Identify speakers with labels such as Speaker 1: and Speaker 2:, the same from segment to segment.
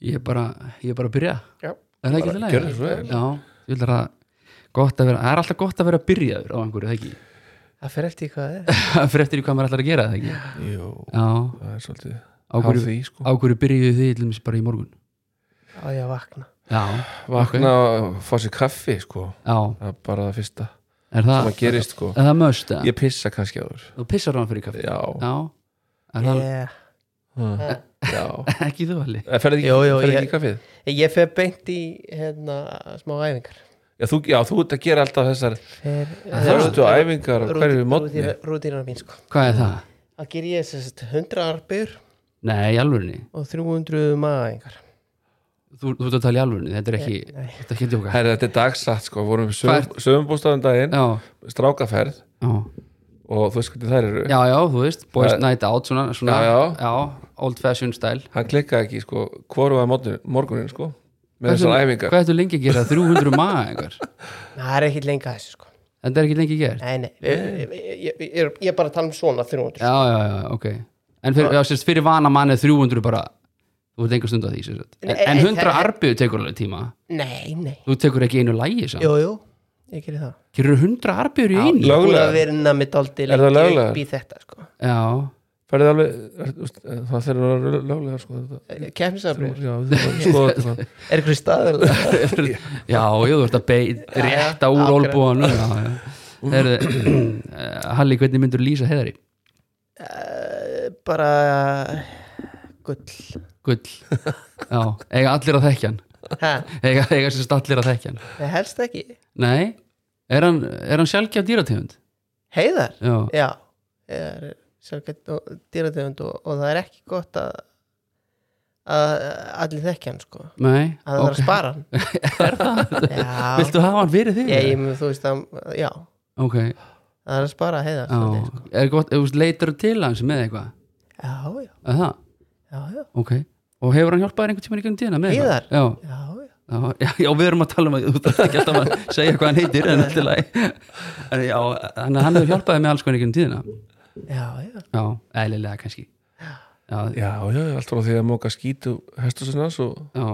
Speaker 1: ég er bara, ég er bara að byrja
Speaker 2: Já.
Speaker 1: er það ekki
Speaker 2: Bara
Speaker 1: til
Speaker 2: gjörðu svo vel.
Speaker 1: Já, ég vil vera gott að vera það er alltaf gott að vera byrjaður á einhverju, það ekki
Speaker 2: það fer eftir í hvað það er
Speaker 1: fyrir eftir í hvað maður ætlar að gera, það ekki
Speaker 3: Jú,
Speaker 1: Já,
Speaker 3: það er svolítið
Speaker 1: á hverju,
Speaker 3: því, sko.
Speaker 1: á hverju byrjuðu þið til dæmis bara í morgun
Speaker 2: á ég að vakna
Speaker 1: Já,
Speaker 3: Vakna og fá sér kaffi, sko
Speaker 1: já,
Speaker 3: Það er bara það fyrsta
Speaker 1: er
Speaker 3: sem
Speaker 1: það
Speaker 3: að gerist, sko
Speaker 1: er það möst, eða?
Speaker 3: Ég pissa kannski áður
Speaker 1: Þú pissar hann fyrir kaffi
Speaker 3: Já,
Speaker 1: Ah. Já, er það
Speaker 2: ég,
Speaker 3: já, já.
Speaker 1: ekki þú alveg
Speaker 3: Eh, Ferðu ekki,
Speaker 2: Jú, jú,
Speaker 3: ferðu
Speaker 2: ég-
Speaker 3: ekki í kaffið?
Speaker 2: ég fer beint í hérna, smá æfingar
Speaker 3: Já þú, já, þú ert að gera alltaf þessar
Speaker 2: fer, eh,
Speaker 3: Þörstu æfingar á hverju mótni
Speaker 2: rútínar mín sko
Speaker 1: Hvað er það?
Speaker 2: að ger ég sérst 100 arbjör
Speaker 1: Nei, í alvörunni
Speaker 2: og 300 maðingar
Speaker 1: Þú, þú ert að tala í alvörunni, þetta er ekki
Speaker 2: nei.
Speaker 1: Þetta er ekki að djóka
Speaker 3: Herra, þetta er dagsatt sko, vorum
Speaker 1: Hvað
Speaker 3: sögumbústafum daginn,
Speaker 1: Já,
Speaker 3: strákaferð
Speaker 1: já,
Speaker 3: og þú veist hvernig þær eru
Speaker 1: já, já, þú veist Boys
Speaker 3: Það-
Speaker 1: night out, svona, svona
Speaker 3: Já, já.
Speaker 1: old fashion style
Speaker 3: Hann klikkaði ekki sko, hvorum að morgunin, morgunin sko, með
Speaker 1: Hvað
Speaker 3: þessar
Speaker 1: ertu-
Speaker 3: æfingar
Speaker 1: Hvað ertu lengi að gera? 300 maga einhver
Speaker 2: það er ekkit lengi að þessu sko
Speaker 1: Þetta er ekki lengi að gera
Speaker 2: nei, nei, ég, ég, ég, ég, er- ég er bara að tala um svona
Speaker 1: Já,
Speaker 2: 300
Speaker 1: já, já, ok En fyrir, já, sérst, fyrir vana manni er 300 bara Þú ert lengur stund á því sérst. En,
Speaker 2: Nei,
Speaker 1: en
Speaker 2: en
Speaker 1: 100
Speaker 2: það-
Speaker 1: arbið tekur alveg tíma
Speaker 2: nei, nei,
Speaker 1: Þú tekur ekki einu lægi samt
Speaker 2: jú, jú ég gerir það
Speaker 1: Gerur 100 arbið í einu
Speaker 2: Ég er búin
Speaker 3: Löglegar?
Speaker 2: að vinna mitt aldrei
Speaker 3: Er það löglegar?
Speaker 2: upp í þetta sko
Speaker 1: Já,
Speaker 3: Ferðu alveg, er, þú veist, eh, það þeir eru alveg löglega sko þetta-
Speaker 2: kemsafrýr,
Speaker 3: Já, þú verður að skoða þetta svona.
Speaker 2: Eh, er ykkur staðil
Speaker 1: já, ég þú ert að beið rétta úr
Speaker 2: akkurat.
Speaker 1: olbúanum já, já. Heyrðu, eh, Halli, hvernig myndur lýsa heðari?
Speaker 2: bara Eh, gull
Speaker 1: Gull Já, eiga allir að þekkja hann
Speaker 2: ha,
Speaker 1: eiga, eiga sérst allir að þekkja hann
Speaker 2: nei, helst ekki,
Speaker 1: Nei, er hann, er hann sjálfgjaf dýrategund?
Speaker 2: heiðar
Speaker 1: Já,
Speaker 2: já, ég er sjálfgætt og dýrategund og, og það er ekki gott að að allir þekkja hann sko
Speaker 1: nei
Speaker 2: að það þarf að spara hann já,
Speaker 1: Viltu hafa hann fyrir þig?
Speaker 2: ég, ég, mun- þú veist að já,
Speaker 1: Ok,
Speaker 2: það þarf að spara heiðar
Speaker 1: já
Speaker 2: svolítið, sko.
Speaker 1: Er gott, þú veist, leitar til hans með eitthvað?
Speaker 2: já, já,
Speaker 1: Er það?
Speaker 2: já, já,
Speaker 1: Ok Og hefur hann hjálpað þér einhvern tímann í gegnum tíðina með
Speaker 2: Heiðar?
Speaker 1: eitthvað? Já
Speaker 2: já, já.
Speaker 1: Já, já, já, við erum að tala um að þú þarf ekki alltaf að segja hvað hann heitir en alltaf læg en já, hann, hann hefur hjálpaði með alls konar ekki um tíðina
Speaker 2: já, já.
Speaker 1: já, eðlilega kannski já,
Speaker 3: Já, já, allt frá því að móka skítu hestusinn hans og
Speaker 1: já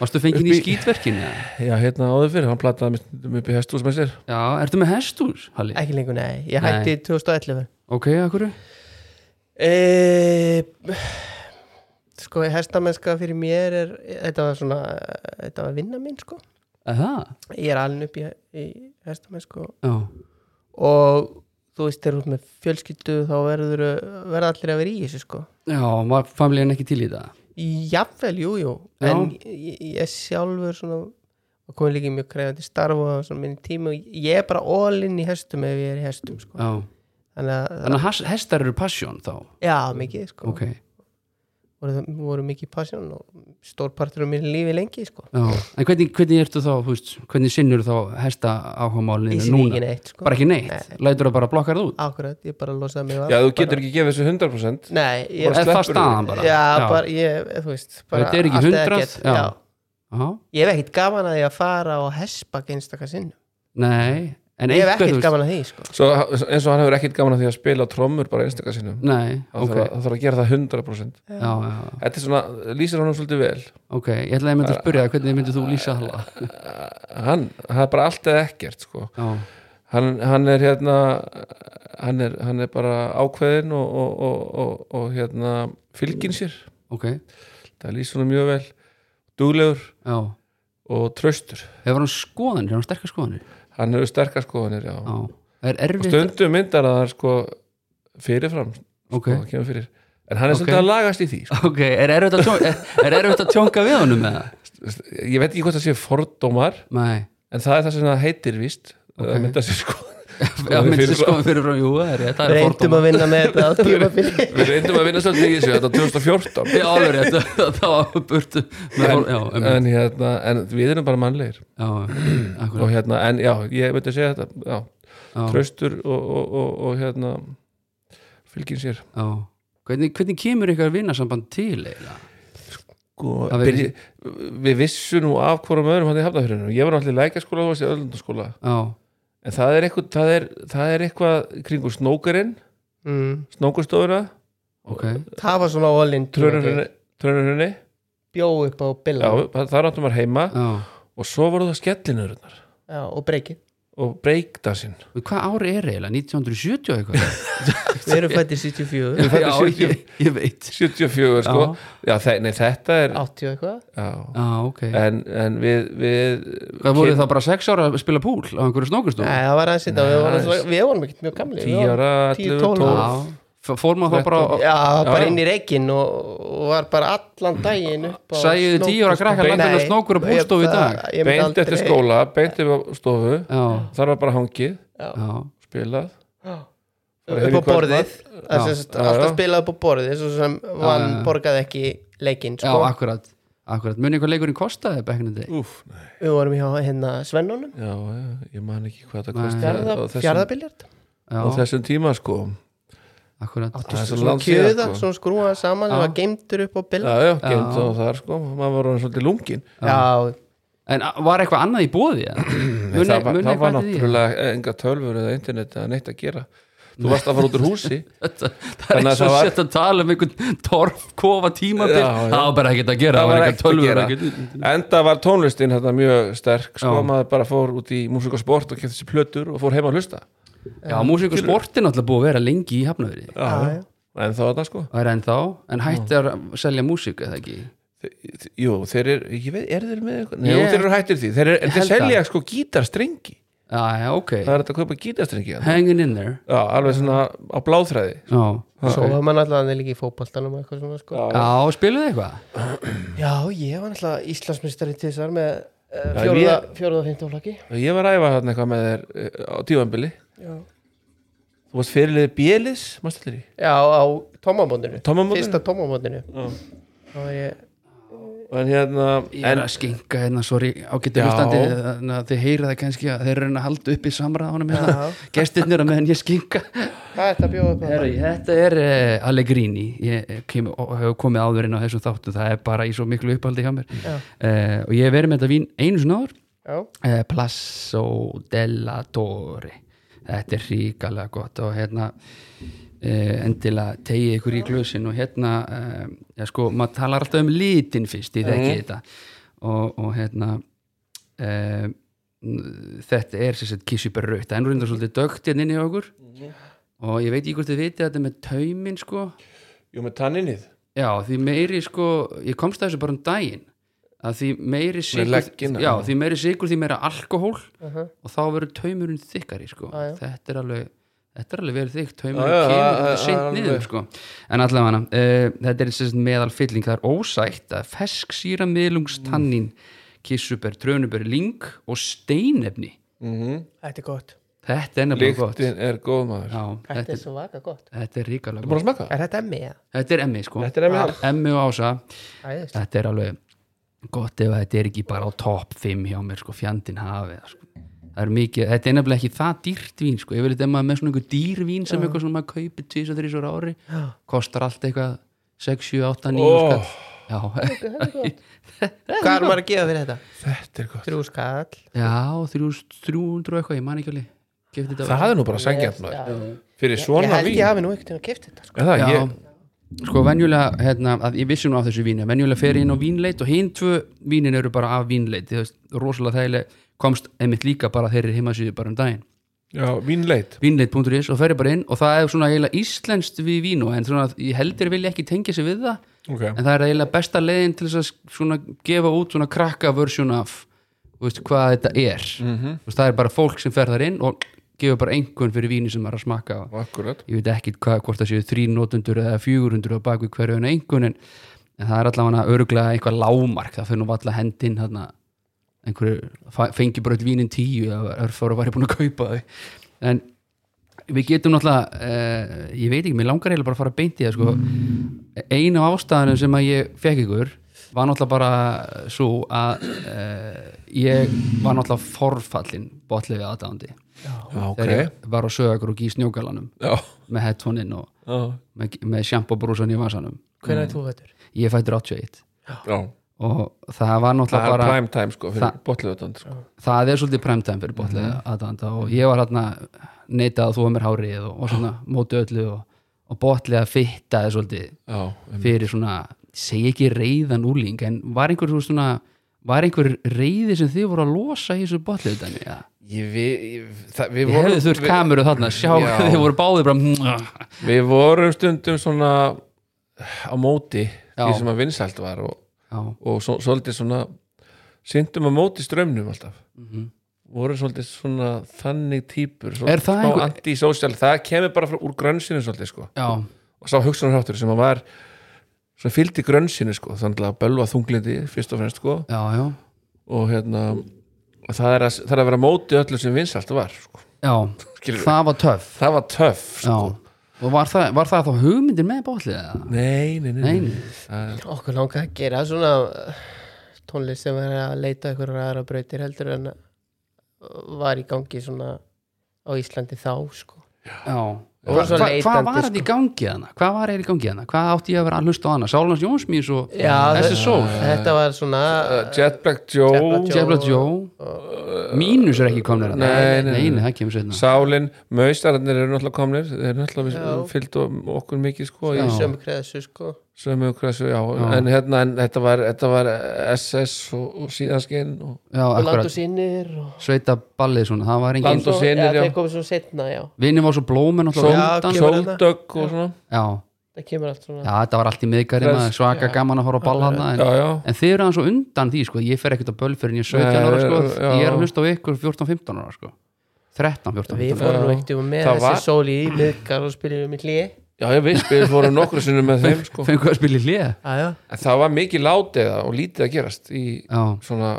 Speaker 1: Varstu fenginn í
Speaker 3: Upp í-
Speaker 1: skítverkinu? eða?
Speaker 3: já, hérna áður fyrir, hann plattaði mér stundum upp í hestus með sér
Speaker 1: Já, ertu með hestús, Halli?
Speaker 2: ekki lengur, nei, ég
Speaker 1: Nei.
Speaker 2: hætti 2011
Speaker 1: Ok, akkur?
Speaker 2: e, sko, hestamennska fyrir mér er, þetta var svona þetta var vinna mín, sko
Speaker 1: Það?
Speaker 2: ég er alin upp í, í hestamennsku og-
Speaker 1: Já,
Speaker 2: og þú veist, þegar þú ert með fjölskyldu þá verður verða allir að vera í þessu, sko
Speaker 1: já, var familjan ekki til í það?
Speaker 2: Jafnvel, jú, jú
Speaker 1: Já.
Speaker 2: en ég, ég sjálfur svona og komið líka í mjög krefandi starf og svona minni tími og ég er bara all in í hestum ef ég er í hestum, sko
Speaker 1: Já,
Speaker 2: þannig að,
Speaker 1: þannig að has- hestar eru passion þá
Speaker 2: já, mikið, sko
Speaker 1: Ok,
Speaker 2: voru, voru mikið passion og stórpartur af minni lífi lengi, sko
Speaker 1: já, en hvernig, hvernig ertu þá, þú veist, hvernig sinnur þá hesta áhugamálinu
Speaker 2: Ég sinni ekki
Speaker 1: núna?
Speaker 2: neitt, sko
Speaker 1: Bara ekki neitt, lætur það bara blokkar það út?
Speaker 2: Akkurat, ég bara losaði mig af
Speaker 3: Já, þú getur ekki gefið þessu 100%
Speaker 2: Nei, ég,
Speaker 1: Er
Speaker 3: Bara
Speaker 1: það
Speaker 3: sleppurðu?
Speaker 1: staðan bara?
Speaker 2: já, bara, ég, þú veist bara
Speaker 1: Þetta er ekki
Speaker 2: allt eða
Speaker 1: 100,
Speaker 2: ekkert,
Speaker 1: já.
Speaker 2: já.
Speaker 1: Já,
Speaker 2: Ég hef ekkit gaman að ég að fara og hespa einstaka sinn
Speaker 1: nei en
Speaker 2: Ég hef
Speaker 1: einhver, þú
Speaker 2: ekkit
Speaker 1: veist-
Speaker 2: gaman að því, sko
Speaker 3: Svo, eins og hann hefur ekkert gaman að því að spila trommur bara einstaka sinnum
Speaker 1: Nei,
Speaker 3: Það
Speaker 1: ok,
Speaker 3: þarf að- það þarf að gera það 100%
Speaker 1: já, já, já,
Speaker 3: Þetta er svona, lýsir hann svolítið vel
Speaker 1: ok Ég ætlaði að mynda að spyrja það, hvernig myndir þú lýsa hala
Speaker 3: Hann, það er bara allt eða ekkert sko.
Speaker 1: Já,
Speaker 3: hann, hann er hérna hann er, hann er bara ákveðin og, og, og, og, og hérna fylgin sér,
Speaker 1: ok,
Speaker 3: það lýsir hann mjög vel duglegur
Speaker 1: já
Speaker 3: og traustur
Speaker 1: Hefur hann skoðanir, hefur hann sterkar skoðanir
Speaker 3: hann hefur sterkar skoðanir, já
Speaker 1: Já, það er
Speaker 3: og
Speaker 1: erfitt
Speaker 3: stundum myndar að það er sko fyrirfram,
Speaker 1: Ok,
Speaker 3: sko, það kemur fyrir en hann er
Speaker 1: Ok.
Speaker 3: svolítið að lagast í því sko.
Speaker 1: ok, er erfitt að tjónka, er, er erfitt að tjónka við honum með það?
Speaker 3: ég veit ekki hvort það sé fordómar
Speaker 1: Nei,
Speaker 3: en það er það sem það heitir víst
Speaker 1: Ok.
Speaker 3: það myndar sér sko
Speaker 1: já,
Speaker 3: Skoðanir
Speaker 1: myndir þú
Speaker 3: fyrir-
Speaker 1: skoðan fyrir frá, jú, það er rétt Það er
Speaker 2: Reyndum
Speaker 1: fordómar.
Speaker 2: að vinna með þetta á tímabili
Speaker 3: við reyndum að vinna svolítið í þessu þetta 2014
Speaker 1: Já, alveg rétt, það- það var burtu með
Speaker 3: en,
Speaker 1: hol- Já, um,
Speaker 3: en, hérna, en við erum bara mannlegir
Speaker 1: já, akkurat,
Speaker 3: og hérna, en já, ég myndi að segja þetta já,
Speaker 1: já,
Speaker 3: traustur og, og, og, og hérna fylgin sér
Speaker 1: já Hvernig, hvernig kemur ykkar vinnasamband til eiginlega?
Speaker 3: og
Speaker 1: Það
Speaker 3: byrji, við vissum nú af hvorum öðrum hann í hafnafjörðinu, ég var náttúrulega í lækaskóla og þessi öllundaskóla,
Speaker 1: Já,
Speaker 3: en það er eitthvað það er, það er eitthvað kringu snókarinn
Speaker 2: mm.
Speaker 3: snókurstofuna,
Speaker 1: ok
Speaker 2: Það var svona all in
Speaker 3: trönurhunni
Speaker 2: bjó upp á Billa
Speaker 3: já, þar áttum maður heima
Speaker 1: já.
Speaker 3: og svo voru það skellinöðrunar
Speaker 2: Já, og breyki
Speaker 3: og breakdansinn
Speaker 1: Og Hvað ári er eiginlega? 1970 og eitthvað?
Speaker 2: Við erum fættið 74,
Speaker 1: já, ég, ég veit
Speaker 3: 74 sko
Speaker 1: Já.
Speaker 3: já, þe nei, þetta er
Speaker 2: 80 eitthvað
Speaker 3: já.
Speaker 1: Já, ok
Speaker 3: En, en við, við
Speaker 1: Hvað voru þá bara sex ára að spila púl á einhverju snókustú?
Speaker 2: Nei,
Speaker 3: Eh,
Speaker 2: það var aðeins þetta, við vorum
Speaker 3: Nei.
Speaker 2: svo- við vorum ekkert mjög gamli við
Speaker 3: 10
Speaker 2: vorum-
Speaker 3: ára,
Speaker 2: 10,
Speaker 3: 11,
Speaker 2: 12.
Speaker 3: 12
Speaker 1: Fór maður þá bara á-
Speaker 2: Já, bara
Speaker 3: já.
Speaker 2: inn í reikin og, og var bara allan daginn upp á
Speaker 1: Sæjuðu
Speaker 2: snókust-
Speaker 1: 10 ára krakkar
Speaker 2: Nei,
Speaker 1: landinu snókur og búlstofu í
Speaker 2: ég-
Speaker 1: dag?
Speaker 2: það- ég myndi
Speaker 3: beint eftir
Speaker 2: aldrei-
Speaker 3: skóla, beint eftir stofu
Speaker 1: Já,
Speaker 3: þar var bara hangið,
Speaker 1: já
Speaker 3: spilað
Speaker 2: upp á borðið Það er sem sagt
Speaker 3: Já,
Speaker 2: alltaf
Speaker 3: já.
Speaker 2: spilað upp á borðið svo sem vann
Speaker 1: já, já.
Speaker 2: borgaði ekki leikinn
Speaker 1: Já,
Speaker 2: sko.
Speaker 1: akkurat, akkurat. Munið hvað leikurinn kostaði bekkinandi?
Speaker 3: Úf, nei,
Speaker 2: við vorum hjá hérna Svennunum
Speaker 3: já, já, ég man ekki hvað það
Speaker 1: Nei.
Speaker 3: kosti
Speaker 2: fjarða,
Speaker 3: á
Speaker 2: fjarðabiljart
Speaker 1: Já,
Speaker 3: þessum tíma sko
Speaker 1: akkurat
Speaker 3: Það er svo
Speaker 2: svona
Speaker 3: langt síðan,
Speaker 2: kjöða,
Speaker 3: sko.
Speaker 2: svona skrúa saman
Speaker 1: Já.
Speaker 2: það var geimtur upp á
Speaker 3: já,
Speaker 2: biljart
Speaker 3: já, geimt á þar sko maður var hann svolítið lungin
Speaker 2: já,
Speaker 1: En a- var eitthvað annað í bóði?
Speaker 3: Nei,
Speaker 1: e-
Speaker 3: það var, það
Speaker 1: því?
Speaker 3: var náttúrulega enga tölfur eða internet eða neitt að gera þú varst að fara út úr húsi
Speaker 1: Þetta- Það er eins
Speaker 3: Þannig að
Speaker 1: og
Speaker 3: það var-
Speaker 1: sett að tala um einhvern torfkofa tímabil
Speaker 3: Já, já.
Speaker 1: Það var bara ekkert að gera, það var
Speaker 3: ekkert
Speaker 1: eitthvað tölvur
Speaker 3: að
Speaker 1: ekkert-
Speaker 3: gera enda var tónlistin þetta mjög sterk sko,
Speaker 1: Já.
Speaker 3: maður bara fór út í músík og sport og kefti sér plötur og fór heima að hlusta
Speaker 1: Já, músík og sportin alltaf búið að vera lengi í hafnaveri
Speaker 2: já, já.
Speaker 3: en þá var það sko
Speaker 1: Það er ennþá, en hætti að selja músík eða ekki
Speaker 3: Þe- þe- Jú, þeir eru, ég veit, eru þeir með eitthvað? Nei,
Speaker 1: Ég-
Speaker 3: jú, þeir eru hættir því, þeir, er,
Speaker 1: Ég
Speaker 3: þeir
Speaker 1: held
Speaker 3: selja sko gítarstrengi
Speaker 1: Já, já, ok,
Speaker 3: Það er þetta að kaupa gítarstrengi hérna.
Speaker 1: hanging in there
Speaker 3: Já, alveg svona á bláþræði
Speaker 1: Já,
Speaker 2: svo var maður alltaf þannig líka í fótboltanum og eitthvað svona sko
Speaker 1: já spiluðu eitthvað?
Speaker 2: já, ég var alltaf Íslandsmyndstari til þessar með eh,
Speaker 3: Já,
Speaker 2: fjórða fjórða og fimmta flokki
Speaker 3: Ég var að æfa þarna eitthvað með þér eh, á tífambili
Speaker 2: já,
Speaker 3: Þú varst fyrirliði Bielis, maður stillir í
Speaker 2: já á tómamóndinu
Speaker 3: Tómamótinu?
Speaker 2: fyrsta tómamóndinu þá var ég
Speaker 3: En hérna,
Speaker 1: Ég er
Speaker 3: en,
Speaker 1: að skenka hérna, sorry, ágættu
Speaker 3: Já.
Speaker 1: hlustandi þannig að þið heyra það kannski að þeir eru að halda upp í samræðanum hérna, gestirnir að meðan ég skenka
Speaker 2: hvað er þetta að bjóða upp á?
Speaker 1: Heru, Þetta er uh, Allegrini ég eh, kem, og hefur komið áður inn á þessum þáttu það er bara í svo miklu upphaldi hjá mér uh, og ég hef verið með þetta vín einu svona áður
Speaker 2: já,
Speaker 1: uh, Plasso della Torre þetta er ríkalega gott og hérna uh, endilega tegið ykkur í glösin og hérna uh, já, sko, maður talar alltaf um litin fyrst í þekki þetta og, og hérna uh, þetta er sem sagt kissjúper rautt, það er nú reyndar svolítið dögt hérna inn í okkur og ég veit ekki hvort þið vitið þetta með taumin sko
Speaker 3: jú með tanninnið
Speaker 1: já því meiri sko ég komst að þessu bara um daginn að því meiri sigur,
Speaker 3: leggina,
Speaker 1: já,
Speaker 3: já.
Speaker 1: því meiri sigur því meira alkohól
Speaker 2: Mhm.
Speaker 1: og þá verður taumurinn þykkari sko
Speaker 2: Ah, Já, já.
Speaker 1: þetta er alveg þetta er alveg verið þykkt, taumurinn
Speaker 3: Ah, Já, já,
Speaker 1: kemur
Speaker 3: já,
Speaker 1: þetta er
Speaker 3: já,
Speaker 1: seint
Speaker 3: alveg.
Speaker 1: niður sko en allavega hana, þetta er sérst meðal fylling það er ósætt að fesk síra miðlungstannin kissuber, trönubur, ling og steinefni
Speaker 2: þetta er gott
Speaker 1: þetta er nefnilega gott
Speaker 3: Líktin er góð maður
Speaker 1: já,
Speaker 2: þetta
Speaker 1: þetta,
Speaker 2: er svaka gott
Speaker 1: þetta er ríkalega
Speaker 3: Búin
Speaker 1: gott
Speaker 3: að smaka?
Speaker 2: er þetta E? með?
Speaker 1: þetta er emmi sko
Speaker 3: Þetta er með
Speaker 1: Emmi og Ása,
Speaker 2: Æðist.
Speaker 1: þetta er alveg gott ef að þetta er ekki bara á topp 5 hjá mér, sko, fjandinn hafið það, sko. það er mikið, þetta er nefnilega ekki það dýrt vín, sko, ég vil þetta maður með svona einhver dýr vín sem eitthvað svona maður kaupir 2-3 ára ári, kostar allt eitthvað 6, 7, 8, 9
Speaker 3: Ó.
Speaker 1: oh. já,
Speaker 2: hvað er maður að gefa fyrir þetta?
Speaker 3: Þetta er gott
Speaker 2: þrjú skall
Speaker 1: já þrjú, 300 eitthvað, ég man ekki alveg Keypti þetta-
Speaker 3: Það er nú bara sangjart
Speaker 2: Já.
Speaker 3: maður Fyrir
Speaker 2: ég
Speaker 3: svona
Speaker 2: held
Speaker 3: vín
Speaker 2: ég hafi nú ekkert að kefta þetta sko.
Speaker 3: Er það,
Speaker 1: Já,
Speaker 3: ég,
Speaker 1: sko venjulega hérna, að ég vissi nú af þessu víni, að venjulega fer ég inn á vínleit og hinn tvö vínin eru bara af vínleit þú veist, rosalega þægileg komst einmitt líka bara þeirri heimasíðu bara um daginn
Speaker 3: já, vínleit
Speaker 1: vínleit.is og fer ég bara inn og það er svona eiginlega íslenskt við vínu en svona, ég heldur vilja ekki tengja sig við það
Speaker 3: okay.
Speaker 1: en það er eiginlega besta leiðin til þess að svona gefa út svona krakka versjón af þú veist, hvað þetta er -hmm. veist, það er bara fólk sem fer þar inn og gefur bara einhvern fyrir víni sem maður er að smakka og
Speaker 3: Akkurat
Speaker 1: ég veit ekki hvað, hvort það séu þrý notundur eða fjögurundur á bakvið hverju en einhvern en, en það er allavega öruglega eitthvað lámark það fyrir nú valla hendinn þarna einhverju, fa- fengi bara öll vínin tíu eða örfóra væri búin að kaupa þau en við getum náttúrulega eh, ég veit ekki, mér langar eiginlega bara að fara beint í það sko. einu ástæðanum sem að ég fekk ykkur var náttúrulega bara svo að eh, ég var náttúrulega forfallin botlega aðdándi
Speaker 3: Já, ok
Speaker 1: þegar ég var á sögur og í snjógalanum
Speaker 3: Já,
Speaker 1: með headphoneinn og
Speaker 3: já,
Speaker 1: með, með sjampabrúsan í vasanum
Speaker 2: hvernig er þú fættur?
Speaker 1: ég er fættur 81
Speaker 3: já
Speaker 1: og það var
Speaker 3: það
Speaker 1: náttúrulega
Speaker 3: er
Speaker 1: bara
Speaker 3: prime time sko fyrir
Speaker 1: Það-
Speaker 3: botlöðutand sko.
Speaker 1: það er svolítið primetime fyrir botlega
Speaker 3: Mhm.
Speaker 1: aðdanda og ég var hérna neitað að þú var mér hárið og, og svona móti öllu og, og botlega fittaði svolítið
Speaker 3: já, um,
Speaker 1: fyrir svona segi ekki reyðan úling en var einhver þú veist, svona var einhver reyði sem þið voru að losa í þessu botlutani ja.
Speaker 3: ég, við, ég, það, við
Speaker 1: ég
Speaker 3: vorum-
Speaker 1: hefði þurft
Speaker 3: við-
Speaker 1: kameru þarna að sjá
Speaker 3: Já.
Speaker 1: hvað þið voru báðið bara
Speaker 3: Við vorum stundum svona á móti
Speaker 1: Já.
Speaker 3: því sem að vinsælt var og,
Speaker 1: já,
Speaker 3: og svo, svolítið svona syndum á móti strömmnum alltaf
Speaker 1: Mhm.
Speaker 3: vorum svolítið svona þannig típur
Speaker 1: Er það einhver-
Speaker 3: antisocial, það kemur bara frá, úr grönsinu svolítið sko
Speaker 1: já,
Speaker 3: og sá hugsunarháttur sem að var svona fylgdi grönsinu sko þannig að bölva þunglindi fyrst og fremst sko
Speaker 1: já, já,
Speaker 3: og hérna og það er að, það er að vera á móti öllu sem vinsælt var sko.
Speaker 1: já.
Speaker 3: Skilurðu?
Speaker 1: það var töff
Speaker 3: það var töff
Speaker 1: já.
Speaker 3: sko.
Speaker 1: og var það, var það þá hugmyndir með botlið eða?
Speaker 3: nei, nei, nei,
Speaker 1: Ah. Nei,
Speaker 3: nei.
Speaker 1: nei.
Speaker 3: Það, er-
Speaker 2: okkur langar að gera svona uh, tónlist sem er að leita ykkur aðra brautir heldur en uh, var í gangi svona á Íslandi þá sko
Speaker 1: já
Speaker 2: Og
Speaker 1: Hva,
Speaker 2: svo
Speaker 1: hva, hvað
Speaker 2: leitandi,
Speaker 1: var
Speaker 3: sko.
Speaker 1: þetta í gangi hana? Hvað var þetta í gangi hana? Hvað átti ég að vera að hlusta á hana? Sálans Jónsmís og þessi
Speaker 2: þe-
Speaker 1: sól
Speaker 2: þetta var svona
Speaker 3: uh, Jet Black Joe,
Speaker 2: Jet Black
Speaker 1: Jefla Jó Mínus er ekki komnir hana
Speaker 3: Nei, nei, nei.
Speaker 1: nei, það um kemur setna
Speaker 3: Sálin, Maustararnir eru náttúrulega komnir þeir eru náttúrulega
Speaker 2: Já.
Speaker 3: fyllt okkur mikið sko, í
Speaker 1: Já.
Speaker 2: sömu kreðsu sko
Speaker 3: sömu kressu, já,
Speaker 1: Já.
Speaker 3: en hérna en þetta, var, þetta var SS og, og síðanskinn og
Speaker 1: Já,
Speaker 2: og land og
Speaker 1: akkurat,
Speaker 2: sínir og
Speaker 1: sveita ballið svona Það var engin,
Speaker 3: Land og Synir,
Speaker 2: já
Speaker 3: já.
Speaker 2: þeir komið svo setna já
Speaker 1: vinni var svo blómin og
Speaker 3: Sól-
Speaker 1: undan
Speaker 2: kemur-
Speaker 1: Já,
Speaker 2: hérna.
Speaker 3: Sóldögg og svona
Speaker 1: já,
Speaker 2: það kemur allt svona
Speaker 1: þetta var allt í miðgæri
Speaker 3: Res-
Speaker 1: maður svaka
Speaker 2: já.
Speaker 1: gaman að fara á ball hana en,
Speaker 3: já, já,
Speaker 1: en þið eru aðeins svo undan því, sko Ég fer ekkert á böll fyrir en ég er 17 ára,
Speaker 3: Nei,
Speaker 1: sko
Speaker 3: já.
Speaker 1: Ég er að hlusta á ykkur 14-15 ára, sko 13, 14, 15
Speaker 2: við fórum nú
Speaker 3: Já.
Speaker 2: ekkert með
Speaker 3: Það
Speaker 2: þessi
Speaker 3: var-
Speaker 2: sóli í miðgar og spilum í hlýi
Speaker 3: já, ég veist, við vorum nokkru sinnum með þeim sko.
Speaker 1: Fengu að spila í hlið
Speaker 2: aðja
Speaker 3: en það var mikið látið og lítið að gerast í
Speaker 1: Já,
Speaker 3: svona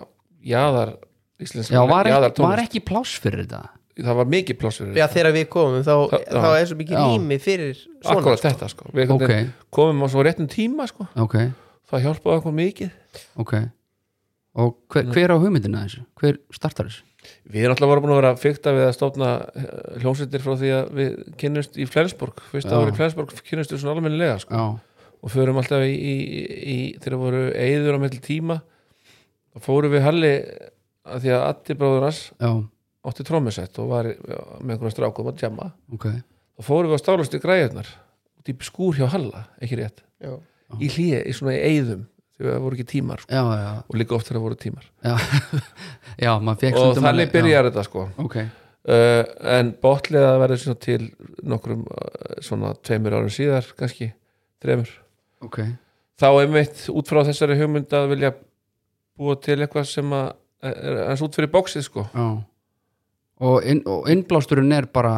Speaker 3: jaðar íslenska
Speaker 1: já var, ekki, var
Speaker 3: jaðartónlist.
Speaker 1: ekki pláss fyrir þetta
Speaker 3: það var mikið pláss fyrir
Speaker 2: Já, þegar við komum þá,
Speaker 3: Þa- já.
Speaker 2: þá er svo mikið
Speaker 1: Já.
Speaker 2: rými fyrir svona
Speaker 3: akkurat þetta sko, við einhvern
Speaker 1: Ok,
Speaker 3: veginn komum á svo réttum tíma sko,
Speaker 1: ok,
Speaker 3: það hjálpaði okkur mikið
Speaker 1: ok Og hver, hver á hugmyndina þessu? Hver startar þessu?
Speaker 3: Við erum alltaf voru búin að vera að fykta við að stofna eh, hljómsveitir frá því að við kynnumst í Flensborg, fyrst
Speaker 1: Já.
Speaker 3: að voru í Flensborg kynnumst við svona almennilega sko.
Speaker 1: Já,
Speaker 3: og förum alltaf í, í, í þegar voru eigður á melli tíma þá fórum við Halli að því að Addi bróður hans
Speaker 1: já,
Speaker 3: átti trómmisett og var í- með einhverja strákum að tjama
Speaker 1: ok
Speaker 3: þá fórum við að stálast í græðunar út í skúr hjá Halla, ekki rétt
Speaker 2: Já.
Speaker 3: í hlýja, í svona í eigðum þegar það voru ekki tímar sko.
Speaker 1: Já, já,
Speaker 3: og líka oft þegar voru tímar
Speaker 1: já Já, maður fekk
Speaker 3: og þannig
Speaker 1: já,
Speaker 3: byrjar þetta sko
Speaker 1: Ok,
Speaker 3: uh, en botliða verður svona til nokkrum uh, svona tveimur árum síðar kannski, þremur
Speaker 1: ok
Speaker 3: þá einmitt út frá þessari hugmynd að vilja búa til eitthvað sem að er aðeins út fyrir bóksið sko
Speaker 1: já. Og, inn, og innblásturinn er bara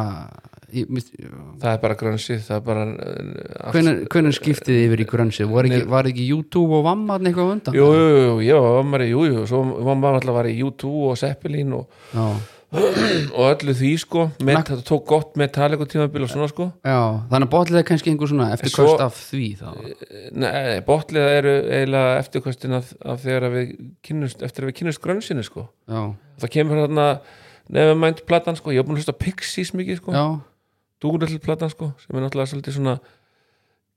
Speaker 1: í- mist-
Speaker 3: það er bara grönsið, það er bara uh, allt-
Speaker 1: Hvenær hvenær skiptið þið yfir í grönsi? Var ekki, var ekki YouTube og Vammarn eitthvað á undan?
Speaker 3: Jú, jú, jú, ég var vammari, jú, jú, svo var maður alltaf að vara í U2 og Zeppelin og,
Speaker 1: Já,
Speaker 3: og öllu því, sko, með, þetta tók gott með talega tímabil og svona, sko.
Speaker 1: já, þannig að botlið er kannski einhver svona eftirkvöst
Speaker 3: Svo-
Speaker 1: af því þá
Speaker 3: Nei, botliða eru eiginlega eftirkvæstin af, af þegar að við kynnumst, eftir að við kynnumst grönsinu, sko.
Speaker 1: Já,
Speaker 3: það kemur hérna Nevermind platan sko, ég hef búin að hlusta á Pixies mikið sko,
Speaker 1: já,
Speaker 3: Dúrlill platan sko sem er náttúrulega svolítið svona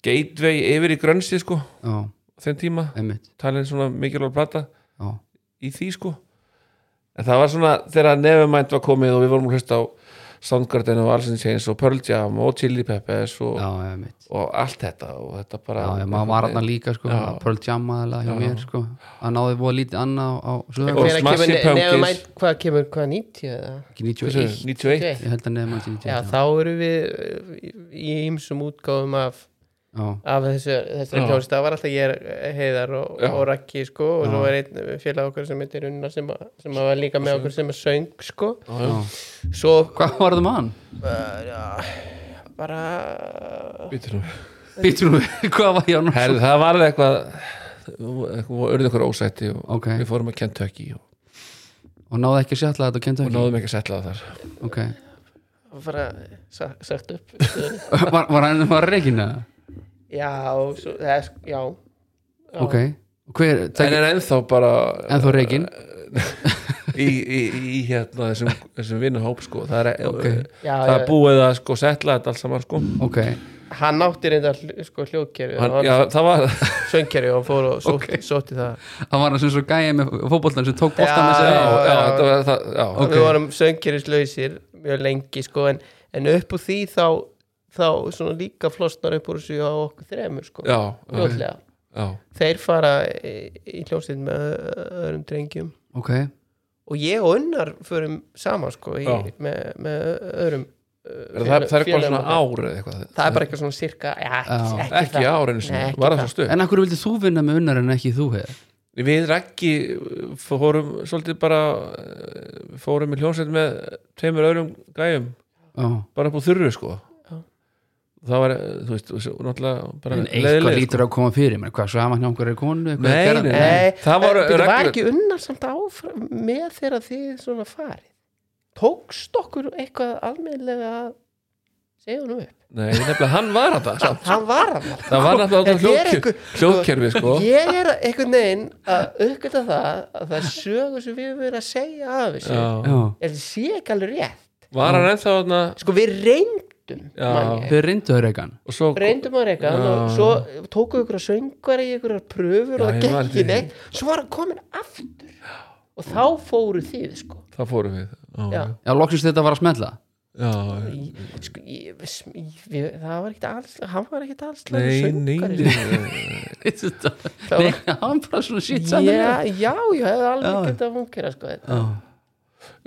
Speaker 3: gateway yfir í grönsi sko á
Speaker 1: já,
Speaker 3: þeim tíma,
Speaker 1: einmitt
Speaker 3: talin svona mikilvæg plata
Speaker 1: Já,
Speaker 3: í því sko en það var svona þegar Nevermind var komið og við vorum að hlusta á Soundgarden og Alice in Chains og Pearl Jam og Chili Peppers og,
Speaker 1: já, einmitt
Speaker 3: og allt þetta og þetta bara
Speaker 1: Já, já, maður var hann líka sko,
Speaker 3: Já.
Speaker 1: Pearl Jam aðalega hjá mér sko að náði voða lítið annað á, á
Speaker 3: Og
Speaker 1: sögum
Speaker 2: Hvenær
Speaker 3: Smashing
Speaker 2: kemur-
Speaker 3: Pumpkins.
Speaker 2: nefnum mætt- Hvað kemur, hvað 90 eða?
Speaker 1: ekki 91,
Speaker 3: 91
Speaker 1: ég held að nefna hann
Speaker 2: Já,
Speaker 1: 91
Speaker 2: þá eru við uh, í- í ymsum útgáfum af,
Speaker 1: já,
Speaker 2: af þessu, þessu
Speaker 3: Já.
Speaker 2: hljóðst það var alltaf ég er heiðar og,
Speaker 3: Já.
Speaker 2: og rakki sko og
Speaker 1: Já.
Speaker 2: svo var einn félag okkar sem heitir Unnar sem, að- sem að var líka með okkur sem að söng sko
Speaker 1: já.
Speaker 2: svo
Speaker 1: hvað var það með hann?
Speaker 2: uh, já, bara
Speaker 3: Býtur nú.
Speaker 1: býtur nú, við, hvað var ég á náttúrulega
Speaker 3: Herðu, það varði eitthvað eitthvað- urðu eitthvað ósætti og
Speaker 1: Ok.
Speaker 3: við fórum að Kentucky og,
Speaker 1: og náði ekki að sjalla þetta og kenta
Speaker 3: og
Speaker 1: ekki
Speaker 3: náðum ekki að setla það þar
Speaker 1: ok,
Speaker 2: bara sa, sagt upp
Speaker 1: var, var hann var reikina?
Speaker 2: já, svo, það er sk- já, já.
Speaker 1: ok, og hver,
Speaker 3: en
Speaker 1: tæk,
Speaker 3: er ennþá bara
Speaker 1: en þú reikin
Speaker 3: í, í, í hérna þessum, þessum vinnuhóp sko það er,
Speaker 1: Ok.
Speaker 2: Já,
Speaker 3: það er
Speaker 2: já.
Speaker 3: búið að sko setla þetta alls saman sko
Speaker 1: ok,
Speaker 2: hann átti reynda sko hljóðkerfi
Speaker 3: Hann,
Speaker 2: og
Speaker 3: já, það var
Speaker 2: söngkerfi og hann fór og sótti, sótti það
Speaker 1: hann var hann sem svo gæja með fótbollan sem tók boltan
Speaker 2: Já,
Speaker 1: með
Speaker 3: já,
Speaker 1: sér
Speaker 2: já,
Speaker 3: já,
Speaker 2: já.
Speaker 3: þetta var það já,
Speaker 1: Ok.
Speaker 2: við vorum söngkerfislausir mjög lengi sko en, en upp úr því þá þá svona líka flosnar upp úr þessu á okkur þremur sko
Speaker 3: já,
Speaker 2: fljótlega
Speaker 3: já,
Speaker 2: þeir fara í, í hljómsveit með ö- öðrum drengjum
Speaker 1: ok,
Speaker 2: og ég og Unnar förum saman sko í,
Speaker 3: Já.
Speaker 2: með, með ö- öðrum
Speaker 3: Er það, það er bara svona ár eða eitthvað
Speaker 2: það er bara eitthvað svona cirka já, ekki,
Speaker 1: Já.
Speaker 2: ekki,
Speaker 3: ekki
Speaker 2: það.
Speaker 3: ár einu
Speaker 2: Nei,
Speaker 3: sinni,
Speaker 2: ekki
Speaker 3: var það
Speaker 2: það.
Speaker 3: svo stuð
Speaker 1: en akkur vildi þú vinna með unnar en ekki þú hefur
Speaker 3: Við Raggi uh, fórum svolítið bara uh, fórum í hljónsveit með tveimur öðrum gæjum,
Speaker 1: já
Speaker 3: bara upp á þurru sko
Speaker 2: Já.
Speaker 3: það var, uh, þú veist, og svo náttúrulega bara
Speaker 1: en eitthvað
Speaker 3: leiðilegir,
Speaker 1: lítur á að koma fyrir menn, hvað, svo hafa hann einhverju konu
Speaker 3: sko.
Speaker 1: eitthvað að
Speaker 3: Nei,
Speaker 1: gera?
Speaker 3: nei,
Speaker 2: Nei,
Speaker 3: nei, það
Speaker 2: en,
Speaker 3: var
Speaker 2: byrju, var
Speaker 3: reglur
Speaker 2: ekki unnar samt áfram með þegar þið svona farið tókst okkur eitthvað almennilega að segja hann upp
Speaker 3: Nei, nefnilega hann var þetta samt.
Speaker 2: hann var hann
Speaker 3: það var náttúrulega
Speaker 2: Þetta er
Speaker 3: hljóðker,
Speaker 2: einhver-
Speaker 3: hljóðkerfi sko
Speaker 2: ég er einhvern veginn að uppgöta það að það sögur sem við höfum verið að segja af þessu
Speaker 3: Já.
Speaker 1: já,
Speaker 2: er það sé ekki alveg rétt
Speaker 3: Var hann ennþá þarna
Speaker 2: sko við reyndum
Speaker 3: Já.
Speaker 2: man ég.
Speaker 1: þau reyndu þau reygan
Speaker 3: og svo
Speaker 2: reyndum að reyka hann
Speaker 3: Já.
Speaker 2: og svo tóku ykkur að söngvara í ykkur pröfur
Speaker 3: Já,
Speaker 2: og
Speaker 3: ég
Speaker 2: það
Speaker 3: man
Speaker 2: gekk í
Speaker 3: því.
Speaker 2: neitt svo var hann komin aftur og þá fóru þið sko
Speaker 3: það fórum við
Speaker 2: Já.
Speaker 3: Já,
Speaker 1: já, loksist þetta var að smella
Speaker 3: já,
Speaker 2: Í- sko, ég, sm- ég, það var ekkert alls hann var ekkert alls sko.
Speaker 3: Nei, nei, nei
Speaker 2: Það
Speaker 1: nei, hann bara svona shit
Speaker 2: já,
Speaker 1: saman
Speaker 2: já, já, ég hefði alveg
Speaker 1: Já.
Speaker 2: getað að fungera sko, þetta.
Speaker 1: já,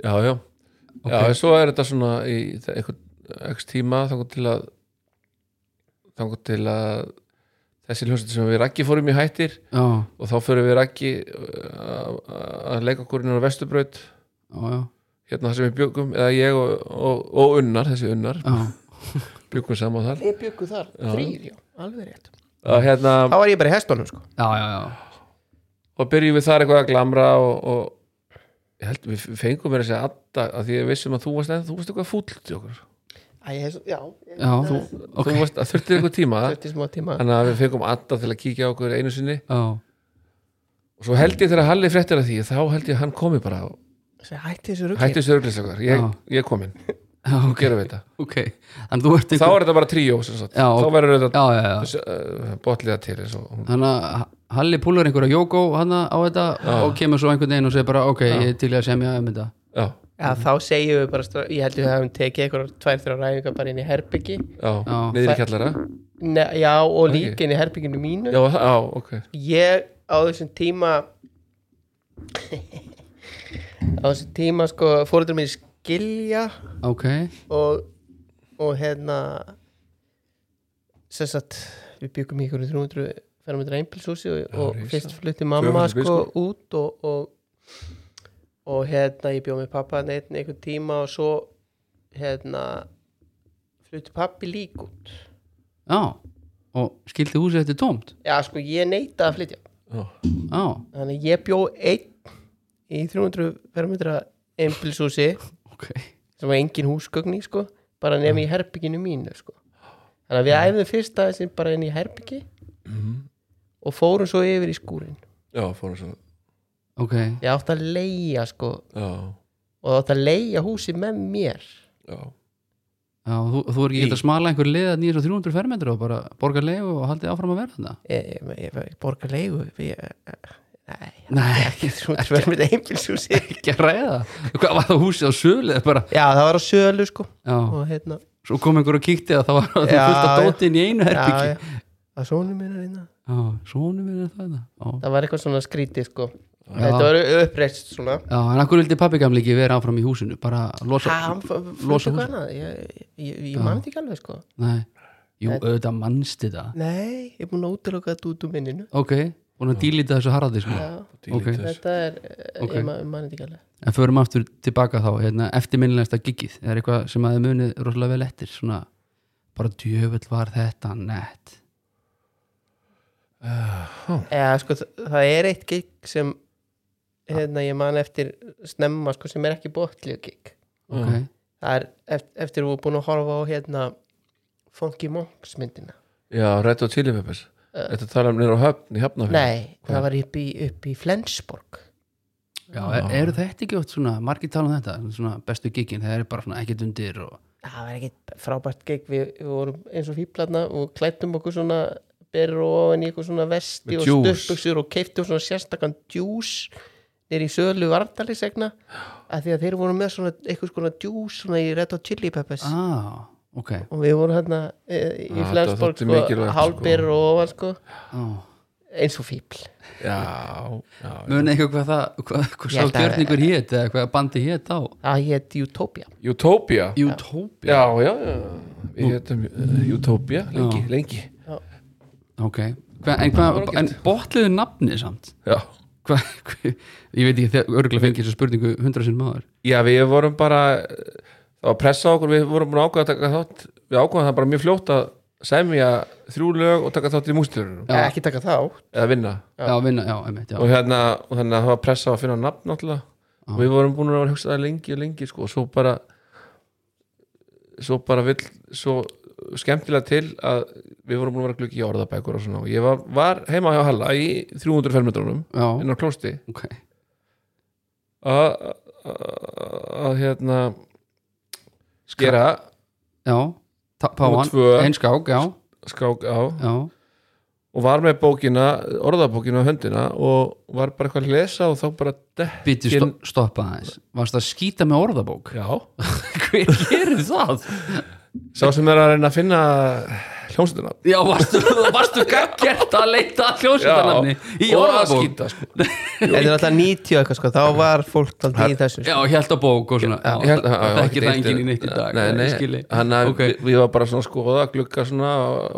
Speaker 3: Já, já Já, en svo er þetta svona í þe- einhvern x tíma þangur til að þangur til að þessi hljómsveit sem við Raggi fórum í hættir
Speaker 1: já,
Speaker 3: og þá förum við Raggi uh, að að leika okkur inn á Vesturbraut
Speaker 1: já, já,
Speaker 3: hérna þar sem við bjögum eða ég og, og, og Unnar, þessi Unnar
Speaker 1: já.
Speaker 3: bjögum saman þar
Speaker 2: Þið byggu þar, þrýr, já, alveg rétt
Speaker 3: að hérna
Speaker 2: Þá var ég bara í hestunum, sko
Speaker 1: já, já, já.
Speaker 3: og byrjum við þar eitthvað að glamra og, og ég held við fengum mér að segja Adda að því að við vissum að þú varst, þú varst eitthvað fúll til okkur
Speaker 2: Æ, ég hef, já, ég
Speaker 1: já.
Speaker 2: þú
Speaker 1: ok,
Speaker 3: þú varst að þurftir eitthvað tíma
Speaker 2: Þetta er smá tíma
Speaker 3: þannig að við fengum Adda til að kíkja á okkur einu sinni
Speaker 1: já,
Speaker 3: og svo held ég þegar Halli fréttir að því þá held ég að hann komi bara og
Speaker 2: Þessi, Hætti þessu rugli
Speaker 3: hætti sörglist okkur ég,
Speaker 1: Já.
Speaker 3: ég kom inn,
Speaker 1: já, ok,
Speaker 3: gerum við þetta
Speaker 1: ok en þú ert
Speaker 3: þá er þetta bara tríó sem sagt.
Speaker 1: Já,
Speaker 3: þá
Speaker 1: ok.
Speaker 3: verður þetta
Speaker 1: já, já, já,
Speaker 3: uh, botliða til eins og hún
Speaker 1: þannig að Ha- Halli púlar einhverja Jóko hann á þetta og kemur svo einhvern veginn og segir bara ok, ég er til í að semja um þetta
Speaker 3: já,
Speaker 2: Já, þá segjum við bara, stra- ég held við hefum tekið eitthvað tvær, þrjá ræðingar bara inn í herbyggi
Speaker 3: já, niður í kjallara
Speaker 2: ne, Já, og líka inn í herbygginu mínu
Speaker 3: já, já, ok
Speaker 2: Ég á þessum tíma Á þessum tíma, sko, fóreldur mér skilja
Speaker 1: ok,
Speaker 2: og, og hérna sem sagt við byggum í ykkur 300 fermetra einbilshúsi og, og
Speaker 3: risa.
Speaker 2: fyrst flutti mamma
Speaker 3: 200 bíl,
Speaker 2: sko út og, og og hérna ég bjóð með pappa neitt einhvern tíma og svo hérna flutti pappi lík út
Speaker 1: já og skildi húsið þetta tómt
Speaker 2: já sko ég neita að flytja
Speaker 3: já,
Speaker 1: já,
Speaker 2: þannig að ég bjóð einn í 300 fermetra einbilshúsi
Speaker 1: ok,
Speaker 2: sem var engin húsgögn í sko bara nefn í herbygginu mínu sko þannig að við æfðum fyrst aðeins inn bara inn í herbyggi Mhm. og fórum svo yfir í skúrin
Speaker 3: já, fórum svo
Speaker 1: ok
Speaker 2: ég átti að leia sko
Speaker 3: já,
Speaker 2: og það átti að leia húsi með mér
Speaker 3: já,
Speaker 1: já, og þú, þú er ekki
Speaker 3: Í.
Speaker 1: gett að smala einhver leið að 900-300 fermetra og bara borga leigu og haldið áfram að verða þetta
Speaker 2: ég, ég, ég, ég borga leigu við, nei,
Speaker 1: nei,
Speaker 2: ekki þú verður með einbilshúsi
Speaker 1: ekki að ræða hvað var það húsið á sölu eða bara,
Speaker 2: já það var á sölu sko
Speaker 1: já,
Speaker 2: og hérna
Speaker 1: svo kom einhver og kíkti að það var það
Speaker 2: Já,
Speaker 1: fullt að
Speaker 2: já.
Speaker 1: dóti inn í einu herbyggi
Speaker 2: já, já, að sónu minna hérna
Speaker 1: já, svona minn er það þetta. já,
Speaker 2: það var eitthvað svona skrítið sko
Speaker 1: Já.
Speaker 2: þetta var uppreist svona
Speaker 1: já, en akkur vildi pappi gamli ekki vera áfram í húsinu bara losa,
Speaker 2: hann flutti
Speaker 1: losa húsið
Speaker 2: eitthvað annað ég, ég, ég man þetta ekki alveg sko
Speaker 1: Nei, jú, auðvitað mannst þetta
Speaker 2: Nei, ég er búin að útiloka þetta út úr minninu
Speaker 1: Ok, búin að dýlita þessu harðið sko.
Speaker 2: Já,
Speaker 1: Ok.
Speaker 3: dýlítið
Speaker 2: Þetta er,
Speaker 1: Ok.
Speaker 2: okay. ég ma- man þetta ekki alveg
Speaker 1: En förum aftur tilbaka þá hérna, Eftirminnilegasta giggið, er eitthvað sem að þið munið rosalega vel eftir svona, bara djöfull var þetta nett
Speaker 2: Eða, sko, þa- Það er eitt gig sem
Speaker 1: Ah.
Speaker 2: hérna, ég man eftir snemma sko, sem er ekki botlið gig
Speaker 1: Ok,
Speaker 2: Það er eft- eftir að við erum búin að horfa á hérna, Funky Monks myndina
Speaker 3: já, Red Hot Chili Peppers Þetta tala um nýra á höfn í höfnafjörn
Speaker 2: Nei, það var upp í, upp í Flensborg
Speaker 1: já, er, eru þetta ekki oft svona, margir tala um þetta svona bestu giggin, það er bara svona ekkert undir og,
Speaker 2: Það var ekkit frábært gig við, við vorum eins og fíblarna og klættum okkur svona berur og ofan í eitthvað svona vesti
Speaker 3: Með
Speaker 2: og
Speaker 3: djús.
Speaker 2: stöpbuksur og keiftum svona sérstakann djús nýr í sölu vartalisegna að því að þeir voru með svona eitthvað svona djús svona í Red Hot Chili Peppers
Speaker 1: ah, ok
Speaker 2: og við vorum hérna e, í
Speaker 3: Ah, þetta
Speaker 2: Flensborg
Speaker 3: þótti
Speaker 2: sko,
Speaker 3: mikilvægt, sko.
Speaker 2: hálberur og ofan sko
Speaker 1: ah,
Speaker 2: eins og fíbl
Speaker 3: já, já, já.
Speaker 1: Muna eitthvað hvað það, hvað, hvað
Speaker 2: Ég
Speaker 1: sá
Speaker 2: held að-
Speaker 1: gjörningur hét eða hvað bandi hét á
Speaker 2: það hétt Utopia
Speaker 3: Utopia
Speaker 1: Utopia,
Speaker 3: já, já, já við hétum uh, Utopia lengi, lengi
Speaker 1: ok hva, En, hva,
Speaker 3: var ágætt.
Speaker 1: en botliðu nafni samt
Speaker 3: já.
Speaker 1: hva, hva, Ég veit ekki, örgulega fengið þessu spurningu hundra sinn maður
Speaker 3: já, við vorum bara það var pressa á okkur, við vorum búin að ákvæða að taka þátt, við ákvæðum það bara mjög fljótt að semja þrjú lög og taka þátt í mústjörunum,
Speaker 2: já. Eh, ekki taka þá
Speaker 3: eða vinna
Speaker 1: Já, vinna, já, einmitt, já
Speaker 3: og hérna, og þannig að það var pressa á að finna nafn náttúrulega, og við vorum búin að vera að hugsa það lengi og lengi, sko, og svo bara svo bara vill svo skemmtilega til að við vorum búin að vera gluggi í orðabækur og svona, og ég var, var heima hjá Halla í 300 fermetrunum,
Speaker 1: Já,
Speaker 3: inn á klósti
Speaker 1: ok
Speaker 3: að að- að hérna skera
Speaker 1: Já, ta- páan,
Speaker 3: tvö.
Speaker 1: einn skák, já,
Speaker 3: skák á
Speaker 1: já
Speaker 3: og var með bókina, orðabókina á höndina og var bara eitthvað að lesa og þá bara dett
Speaker 1: Býttu
Speaker 3: Ég-
Speaker 1: sto stoppa aðeins Varst að skýta með orðabók?
Speaker 3: já,
Speaker 1: Hver gerir það?
Speaker 3: sá sem er að reyna að finna hljómsveitina
Speaker 1: Já, varstu, varstu gaggjert að leita að hljómsveitarnafni í
Speaker 3: og að
Speaker 1: orðabók?
Speaker 3: skýta sko.
Speaker 2: þetta er alltaf 90 og eitthvað sko þá var fólk aldrei í þessu
Speaker 1: Já, ég held að bók og svona
Speaker 3: Ég held- já, já,
Speaker 1: Ekki það
Speaker 3: eitt-
Speaker 1: enginn í neitt í dag
Speaker 3: nei,
Speaker 1: ég
Speaker 3: nei,
Speaker 1: skil.
Speaker 3: hann að
Speaker 1: Ok.
Speaker 3: okay. við var bara svona að skoða glugga svona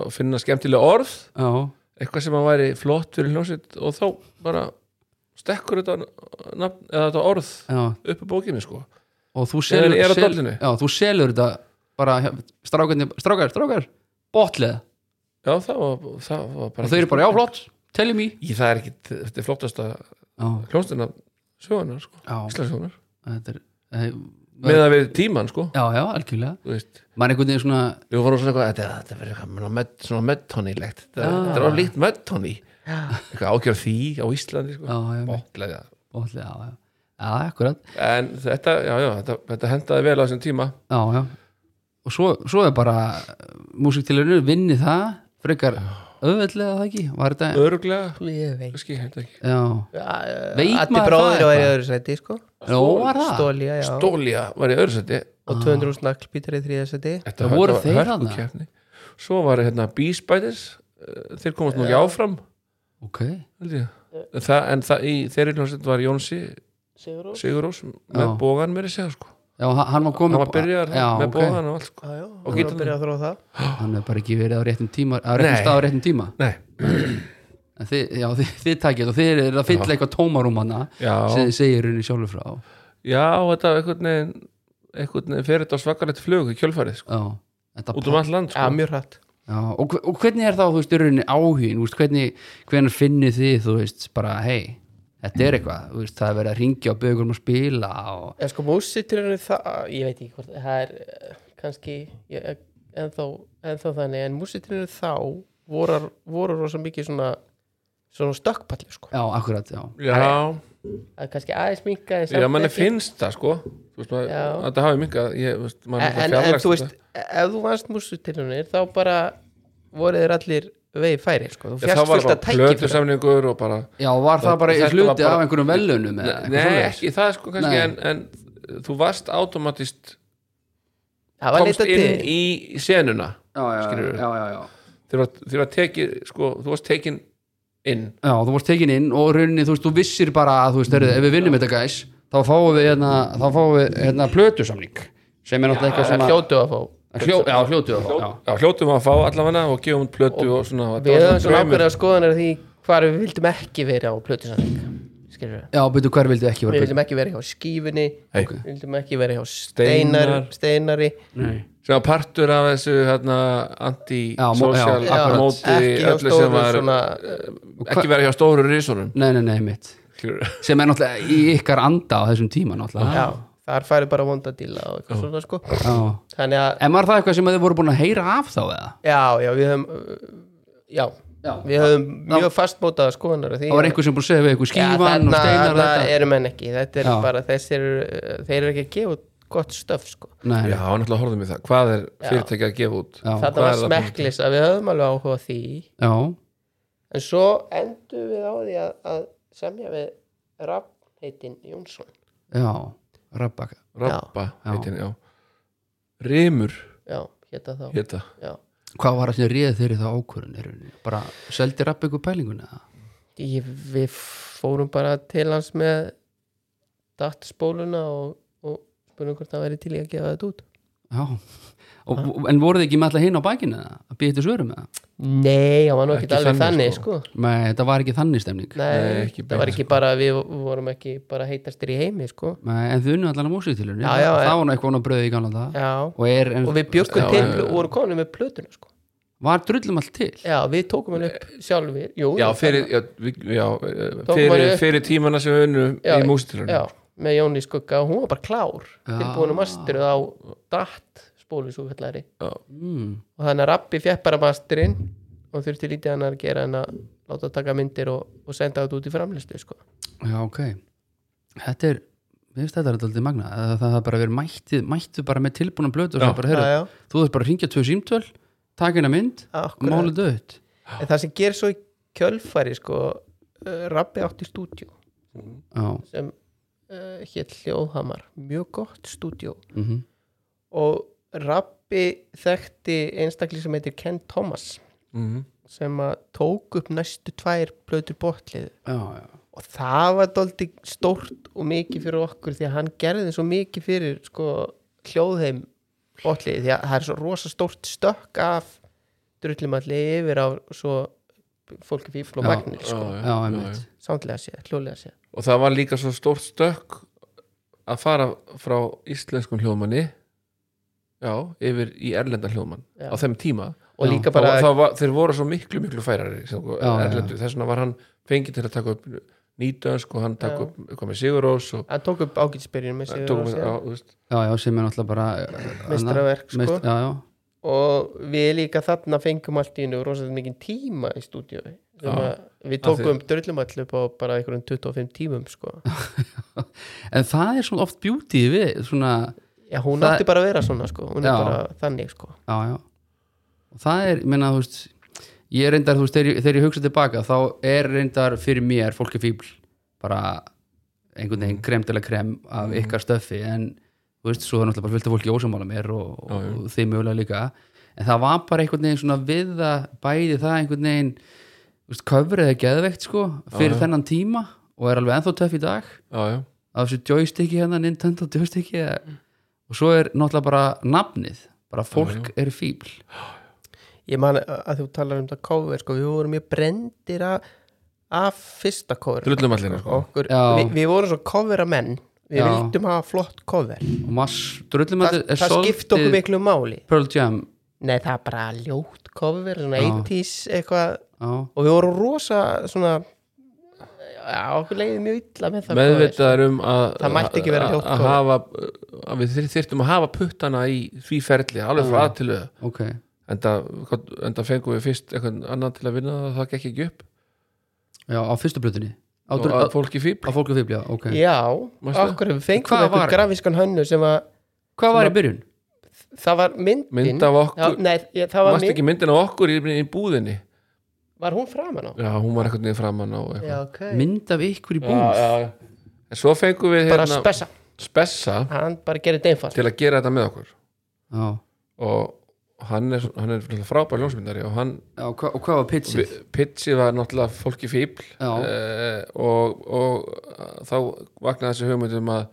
Speaker 3: og finna skemmtilega orð
Speaker 1: Já,
Speaker 3: eitthvað sem að væri flott fyrir hljómsveit og þá bara stekkur þetta nafn, eða þetta orð
Speaker 1: já
Speaker 3: upp í bókinni sko
Speaker 1: Og þú selur
Speaker 3: er á
Speaker 1: sel-
Speaker 3: dollinu?
Speaker 1: Já, þú selur þetta bara strákarni, strákar, strákar Botlið
Speaker 3: Já, það var, það var bara
Speaker 1: Og þau eru bara, já, flott, teljum í
Speaker 3: Í það er ekki, þetta er flottasta
Speaker 1: Já,
Speaker 3: hljómsdina sögunar, sko,
Speaker 1: já,
Speaker 3: Íslandsjónar
Speaker 1: þetta er eh,
Speaker 3: með að við tíman, sko
Speaker 1: Já, já, algjörlega
Speaker 3: þú veist,
Speaker 1: Maður einhvern veginn svona
Speaker 3: við vorum svona eitthvað þetta, þetta verður eitthvað svona medd- svona medtónilegt þetta,
Speaker 1: Já.
Speaker 3: þetta er alveg líkt medtóni eitthvað ágjör því á Íslandi, sko
Speaker 1: Já, já,
Speaker 3: bóklega
Speaker 1: botlið, já, já Já, akkurat
Speaker 3: en þetta, já, já, þetta, þetta hendaði vel á þessum tíma
Speaker 1: já, já. og svo, svo er bara músiktilurinu vinni það frekar auðveldlega það ekki var þetta
Speaker 3: öruglega,
Speaker 2: sko. ég veit
Speaker 3: kannski, ég veit ekki
Speaker 1: já, Veit
Speaker 2: Allir
Speaker 1: maður
Speaker 2: bróðir
Speaker 1: það
Speaker 2: var í
Speaker 1: eitthvað?
Speaker 2: öðru sæti sko
Speaker 1: Nú var það
Speaker 2: Stólía, já
Speaker 3: Dólja var í öðru seti
Speaker 2: Og 200 snaglbítar í þriða sæti
Speaker 3: þetta
Speaker 1: Það voru
Speaker 3: var
Speaker 1: þeir þarna?
Speaker 3: hörkukeppni svo var hérna Bísbætis þeir komast nú ekki áfram
Speaker 1: ok,
Speaker 3: held ég. það, en það, í þeirri hljómsveit var Jónsi
Speaker 2: Sigurós
Speaker 3: Sigurós með
Speaker 1: Já.
Speaker 3: bógan mér að segja sko
Speaker 1: já, hann- hann var komin
Speaker 3: hann var byrjar
Speaker 1: já,
Speaker 3: með
Speaker 1: ok.
Speaker 3: bógan og allt sko
Speaker 2: Já, já,
Speaker 3: Og
Speaker 2: og
Speaker 3: gítarnum.
Speaker 2: getur Sko- byrjað að þróa það
Speaker 1: hann hefur bara ekki verið á réttum tíma á réttum
Speaker 3: Nei.
Speaker 1: stað á réttum tíma
Speaker 3: Nei.
Speaker 1: En þið, já, þið, þið takið og þið eru að fylla eitthvað tómarum hana
Speaker 3: já,
Speaker 1: sem þið segir henni sjálfur frá já,
Speaker 3: já þetta var einhvern veginn einhvern veginn fyrir þetta á svakalegt flug í kjölfarið sko,
Speaker 1: þetta
Speaker 3: út um allt land
Speaker 2: Já,
Speaker 3: sko
Speaker 2: mjög hratt
Speaker 1: Já, og, hve- og hvernig er þá, þú veist, í rauninni áhugin, þú veist, hvernig, hvernig finnir þið, þú veist, bara, hei, þetta
Speaker 3: Mm.
Speaker 1: er eitthvað, þú veist, það er verið að ringja og byggja um að spila og,
Speaker 2: En sko músitilurinn það ah, Ég veit ekki hvort það er eh, kannski ég, ennþá, ennþá þannig En músitilurinn þá voru, voru rosa mikið svona svona stökkpalli sko
Speaker 1: já, akkurat, já,
Speaker 3: já,
Speaker 2: að kannski aðeins minka
Speaker 3: já, manni finnst það sko Þú veist, maður,
Speaker 2: Já.
Speaker 3: þetta hafi minga ég, veist, maður er
Speaker 2: en,
Speaker 3: náttúrulega
Speaker 2: en
Speaker 3: fjarlægst
Speaker 2: þú veist,
Speaker 3: þetta.
Speaker 2: ef þú vannst músutilunir þá bara voru þeir allir vegi færi, sko, þú
Speaker 3: Ég, það
Speaker 2: fjast
Speaker 3: var
Speaker 2: fullt að
Speaker 3: bara
Speaker 2: tæki
Speaker 3: plötu samningur og bara
Speaker 1: já, var það bara
Speaker 3: Þetta var
Speaker 1: hluti
Speaker 3: bara-
Speaker 1: af einhverjum velunum eða
Speaker 3: nei,
Speaker 1: eitthvað svoleiðis?
Speaker 3: ekki það sko kannski
Speaker 1: Nei.
Speaker 3: en, en þú varst automatist
Speaker 2: það var
Speaker 3: komst
Speaker 2: leitað
Speaker 3: inn
Speaker 2: til
Speaker 3: í senuna
Speaker 1: já, já,
Speaker 3: skilurðu.
Speaker 1: já, já, já,
Speaker 3: þegar var tekið, sko, þú varst tekin inn
Speaker 1: já, þú varst tekin inn og í rauninni, þú veist, þú vissir bara að, þú veist, heyrðu, ef við vinnum þetta, gæs, þá fáum við, hérna, þá fáum við, hérna, plötusamning, sem er náttúrulega
Speaker 2: það
Speaker 1: eitthvað svona,
Speaker 2: hljótu að fá
Speaker 1: hljó, já, hljótu, já, já,
Speaker 3: Já, hljótum að fá allavega og gefum út plötu og, svona þetta
Speaker 2: við
Speaker 3: var
Speaker 2: höfum svona
Speaker 3: draumur.
Speaker 2: ákveðna skoðanir af því hvar við vildum ekki vera á plötusamling skilur við,
Speaker 1: já, byrju, hver vildi ekki vera
Speaker 2: við vildum ekki vera hjá skífunni
Speaker 3: Hey.
Speaker 2: við vildum ekki vera hjá
Speaker 3: Steinar.
Speaker 2: steinar, steinari
Speaker 1: Nei.
Speaker 3: sem var partur af þessu hérna,
Speaker 1: Já, mó- já,
Speaker 3: anti-social
Speaker 1: akkurat.
Speaker 3: móti
Speaker 2: ekki hjá
Speaker 3: öllu
Speaker 2: stóru
Speaker 3: sem var
Speaker 2: svona
Speaker 3: ekki verið hjá stóru risunum
Speaker 1: nei, nei, nei, mitt sem er náttúrulega í ykkar anda á þessum tíma
Speaker 3: Ah.
Speaker 1: náttúrulega
Speaker 2: já, þar færi bara vonda díla og eitthvað svona sko
Speaker 1: já.
Speaker 2: þannig að
Speaker 1: en var það eitthvað sem þið voru búin að heyra af þá eða?
Speaker 2: Já, já, við höfum uh, Já,
Speaker 1: Já.
Speaker 2: við höfum mjög fastmótaða skoðanar
Speaker 1: það var einhver sem búin að segja við eitthvað
Speaker 2: Já,
Speaker 1: skífan og
Speaker 2: þarna-
Speaker 1: steinar og
Speaker 2: þarna
Speaker 1: þetta
Speaker 2: eru menn ekki Þetta er
Speaker 1: Já.
Speaker 2: bara, þessir eru, uh, þeir eru ekki að gefa út gott stöf sko.
Speaker 1: Nei,
Speaker 3: Já,
Speaker 1: já.
Speaker 3: náttúrulega horfðum við það hvað er fyrirtæki að gefa út
Speaker 1: Já.
Speaker 2: Þarna
Speaker 3: hvað
Speaker 2: var
Speaker 3: er það
Speaker 2: smekklis að við höfum alveg áhuga á því
Speaker 1: Já.
Speaker 2: En svo endur við á því að, að semja við Rafnheitin Jónsson
Speaker 1: já, rabbaka
Speaker 3: Rappa,
Speaker 1: Já.
Speaker 3: heitin, já Rimur,
Speaker 2: Já, hérna þá
Speaker 3: heita
Speaker 2: já.
Speaker 1: hvað var það sem réð þeirri þá ákvörðun í rauninni? bara seldi rabbaka pælinguna eða?
Speaker 2: ég, við fórum bara til hans með dattspóluna og, og spurðum hvort það væri til í að gefa þetta út
Speaker 1: já og, en voruð þið ekki með alla hinn á bakinu eða? að býja þetta svörum eða?
Speaker 2: nei, það var nú
Speaker 3: Ekki
Speaker 2: ekki alveg
Speaker 3: þannig,
Speaker 2: þannig sko,
Speaker 1: Nei, þetta var ekki þannig stemning
Speaker 2: Nei,
Speaker 3: Nei,
Speaker 2: það
Speaker 3: ekki beint, sko.
Speaker 2: var ekki bara við vorum ekki bara heitastir í heimi sko.
Speaker 1: Nei, en þau unnu allan á músitilunni
Speaker 2: Já, já,
Speaker 1: það
Speaker 2: en-
Speaker 1: var nú eitthvað bröðið í gamla dag
Speaker 2: já,
Speaker 1: og, er, en,
Speaker 2: og við bjökkum
Speaker 3: Já,
Speaker 2: til
Speaker 3: já, já.
Speaker 2: og vorum komin með plötuna sko.
Speaker 1: var drullum allt til
Speaker 2: já, við tókum hann upp sjálfur jú,
Speaker 3: Eh. já,
Speaker 2: það-
Speaker 3: fyrir, já, við- já,
Speaker 2: Tók
Speaker 3: fyrir,
Speaker 2: maður-
Speaker 3: fyrir tímana sem við unnum
Speaker 2: Já,
Speaker 3: í músitilunum
Speaker 2: já, með Jóni Skugga og hún var bara klár
Speaker 1: Já.
Speaker 2: tilbúin að masteruð á datt spólu svo kallari
Speaker 1: mm.
Speaker 2: og þannig að Rappi fjekk bara masterinn og þurfti lítið hann að gera en að láta taka myndir og, og senda þetta út í framlistu sko.
Speaker 1: já, ok þetta er, við veist þetta er alltaf magnað það, það, það bara verið mætti, mættu bara með tilbúna blötu og svo
Speaker 3: Já.
Speaker 1: bara, heyrðu, þú þarf bara að ringja tvö símtöl taka hérna mynd og
Speaker 2: Akkurat.
Speaker 1: mála dött
Speaker 2: en það sem ger svo í kjölfæri sko, eh, Rabbi átti stúdjó
Speaker 1: já,
Speaker 2: sem uh, hétt Hljóðhamar mjög gott stúdjó
Speaker 1: mm
Speaker 2: og Rabbi þekkti einstakli sem heitir Ken Thomas
Speaker 3: Mhm.
Speaker 2: sem að tók upp næstu tvær blöður botlið
Speaker 1: já, já
Speaker 2: og það var dólti stórt og mikið fyrir okkur því að hann gerði svo mikið fyrir sko, hljóðheim botlið því að það er svo rosa stórt stökk af drullumalli yfir á svo fólki fífl og
Speaker 1: Já,
Speaker 2: magnil sko,
Speaker 3: já,
Speaker 1: já, einmitt
Speaker 2: sándlega séð, hljóðlega séð
Speaker 3: og það var líka svo stórt stökk að fara frá íslenskum hljóðmanni já, yfir í erlendan hljóðmann
Speaker 2: Já.
Speaker 3: á þeim tíma
Speaker 1: Já,
Speaker 2: og líka
Speaker 3: bara,
Speaker 2: bara
Speaker 3: þá, var, þeir voru svo miklu, miklu færari sem, já,
Speaker 1: já.
Speaker 3: erlendu, þess vegna var hann fengið til að taka upp nýtönsk og hann taka
Speaker 2: Já.
Speaker 3: upp eitthvað með Sigurós og
Speaker 2: hann tók upp ágætisbyrjun með
Speaker 3: tók með, á,
Speaker 2: sig
Speaker 3: þú veist,
Speaker 1: já, já, sem er náttúrulega bara eh,
Speaker 2: Meistaraverk,
Speaker 1: annað- meist-
Speaker 2: sko.
Speaker 1: já, já,
Speaker 2: og við líka þarna fengum allt í hennu rosalega mikið tíma í stúdíu
Speaker 3: Já.
Speaker 2: við
Speaker 3: Af því-
Speaker 2: tókum drullumall upp á bara einhverjum 25 tímum sko.
Speaker 1: en það er svona oft beauty við svona,
Speaker 2: já, hún
Speaker 1: Það-
Speaker 2: átti bara að vera svona sko. hún
Speaker 1: Já.
Speaker 2: er bara þannig sko.
Speaker 1: já, já og það er, ég meina, þú veist ég er reyndar, þú veist, þegar, ég- þegar ég hugsa tilbaka þá er reyndar fyrir mér fólki fíbl bara einhvern veginn krem til að krem af
Speaker 3: Mhm.
Speaker 1: ykkar stöfi en, þú veist, svo er náttúrulega bara fullt af fólki ósamála mér og, og,
Speaker 3: Já, já.
Speaker 1: og þið mögulega líka en það var bara einhvern veginn svona við það bæði það einhvern veginn þú veist, köfrið er geðveikt sko fyrir
Speaker 3: Já, já.
Speaker 1: þennan tíma og er alveg ennþá töff í dag
Speaker 3: já, já,
Speaker 1: af þessu joysticki hérna, Nintendo joysticki eh, og svo er náttúrulega bara nafnið, bara fólk er fíbl
Speaker 2: ég man að að þú talar um það cover sko. við vorum mjög brendir af, af fyrsta cover
Speaker 3: drullumallina sko.
Speaker 2: Okkur,
Speaker 1: Já.
Speaker 2: við, við vorum svo covera menn við
Speaker 1: Já.
Speaker 2: vildum hafa flott cover
Speaker 1: og mass, drullum
Speaker 2: það, það skipt okkur miklu máli
Speaker 1: Pearl Jam
Speaker 2: nei það er bara ljótt cover svona
Speaker 1: Já.
Speaker 2: 80s eitthvað
Speaker 1: já,
Speaker 2: og við vorum rosa svona já, okkur leiði mjög illa með það sko.
Speaker 3: meðvitaðar um að
Speaker 2: Það mætti ekki vera
Speaker 3: að-
Speaker 2: ljótt
Speaker 3: að
Speaker 2: cover.
Speaker 3: hafa, að við þyr- þyrftum að hafa puttana í því ferli, alveg frá að til auða
Speaker 1: ok
Speaker 3: enda, enda fengum við fyrst eitthvað annað til að vinna það, það gekk ekki upp
Speaker 1: já, á fyrstu blötunni á,
Speaker 3: og
Speaker 1: dru-
Speaker 3: að
Speaker 1: á,
Speaker 3: fólki fíbl
Speaker 1: á fólk og fíbl, já, ok
Speaker 2: já,
Speaker 3: Manstu?
Speaker 2: okkur hefur fengið
Speaker 1: Hvað var-
Speaker 2: eitthvað grafískan hönnu sem að
Speaker 1: hvað var í byrjun?
Speaker 2: það var myndin
Speaker 3: mynd af okkur,
Speaker 2: já, nei, ég, það var,
Speaker 3: mást
Speaker 2: mynd,
Speaker 3: ekki myndin af okkur í, í búðinni
Speaker 2: var hún framan á
Speaker 3: já, hún var eitthvað niður framann á eitthvað.
Speaker 2: já, ok
Speaker 1: mynd af ykkur í búð
Speaker 3: já, já, já. en svo fengum við
Speaker 2: bara
Speaker 3: hérna,
Speaker 2: spessa,
Speaker 3: spessa
Speaker 2: hann bara gerir þetta einfalt
Speaker 3: til að gera þetta með okkur
Speaker 1: já.
Speaker 3: og hann er, hann er náttúrulega frábær ljónsmyndari og hann,
Speaker 1: Já, hva, og hvað var pitchið?
Speaker 3: pitchið var náttúrulega fólki fíbl
Speaker 1: Já.
Speaker 3: eh, og, og eh, þá vaknaði þessi hugmyndum að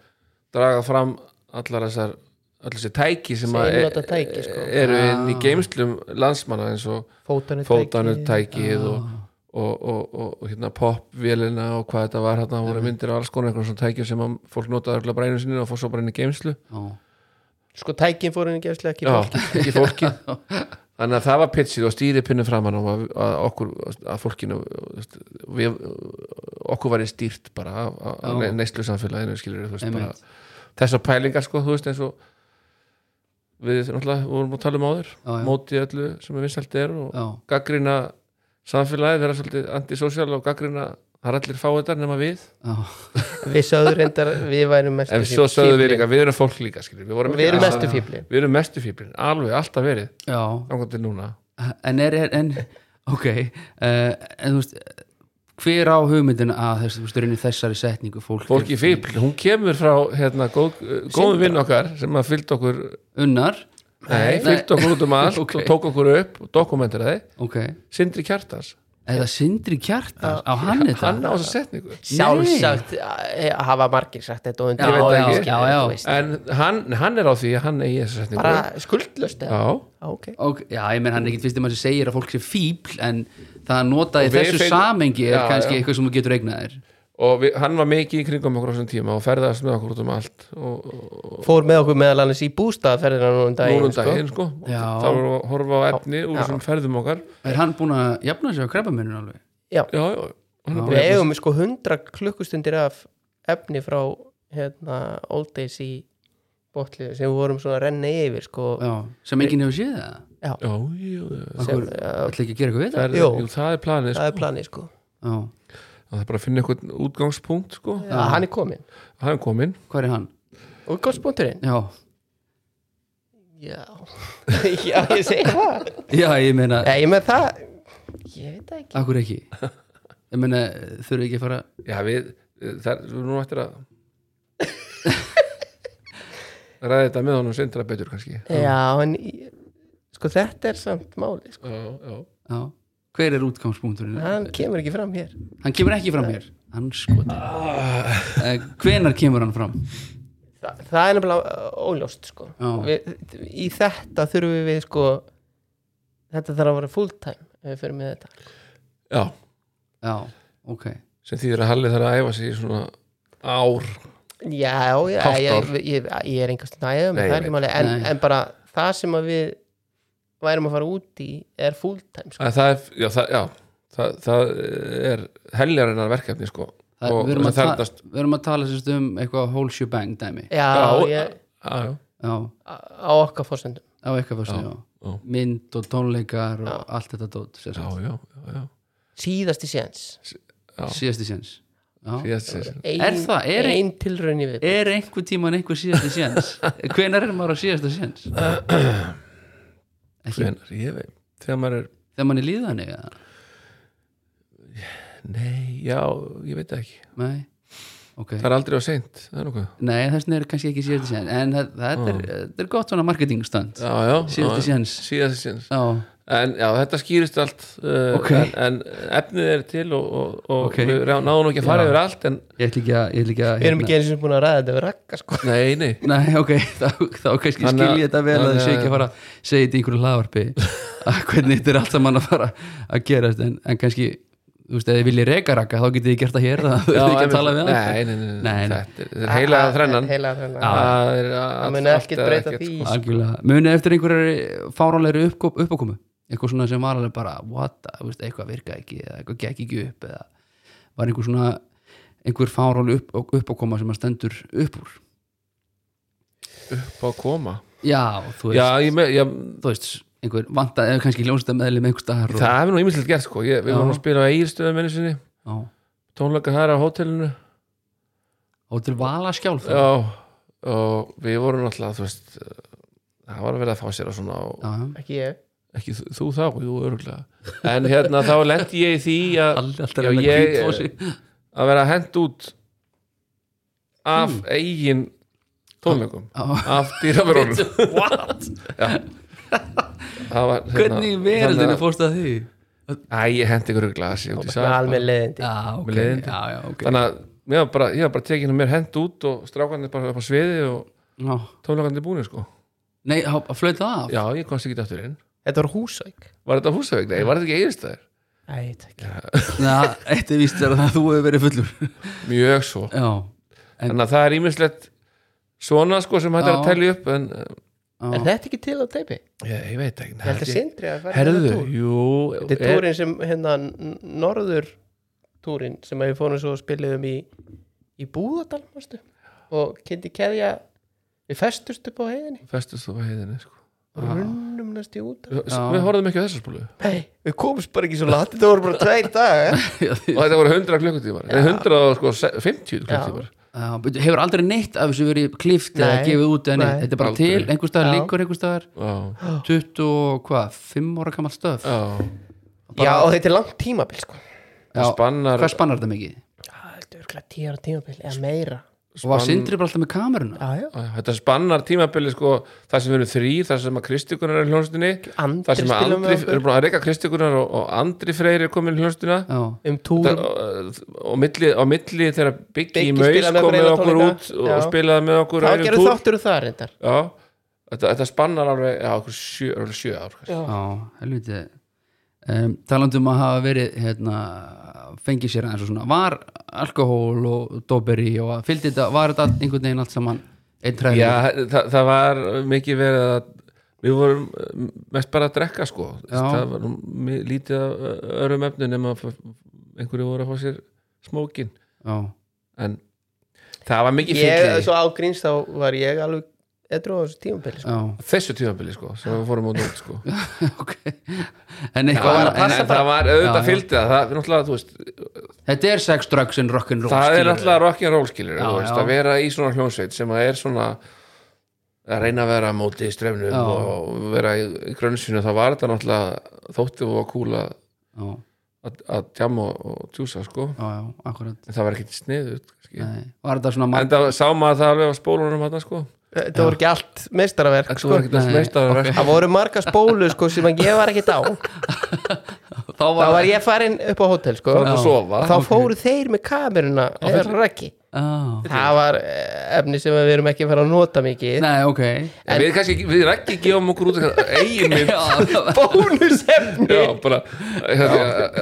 Speaker 3: draga fram allar þessar allir þessi tæki sem að e-
Speaker 2: Þessi einnota tæki, sko.
Speaker 3: eru inn í geimslum landsmanna eins og
Speaker 2: fótanut
Speaker 3: fótanutækið og, og, og, og, og hérna popvélina og hvað þetta var hérna, voru myndir af alls konar einhvern svona tækjum sem að fólk notaði örugglega bara einu sinni og fór svo bara inn í geimslu
Speaker 1: Já.
Speaker 2: sko tækin fór henni gefslega ekki
Speaker 3: Já,
Speaker 2: fólki
Speaker 3: ekki fólki þannig að það var pitchið og stýri pinnu framann og að, að okkur, að fólkinu þú veist, við, okkur var stýrt bara af- af
Speaker 1: Já.
Speaker 3: neyslu samfélaginu skilur þú veist,
Speaker 1: Einmitt.
Speaker 3: bara þessar pælingar sko, þú veist eins og við náttúrulega vorum að tala um áður
Speaker 1: Já, já.
Speaker 3: mótið öllu sem er vinsælt er og
Speaker 1: Já.
Speaker 3: gaggrina samfélagið vera svolítið antisocial og gaggrina það er allir fáiðar nema við
Speaker 1: Já.
Speaker 2: við sögðum reyndar, við værum mestu
Speaker 3: en svo sögðu við líka, við erum fólk líka skilur, við, vorum
Speaker 2: við erum
Speaker 3: ekki-
Speaker 2: mestu fíbli
Speaker 3: við erum mestu fíblin, alveg alltaf verið
Speaker 1: já,
Speaker 3: þannig til núna
Speaker 1: en er, er en, ok uh, en þú veist hver á hugmyndin að þess, þú veist, í rauninni þessari setningu fólk, er
Speaker 3: Fólki fíbl, hún kemur frá hérna, góð, góðum vinn okkar sem að fylgd okkur
Speaker 1: unnar
Speaker 3: nei, fylgd okkur út um allt
Speaker 1: Ok.
Speaker 3: og tók okkur upp og dokumenteraði
Speaker 1: ok,
Speaker 3: Sindri Kjartans
Speaker 1: eða Sindri Kjartar á hann þetta
Speaker 3: hann á þessa setningu
Speaker 2: sjálfsagt eh, hafa margir sagt þetta og
Speaker 1: Já,
Speaker 2: undir
Speaker 3: já,
Speaker 1: já, já.
Speaker 3: en hann, hann er á því að hann eigi þessa setningu
Speaker 2: bara skuldlust eða?
Speaker 3: já,
Speaker 2: Já, ok
Speaker 1: Og, já, ég menn hann er ekkit fyrst um að segir að fólk sé fíbl en það að nota í
Speaker 3: Og við
Speaker 1: þessu
Speaker 3: finn-
Speaker 1: samengi er
Speaker 3: Já,
Speaker 1: kannski
Speaker 3: já.
Speaker 1: eitthvað sem þú getur eignað þér
Speaker 3: og við, hann var mikið í kringum okkur á þessum tíma og ferðast með okkur út um allt og, og
Speaker 2: fór með okkur meðal annars í bústaðferðina núna um daginn,
Speaker 3: núna um daginn sko, Og
Speaker 1: Já.
Speaker 3: þá vorum við að horfa á efni úr þessum ferðum okkar
Speaker 1: Er hann búin að jafna sig á kreppamenninu alveg?
Speaker 2: Já,
Speaker 3: já, já, hann er
Speaker 2: við
Speaker 3: bara
Speaker 2: eigum sko 100 klukkustundir af efni frá hérna, Old Days í botliðu sem við vorum svona að renna yfir sko,
Speaker 1: Já, sem enginn hefur séð það
Speaker 3: já, já, já.
Speaker 1: Akkur, ætla ekki að gera eitthvað við það
Speaker 3: Ferð,
Speaker 2: Jú.
Speaker 3: jú, það er planið
Speaker 2: það
Speaker 3: sko.
Speaker 2: er planið sko
Speaker 1: Já,
Speaker 3: það er bara að finna eitthvað útgangspunkt sko.
Speaker 2: Já, hann er komin
Speaker 3: hann er komin
Speaker 1: hvað er hann?
Speaker 2: og góðspunkturinn
Speaker 1: Já,
Speaker 2: Já, já ég segi það
Speaker 1: já ég meina,
Speaker 2: Nei, ég með það ég veit það ekki
Speaker 1: akkur ekki Ég meina, þurfi ekki að fara
Speaker 3: já, við, það er við nú eftir að ræði þetta með honum sindra betur kannski já,
Speaker 2: Já, en ég- sko þetta er samt máli sko.
Speaker 3: já.
Speaker 1: Já, hver er útgangspunkturinn?
Speaker 2: hann kemur ekki fram hér
Speaker 1: Hann kemur ekki fram hér Hann skoti Hvenar kemur hann fram?
Speaker 2: Þa, það er nefnilega uh, óljóst sko.
Speaker 1: Já.
Speaker 2: við, í þetta þurfum við sko, þetta þarf að vera full time ef við fyrir með þetta
Speaker 3: já.
Speaker 1: Já, ok
Speaker 3: sem þýðir að Halli þarf að æfa sig í svona ár
Speaker 2: já, já,
Speaker 3: Hálft
Speaker 2: ég,
Speaker 3: ár.
Speaker 2: ég, ég, ég er einhvers nægum
Speaker 3: Nei,
Speaker 2: um það
Speaker 3: ég
Speaker 2: er ekki
Speaker 3: veit.
Speaker 2: máli, en,
Speaker 1: Nei.
Speaker 2: en bara það sem að við værum að fara út í er full time sko.
Speaker 3: Að það er, já, það, já, það, það er heljarinnar verkefni sko.
Speaker 1: Það,
Speaker 3: Og
Speaker 1: við, erum að
Speaker 3: það
Speaker 1: ta-
Speaker 3: þarfnast-
Speaker 1: við erum að tala sérst um eitthvað whole shebang dæmi
Speaker 2: já,
Speaker 3: Já,
Speaker 2: ég,
Speaker 3: já, já.
Speaker 1: Já,
Speaker 2: á á okkar fórsendum
Speaker 1: á eitthvað fyrstu, já,
Speaker 3: já.
Speaker 1: Mynd og tónleikar og allt þetta dót sem
Speaker 3: já,
Speaker 1: sagt.
Speaker 3: já, já, já.
Speaker 2: síðasti séns
Speaker 3: Já.
Speaker 1: Síðasti séns já.
Speaker 3: Síðast, síðast.
Speaker 2: ein,
Speaker 1: Er það- er-
Speaker 2: ein tilraun í við
Speaker 1: Er einhver tíman einhver síðasti séns? Hvenær er maður á síðasta séns? Ekki
Speaker 3: Hvenar, ég veit þegar maður er,
Speaker 1: þegar mann er líðan eða?
Speaker 3: nei, já, ég veit það ekki
Speaker 1: Nei, ok
Speaker 3: það er aldrei á seint, það er nokkuð
Speaker 1: Nei, þessna er kannski ekki síðasti séns en það, það er, þetta er gott svona marketingstand
Speaker 3: já, já,
Speaker 1: Síðasti
Speaker 3: já,
Speaker 1: séns.
Speaker 3: síðasti séns
Speaker 1: Já,
Speaker 3: en já, þetta skýrist allt uh,
Speaker 1: Ok.
Speaker 3: en, en efnið er til og, og, og
Speaker 1: Ok.
Speaker 3: við rá- náðum nú ekki að fara
Speaker 1: Já.
Speaker 3: yfir allt en
Speaker 1: ég ætla ekki að, ég ætla ekki að
Speaker 2: við erum ekki eins og búin að ræða hérna? þetta við rakka sko
Speaker 3: nei, nei
Speaker 1: Nei, ok, þá, þá kannski
Speaker 3: Þannig að-
Speaker 1: skilji þetta vel að
Speaker 3: þannig
Speaker 1: þið sé ekki að fara að segja þetta í einhverju laðvarpi að hvernig þetta er allt saman að fara að gerast en, en kannski, þú veist, ef þið viljið reka raka þá getið þið gert það hér, það þurfið ekki
Speaker 3: einmitt.
Speaker 1: að tala við hann
Speaker 3: nei, nei, nei,
Speaker 1: Nei, Ah. nei.
Speaker 3: þetta er- þetta er
Speaker 2: Ah,
Speaker 3: heilaða þrennan
Speaker 2: heilaga þrennan
Speaker 3: það er að-
Speaker 2: það mun
Speaker 3: allt
Speaker 2: ekkert
Speaker 3: eða
Speaker 2: breyta
Speaker 3: ekkert,
Speaker 2: því
Speaker 3: sko.
Speaker 1: Algjörlega, munið eftir einhverjar fárálegri uppkomu, uppákomu eitthvað svona sem var alveg bara, what, the- þú veist, eitthvað virka ekki eða eitthvað gekk ekki upp eða var einhver svona, einhver fáráleg upp, uppákoma sem að stendur upp úr
Speaker 3: upp á að koma
Speaker 1: Já, þú veist,
Speaker 3: já, ég með, já,
Speaker 1: þú veist einhver vantaði, eða kannski ljónstæða meðlum einhver staðar og,
Speaker 3: það hefur nú ímislegt gert sko ég, við
Speaker 1: Já.
Speaker 3: vorum að spila á eigirstöðum einu sinni
Speaker 1: Já.
Speaker 3: tónleika þar á hótelinu
Speaker 1: og til vala skjálf já,
Speaker 3: já, og við vorum alltaf þú veist, uh, það var að vera að fá sér á svona og,
Speaker 1: já,
Speaker 2: ekki ég
Speaker 3: ekki þú, þú þá, jú, örgulega en hérna þá lendi ég í því að,
Speaker 1: Alli- alltaf
Speaker 3: Já,
Speaker 1: reyna
Speaker 3: ég-
Speaker 1: hvít á sig
Speaker 3: að vera hent út af
Speaker 1: Hmm.
Speaker 3: eigin tónleikum
Speaker 1: Já.
Speaker 3: af dýraverunum
Speaker 1: What?
Speaker 3: það var hérna,
Speaker 1: hvernig í veröldinu fórst að því
Speaker 3: Æ, ég hendi ykkur örgulega að sé út í
Speaker 2: með
Speaker 3: sal
Speaker 2: almenn leðindi
Speaker 1: já, ok,
Speaker 3: leiðindi.
Speaker 1: já, já, ok
Speaker 3: þannig að ég var bara, ég var bara tekin og mér hent út og strákanir bara upp á sviði og
Speaker 1: já.
Speaker 3: tónleikandir búinir sko
Speaker 1: nei, há- að flöta af
Speaker 3: já, ég komst ekki aftur inn
Speaker 2: þetta var húsæk
Speaker 3: var þetta húsavík, nei, var þetta ekki eigirstæðir
Speaker 2: Æ,
Speaker 1: na, eitt er víst er að þú hefur verið fullur
Speaker 3: mjög svo
Speaker 1: já, En-
Speaker 3: þannig að það er ímislegt svona sko sem hægt er
Speaker 1: Já.
Speaker 3: að telja upp en uh,
Speaker 2: er
Speaker 1: já.
Speaker 2: þetta ekki til á teipi?
Speaker 3: ég, ég veit ekki
Speaker 2: ég held að sindri að fara í
Speaker 3: herðu,
Speaker 2: þennan túr.
Speaker 3: jú eh,
Speaker 2: þetta er túrin sem hérna n- norður túrin sem að við fórum svo og spiliðum í í Búðardal manstu? og kynnti keðja við festust upp á heiðinni
Speaker 3: festust þú á heiðinni sko.
Speaker 2: og runnum næstu út af-
Speaker 3: S- við horfðum ekki á þessar spólu og
Speaker 2: Nei, við komumst bara ekki svo látt þetta voru bara tveir dagar
Speaker 1: Já, því-
Speaker 3: þetta voru 100 klukkutímar Nei, 100 og sko, se- 50 klukkutímar
Speaker 1: já, betur, hefur aldrei neitt af þessu verið klift eða
Speaker 2: Nei.
Speaker 1: gefið út eða neitt
Speaker 2: Nei.
Speaker 1: þetta er bara
Speaker 3: Aldrei.
Speaker 1: til, einhver staðar
Speaker 2: Já.
Speaker 1: líkur einhver staðar
Speaker 3: já,
Speaker 1: 20 og hvað, 5 ára gammal stöf
Speaker 3: já
Speaker 2: já og þetta er langt tímabil sko
Speaker 1: Já,
Speaker 3: spannar,
Speaker 1: hvað spannar þetta mikið?
Speaker 2: já þetta er örgulega tíu ára tímabil eða meira
Speaker 1: og var Sindri bara alltaf með kameruna
Speaker 2: já, já.
Speaker 3: Já, Þetta spannar tímabili sko þar sem við erum þrý, þar sem að Kristikunar er í hljónstunni
Speaker 2: Andri
Speaker 3: þar sem að
Speaker 2: spilar
Speaker 3: Andri,
Speaker 2: með okkur.
Speaker 3: erum búin að reyka Kristikunar og, og Andri Freyr er komin í hljónstuna
Speaker 1: já,
Speaker 2: um túrum
Speaker 3: og, og milli, á milli þegar Biggi
Speaker 2: Biggi
Speaker 3: í Maus
Speaker 2: spilaði með
Speaker 3: kom
Speaker 2: okkur
Speaker 3: með
Speaker 2: eina tónleika.
Speaker 3: okkur út og, og
Speaker 2: Já.
Speaker 3: spilaði með okkur
Speaker 2: þá
Speaker 3: Iron
Speaker 2: gerðu
Speaker 3: Tour.
Speaker 2: þáttur um það reyndar
Speaker 3: Já, þetta, þetta spannar alveg já, okkur sjö, alveg sjö ár kannski.
Speaker 1: já, helviti um, talandi um að hafa verið hérna, fengið sér aðeins og svona var alkohól og doberi og að fylgdi þetta, var þetta allt einhvern veginn allt saman einn træði
Speaker 3: Já, það, það var mikið verið að við vorum eh, mest bara að drekka sko
Speaker 1: Já.
Speaker 3: það var nú mi- lítið af eh, öðrum efnum nema að f- einhverju voru að fá sér smókin
Speaker 1: já,
Speaker 3: en það var mikið
Speaker 2: ég,
Speaker 3: fyllir
Speaker 2: svo ágríns þá var ég alveg edru á þessu tímabili sko.
Speaker 1: já,
Speaker 3: þessu tímabili sko sem við fórum á nót sko
Speaker 1: ok en
Speaker 3: það
Speaker 1: eitthvað
Speaker 3: var,
Speaker 1: annað-
Speaker 3: en, en það var
Speaker 1: Já, já.
Speaker 3: auðvitað fylgdi það það er náttúrulega, þú veist,
Speaker 1: þetta er sex, drugs and rock'n'roll
Speaker 3: það er
Speaker 1: skilurðu.
Speaker 3: náttúrulega rock'n'roll skilur,
Speaker 1: Já,
Speaker 3: þú veist,
Speaker 1: já.
Speaker 3: að vera í svona hljónsveit sem að er svona að reyna að vera á móti í strefnum
Speaker 1: Já.
Speaker 3: og vera í, í grönnsinu það var þetta náttúrulega þótti og var kúla
Speaker 1: já,
Speaker 3: að, að tjama og, og tjúsa sko
Speaker 1: já, já, akkurat
Speaker 3: en það var ekkert sniðut en
Speaker 1: Nei. var þetta svona marg
Speaker 3: það sá maður það alveg á spólunum hann sko
Speaker 2: þetta voru ekki allt meistaraverk
Speaker 3: það var
Speaker 2: sko.
Speaker 3: ekkert þess meistar
Speaker 2: það voru marga spólu sko, sem að ég var ekkert á
Speaker 1: þá
Speaker 2: þá
Speaker 1: var,
Speaker 2: var ég farin upp á hótel sko.
Speaker 3: það var að sofa
Speaker 2: þá fóru þeir með kameruna eða rækki
Speaker 1: já,
Speaker 2: það var eh, efni sem við erum ekki að fara að nota mikið
Speaker 1: nei, ok
Speaker 3: en, við kannski, við rækki gefum okkur út eigin mynd
Speaker 1: já, það-
Speaker 2: bónusefni
Speaker 3: já, bara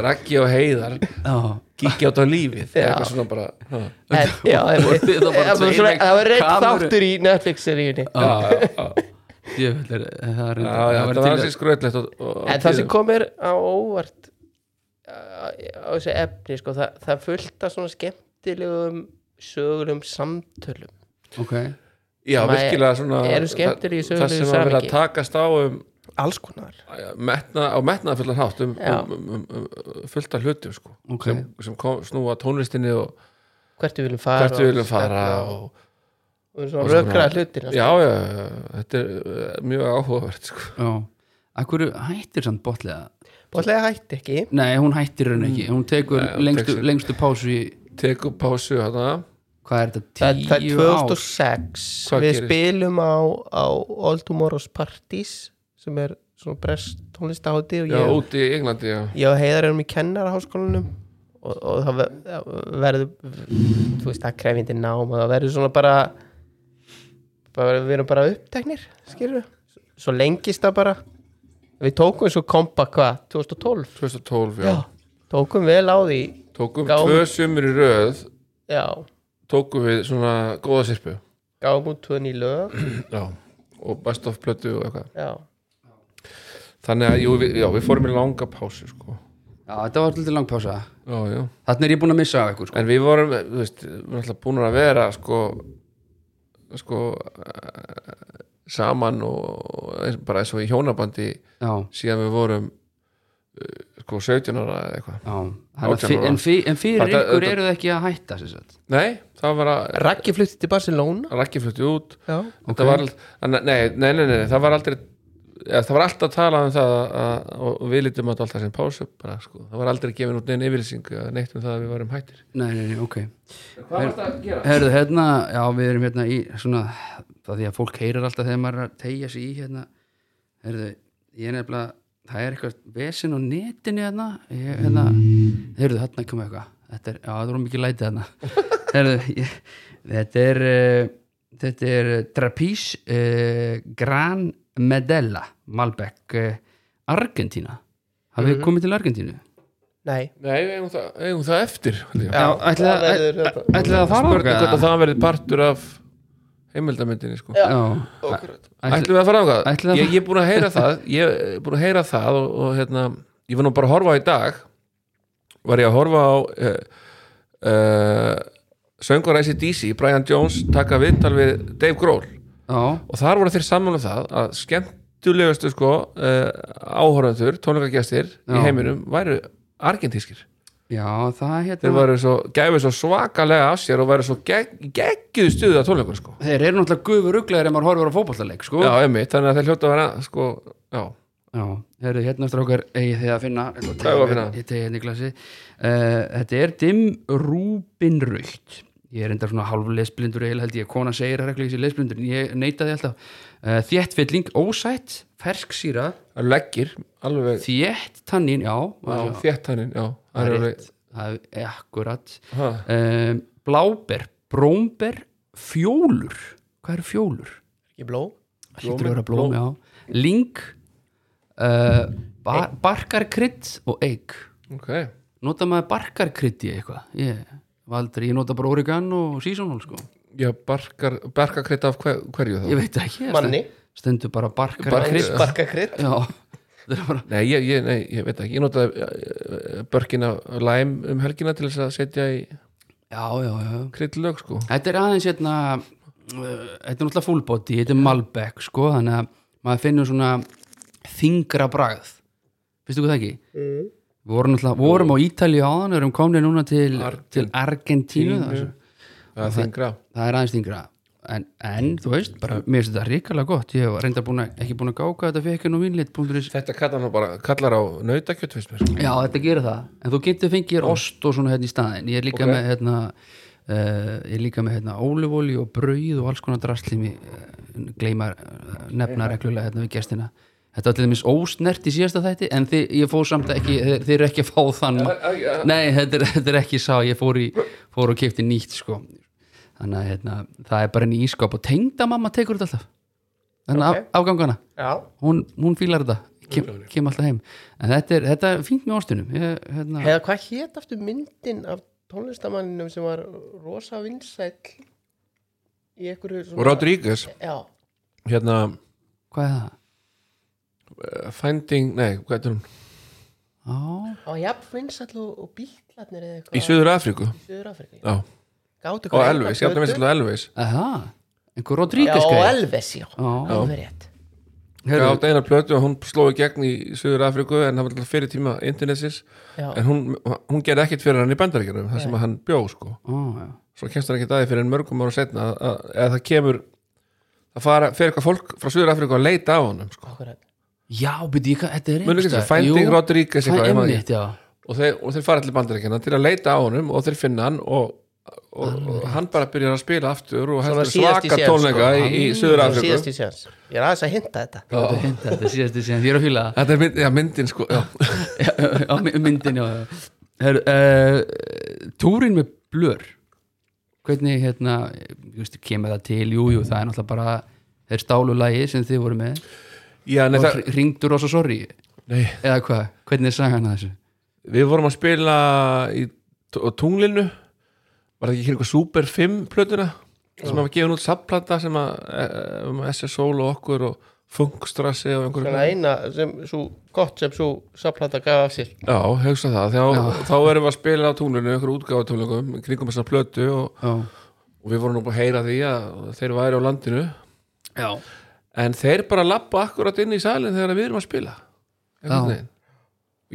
Speaker 3: rækki og heiðar
Speaker 1: já
Speaker 3: kíkja át á lífið
Speaker 2: Já.
Speaker 3: eitthvað svona bara ha.
Speaker 2: En- já,
Speaker 1: Voru þið þá bara
Speaker 2: það var
Speaker 1: tveir
Speaker 2: svona-
Speaker 1: með
Speaker 2: það var reitt
Speaker 1: kameru?
Speaker 2: þáttur í Netflix-seríunni
Speaker 3: já, já,
Speaker 1: Djöfullir, það er
Speaker 3: já, já,
Speaker 1: var
Speaker 3: það var
Speaker 1: til-
Speaker 3: alveg skröðlegt og, og,
Speaker 2: en það sem kom mér á óvart á á þessu efni sko, það, það fullta svona skemmtilegum sögulegum samtölum
Speaker 1: Ok,
Speaker 3: já,
Speaker 2: sem að
Speaker 3: virkilega svona
Speaker 2: eru skemmtileg í
Speaker 3: það- það
Speaker 2: sögulegu
Speaker 3: sem að vera að
Speaker 2: samhengi.
Speaker 3: takast á um
Speaker 2: alls konar
Speaker 3: metna, á metnaðfullan hátt um,
Speaker 2: Já.
Speaker 3: um, um, um, um fullt af hlutum sko,
Speaker 1: Ok.
Speaker 3: sem, sem kom, snúa tónlistinni og
Speaker 2: hvert við viljum fara
Speaker 3: hvert við viljum fara
Speaker 2: og,
Speaker 3: og,
Speaker 2: og
Speaker 3: og
Speaker 2: svona
Speaker 3: svona-
Speaker 2: rökra hlutina
Speaker 3: já, já, já, þetta er uh, mjög áhugavert sko.
Speaker 1: já Akkur hættir samt botlega
Speaker 2: bóðlega hætti ekki
Speaker 1: Nei, hún hættir henni ekki, hún tekur
Speaker 3: Nei, Mm. hún
Speaker 1: lengstu,
Speaker 3: tekur sér-
Speaker 1: lengstu pásu í
Speaker 3: tekur pásu hana
Speaker 1: Hvað er þetta,
Speaker 2: það,
Speaker 1: tíu
Speaker 2: það er
Speaker 1: ár?
Speaker 2: 2006
Speaker 3: Hvað
Speaker 2: við
Speaker 3: gerist?
Speaker 2: spilum á, á All Tomorrow's Parties sem er svona brest tónlistahátti og
Speaker 3: já,
Speaker 2: ég,
Speaker 3: úti í Englandi já.
Speaker 2: ég og heiðar erum í kennaraháskólanum og, og það ver- það verður þú veist það er krefjandi nám og það verður svona bara, bara við erum bara uppteknir skilur svo lengist það bara við tókum svo kompa hvað 2012
Speaker 3: 2012, já,
Speaker 2: tókum vel á því
Speaker 3: tókum
Speaker 2: Gáum-
Speaker 3: tvö sumur í röð
Speaker 2: já
Speaker 3: tókum við svona góða sirpu
Speaker 2: gáum út tvö ný lög
Speaker 3: já. og best of plötu og eitthvað
Speaker 2: já,
Speaker 3: þannig að, jú, við, já, við fórum í langa pásu sko.
Speaker 1: Já, þetta var alltaf lang pása
Speaker 3: já, já
Speaker 1: Þannig er ég búin að missa af ykkur sko.
Speaker 3: en við vorum, þú veist, við erum alltaf búin að vera sko sko eh, saman og eins- bara eins og í hjónabandi
Speaker 1: Já,
Speaker 3: síðan við vorum eh, sko 17 ára eða eitthvað
Speaker 1: já Þannig að
Speaker 3: Átján
Speaker 1: fyr-
Speaker 3: ára.
Speaker 1: En, fyr, en fyrir
Speaker 3: Þetta-
Speaker 1: ykkur
Speaker 3: þetta-
Speaker 1: eru það ekki að hætta sem sagt.
Speaker 3: nei, það var að
Speaker 2: Raggi flutti til Barcelona
Speaker 3: Raggi flutti út
Speaker 2: já,
Speaker 1: Ok.
Speaker 3: okay. var, að, nei, nei, nei, nei, nei, það var aldrei eða, það var alltaf talað um það að, að, og við lítum að alltaf sem pásu bara, sko. það var aldrei gefin út neinn yfirlýsing eða neitt um það að við varum hættir
Speaker 1: Nei, nei, nei, ok
Speaker 3: Hvað var það að gera?
Speaker 1: Herðu, hérna, já, við erum hérna í svona, það því að fólk heyrir alltaf þegar maður er að tegja sig í hérna Herðu, ég er nefnilega, það er eitthvað vesinn á netinu hérna, ég, hérna Herðu, þarna kom eitthvað, þetta er, já, það voru mikið lætið hérna Herðu, ég, þetta er, eh, þetta er Trapís uh, Gran Medella, Malbec, uh, Argentína Hafið
Speaker 3: Mhm.
Speaker 1: þið komið til Argentínu?
Speaker 2: nei
Speaker 3: Nei, við eigum það, eigum það eftir held ég.
Speaker 1: Já, ætlaði
Speaker 2: það
Speaker 1: að-
Speaker 2: verður-
Speaker 1: æ-
Speaker 3: hérna
Speaker 1: ætlaði að fara
Speaker 3: spurning hvort
Speaker 1: okkar?
Speaker 3: að það verið partur af heimildamindinni sko.
Speaker 1: Já, ætlaði
Speaker 3: ætlum við að fara á
Speaker 1: Ætlum við að
Speaker 3: það ég, ég er búin að heyra það ég er búin að heyra það og, og hérna ég var nú bara að horfa á í dag var ég að horfa á uh, uh, söngur ACDC, Brian Jones taka viðtal við Dave Grohl
Speaker 1: Já,
Speaker 3: og þar voru þeir saman um það að skemmtulegustu sko uh, áhorfandur, tónleikagestir
Speaker 1: Já.
Speaker 3: í heiminum væru argentískir
Speaker 1: Já, það hérna
Speaker 3: þeir væru svo, gæfu svo svakalega af sér og væru svo gegg, geggjuð stuðið að tónleikur sko
Speaker 1: Þeir eru náttúrulega gufur uglaðir ef maður horfur á fótballtaleik sko.
Speaker 3: Já, einmitt, þannig að þeir hljóta að vera sko, já,
Speaker 1: Já, heyrðu, hérna eftir okkar eigið þið að finna Ég ætla að
Speaker 3: Hvað eigum við að
Speaker 1: tegja-
Speaker 3: finna?
Speaker 1: Ég tegja henni glasi uh, Þetta er Dim Rúbinröytt ég er enda svona hálf lesblindur eiginlega held ég, konan segir að regla ég sé lesblindur en ég neitaði alltaf uh, þéttfylling, ósætt, ferksýra
Speaker 3: Það eru leggir, alveg
Speaker 1: þétt tannin, já,
Speaker 3: já,
Speaker 1: já,
Speaker 3: þétt hannin, já
Speaker 1: það
Speaker 3: Það
Speaker 1: er
Speaker 3: eru alveg
Speaker 1: rétt það er e, akkurat
Speaker 3: ha,
Speaker 1: um, bláber, brómber fjólur, hvað eru fjólur?
Speaker 2: ekki bló
Speaker 1: hlýtur að
Speaker 3: Blómi,
Speaker 1: vera blóm, já ling uh, bar, barkarkrydd og eik
Speaker 3: Ok,
Speaker 1: nota maður barkarkrydd í eitthvað ég, hef aldrei, ég nota bara oregan og seasonal sko,
Speaker 3: já, barkar barkakreita af hver, hverju þá?
Speaker 1: ég veit ekki ég
Speaker 2: Manni.
Speaker 1: stend- stendur bara barkarkrydd
Speaker 2: sparka krydd
Speaker 1: já, það er bara
Speaker 3: Nei, ég, ég, nei, ég veit ekki, ég notaði eh, börkin af læm um helgina til þess að setja í
Speaker 1: já, já, já
Speaker 3: kryddlög sko
Speaker 1: Þetta er aðeins hérna uh, þetta er náttúrulega full body, þetta er Malbec sko, þannig að maður finnur svona þingra bragð finnstu hvað það ekki? Mm. Við vorum, náttúrulega- vorum á Ítalíu áðan, við erum komni núna til, til Argentínu það,
Speaker 3: Það þingra
Speaker 1: það er aðeins þingra en, en þú veist, bara, mér finnst þetta ríkala gott ég var reynda búin að, ekki búin að gáka þetta fyrir ekki nú vínleitt.is
Speaker 3: Þetta kallar, nú bara, kallar á nautakjöt finnst mér
Speaker 1: Já, þetta gerir það, en þú getur fengið þér ost og svona hérna í staðin, ég er líka
Speaker 3: Ok.
Speaker 1: með hérna, uh, ég er líka með hérna ólivóli og brauð og alls konar drastlimi uh, gleymar uh, nefna reglulega hérna við gestina Þetta var til dæmis ósnert í síðasta þætti en þið, ég fór samt ekki, þeir, þeir eru ekki að fá þann Nei, þetta er, þetta er ekki sá ég fór, í, fór og kefti nýtt sko Þannig að hérna, það er bara enn í ískap og tengdamamma tekur þetta alltaf Þannig okay.
Speaker 2: Ok.
Speaker 1: af, afgangana
Speaker 2: já,
Speaker 1: hún, hún fílar þetta kem, kem alltaf heim en þetta er, þetta er fínt með ástunum ég,
Speaker 3: Mm.
Speaker 1: hérna,
Speaker 2: eða hvað hétt aftur myndin af tónlistamanninum sem var rosa vinsæll í einhverju
Speaker 3: Og Rodríguez,
Speaker 2: já,
Speaker 3: hérna
Speaker 1: hvað er það?
Speaker 3: eh, Finding, nei, hvað er hún?
Speaker 1: Á,
Speaker 2: hann var jafn vinsæll og, og bíklarnir eða
Speaker 3: Í
Speaker 2: eitthvað
Speaker 3: Suður Afríku
Speaker 2: Suður Afrika
Speaker 3: Já,
Speaker 2: Gátu
Speaker 3: og
Speaker 2: hvað
Speaker 3: Elvis, ég átti minnst alveg Elvis
Speaker 1: er það? einhver
Speaker 2: Já,
Speaker 1: Rodríguez
Speaker 2: og
Speaker 1: gæði?
Speaker 2: Elvis, já,
Speaker 1: Já.
Speaker 2: alveg rétt
Speaker 3: Ég
Speaker 1: Heyrðu,
Speaker 3: átti eina plötu og hún sló í gegn í Suður Afríku en það var alltaf fyrir tíma internetsins
Speaker 2: Já.
Speaker 3: en hún, hún gerði ekkert fyrir hann í bandaríkjunum það sem að hann bjó sko
Speaker 1: ó, já.
Speaker 3: svo kemst hann ekkert aðeins fyrir en mörgum ára setna að, að, að það kemur það fara, fer eitthvað fólk frá Suður Afríku að leita á honum sko.
Speaker 2: akkurat
Speaker 1: já, byrju, ég- þetta er
Speaker 3: Munið ekki, Finding Rodríguez
Speaker 1: það
Speaker 3: eitthvað,
Speaker 1: er
Speaker 3: ég man ekki.
Speaker 1: einmitt, já
Speaker 3: og, þeir, og þeir fara allir bandaríkjana til að leita á honum og þeir finna hann og, og, og hann bara byrjar að spila aftur og
Speaker 2: Svona
Speaker 3: heldur
Speaker 2: síðast í
Speaker 3: svaka
Speaker 2: séns,
Speaker 3: tónleika
Speaker 2: sko.
Speaker 3: í, í Suður
Speaker 2: Það var
Speaker 3: Afríku
Speaker 2: síðast í sjans Ég er aðeins að hinta þetta
Speaker 1: Þetta er fínt, þetta er síðast í síðan, ég er að fíla það
Speaker 3: Þetta er mynd, já, myndin sko já.
Speaker 1: Já, á my- myndinni já, já. Heyrðu, uh, túrin með blör hvernig hérna ég veist, kemur það til, jú, jú, það er náttúrulega bara þeir stálu lagi sem þið voru með
Speaker 3: Já, nei, það,
Speaker 1: og ringdur og svo sorry
Speaker 3: nei,
Speaker 1: eða hvað, hvernig er sagan að þessu
Speaker 3: við vorum að spila í t- á tunglinu var það ekki hér eitthvað Super 5 plötuna sem hafa gefin út sapplata sem að e, e, um SS Soul og okkur og Funkstrassi og
Speaker 2: Svona
Speaker 3: einhverju
Speaker 2: eina sem svo gott sem svo saplata gaf af sér
Speaker 3: Já, hugsa það, þá, þá erum við að spila á tunglinu einhverju útgáfatónleikum, kringum þessar plötu og,
Speaker 1: já,
Speaker 3: og við vorum nú bara að heyra því að þeir væri á landinu
Speaker 1: já.
Speaker 3: en þeir bara lappa akkurat inn í salin þegar við erum að spila
Speaker 1: Já.
Speaker 3: einhvern veginn.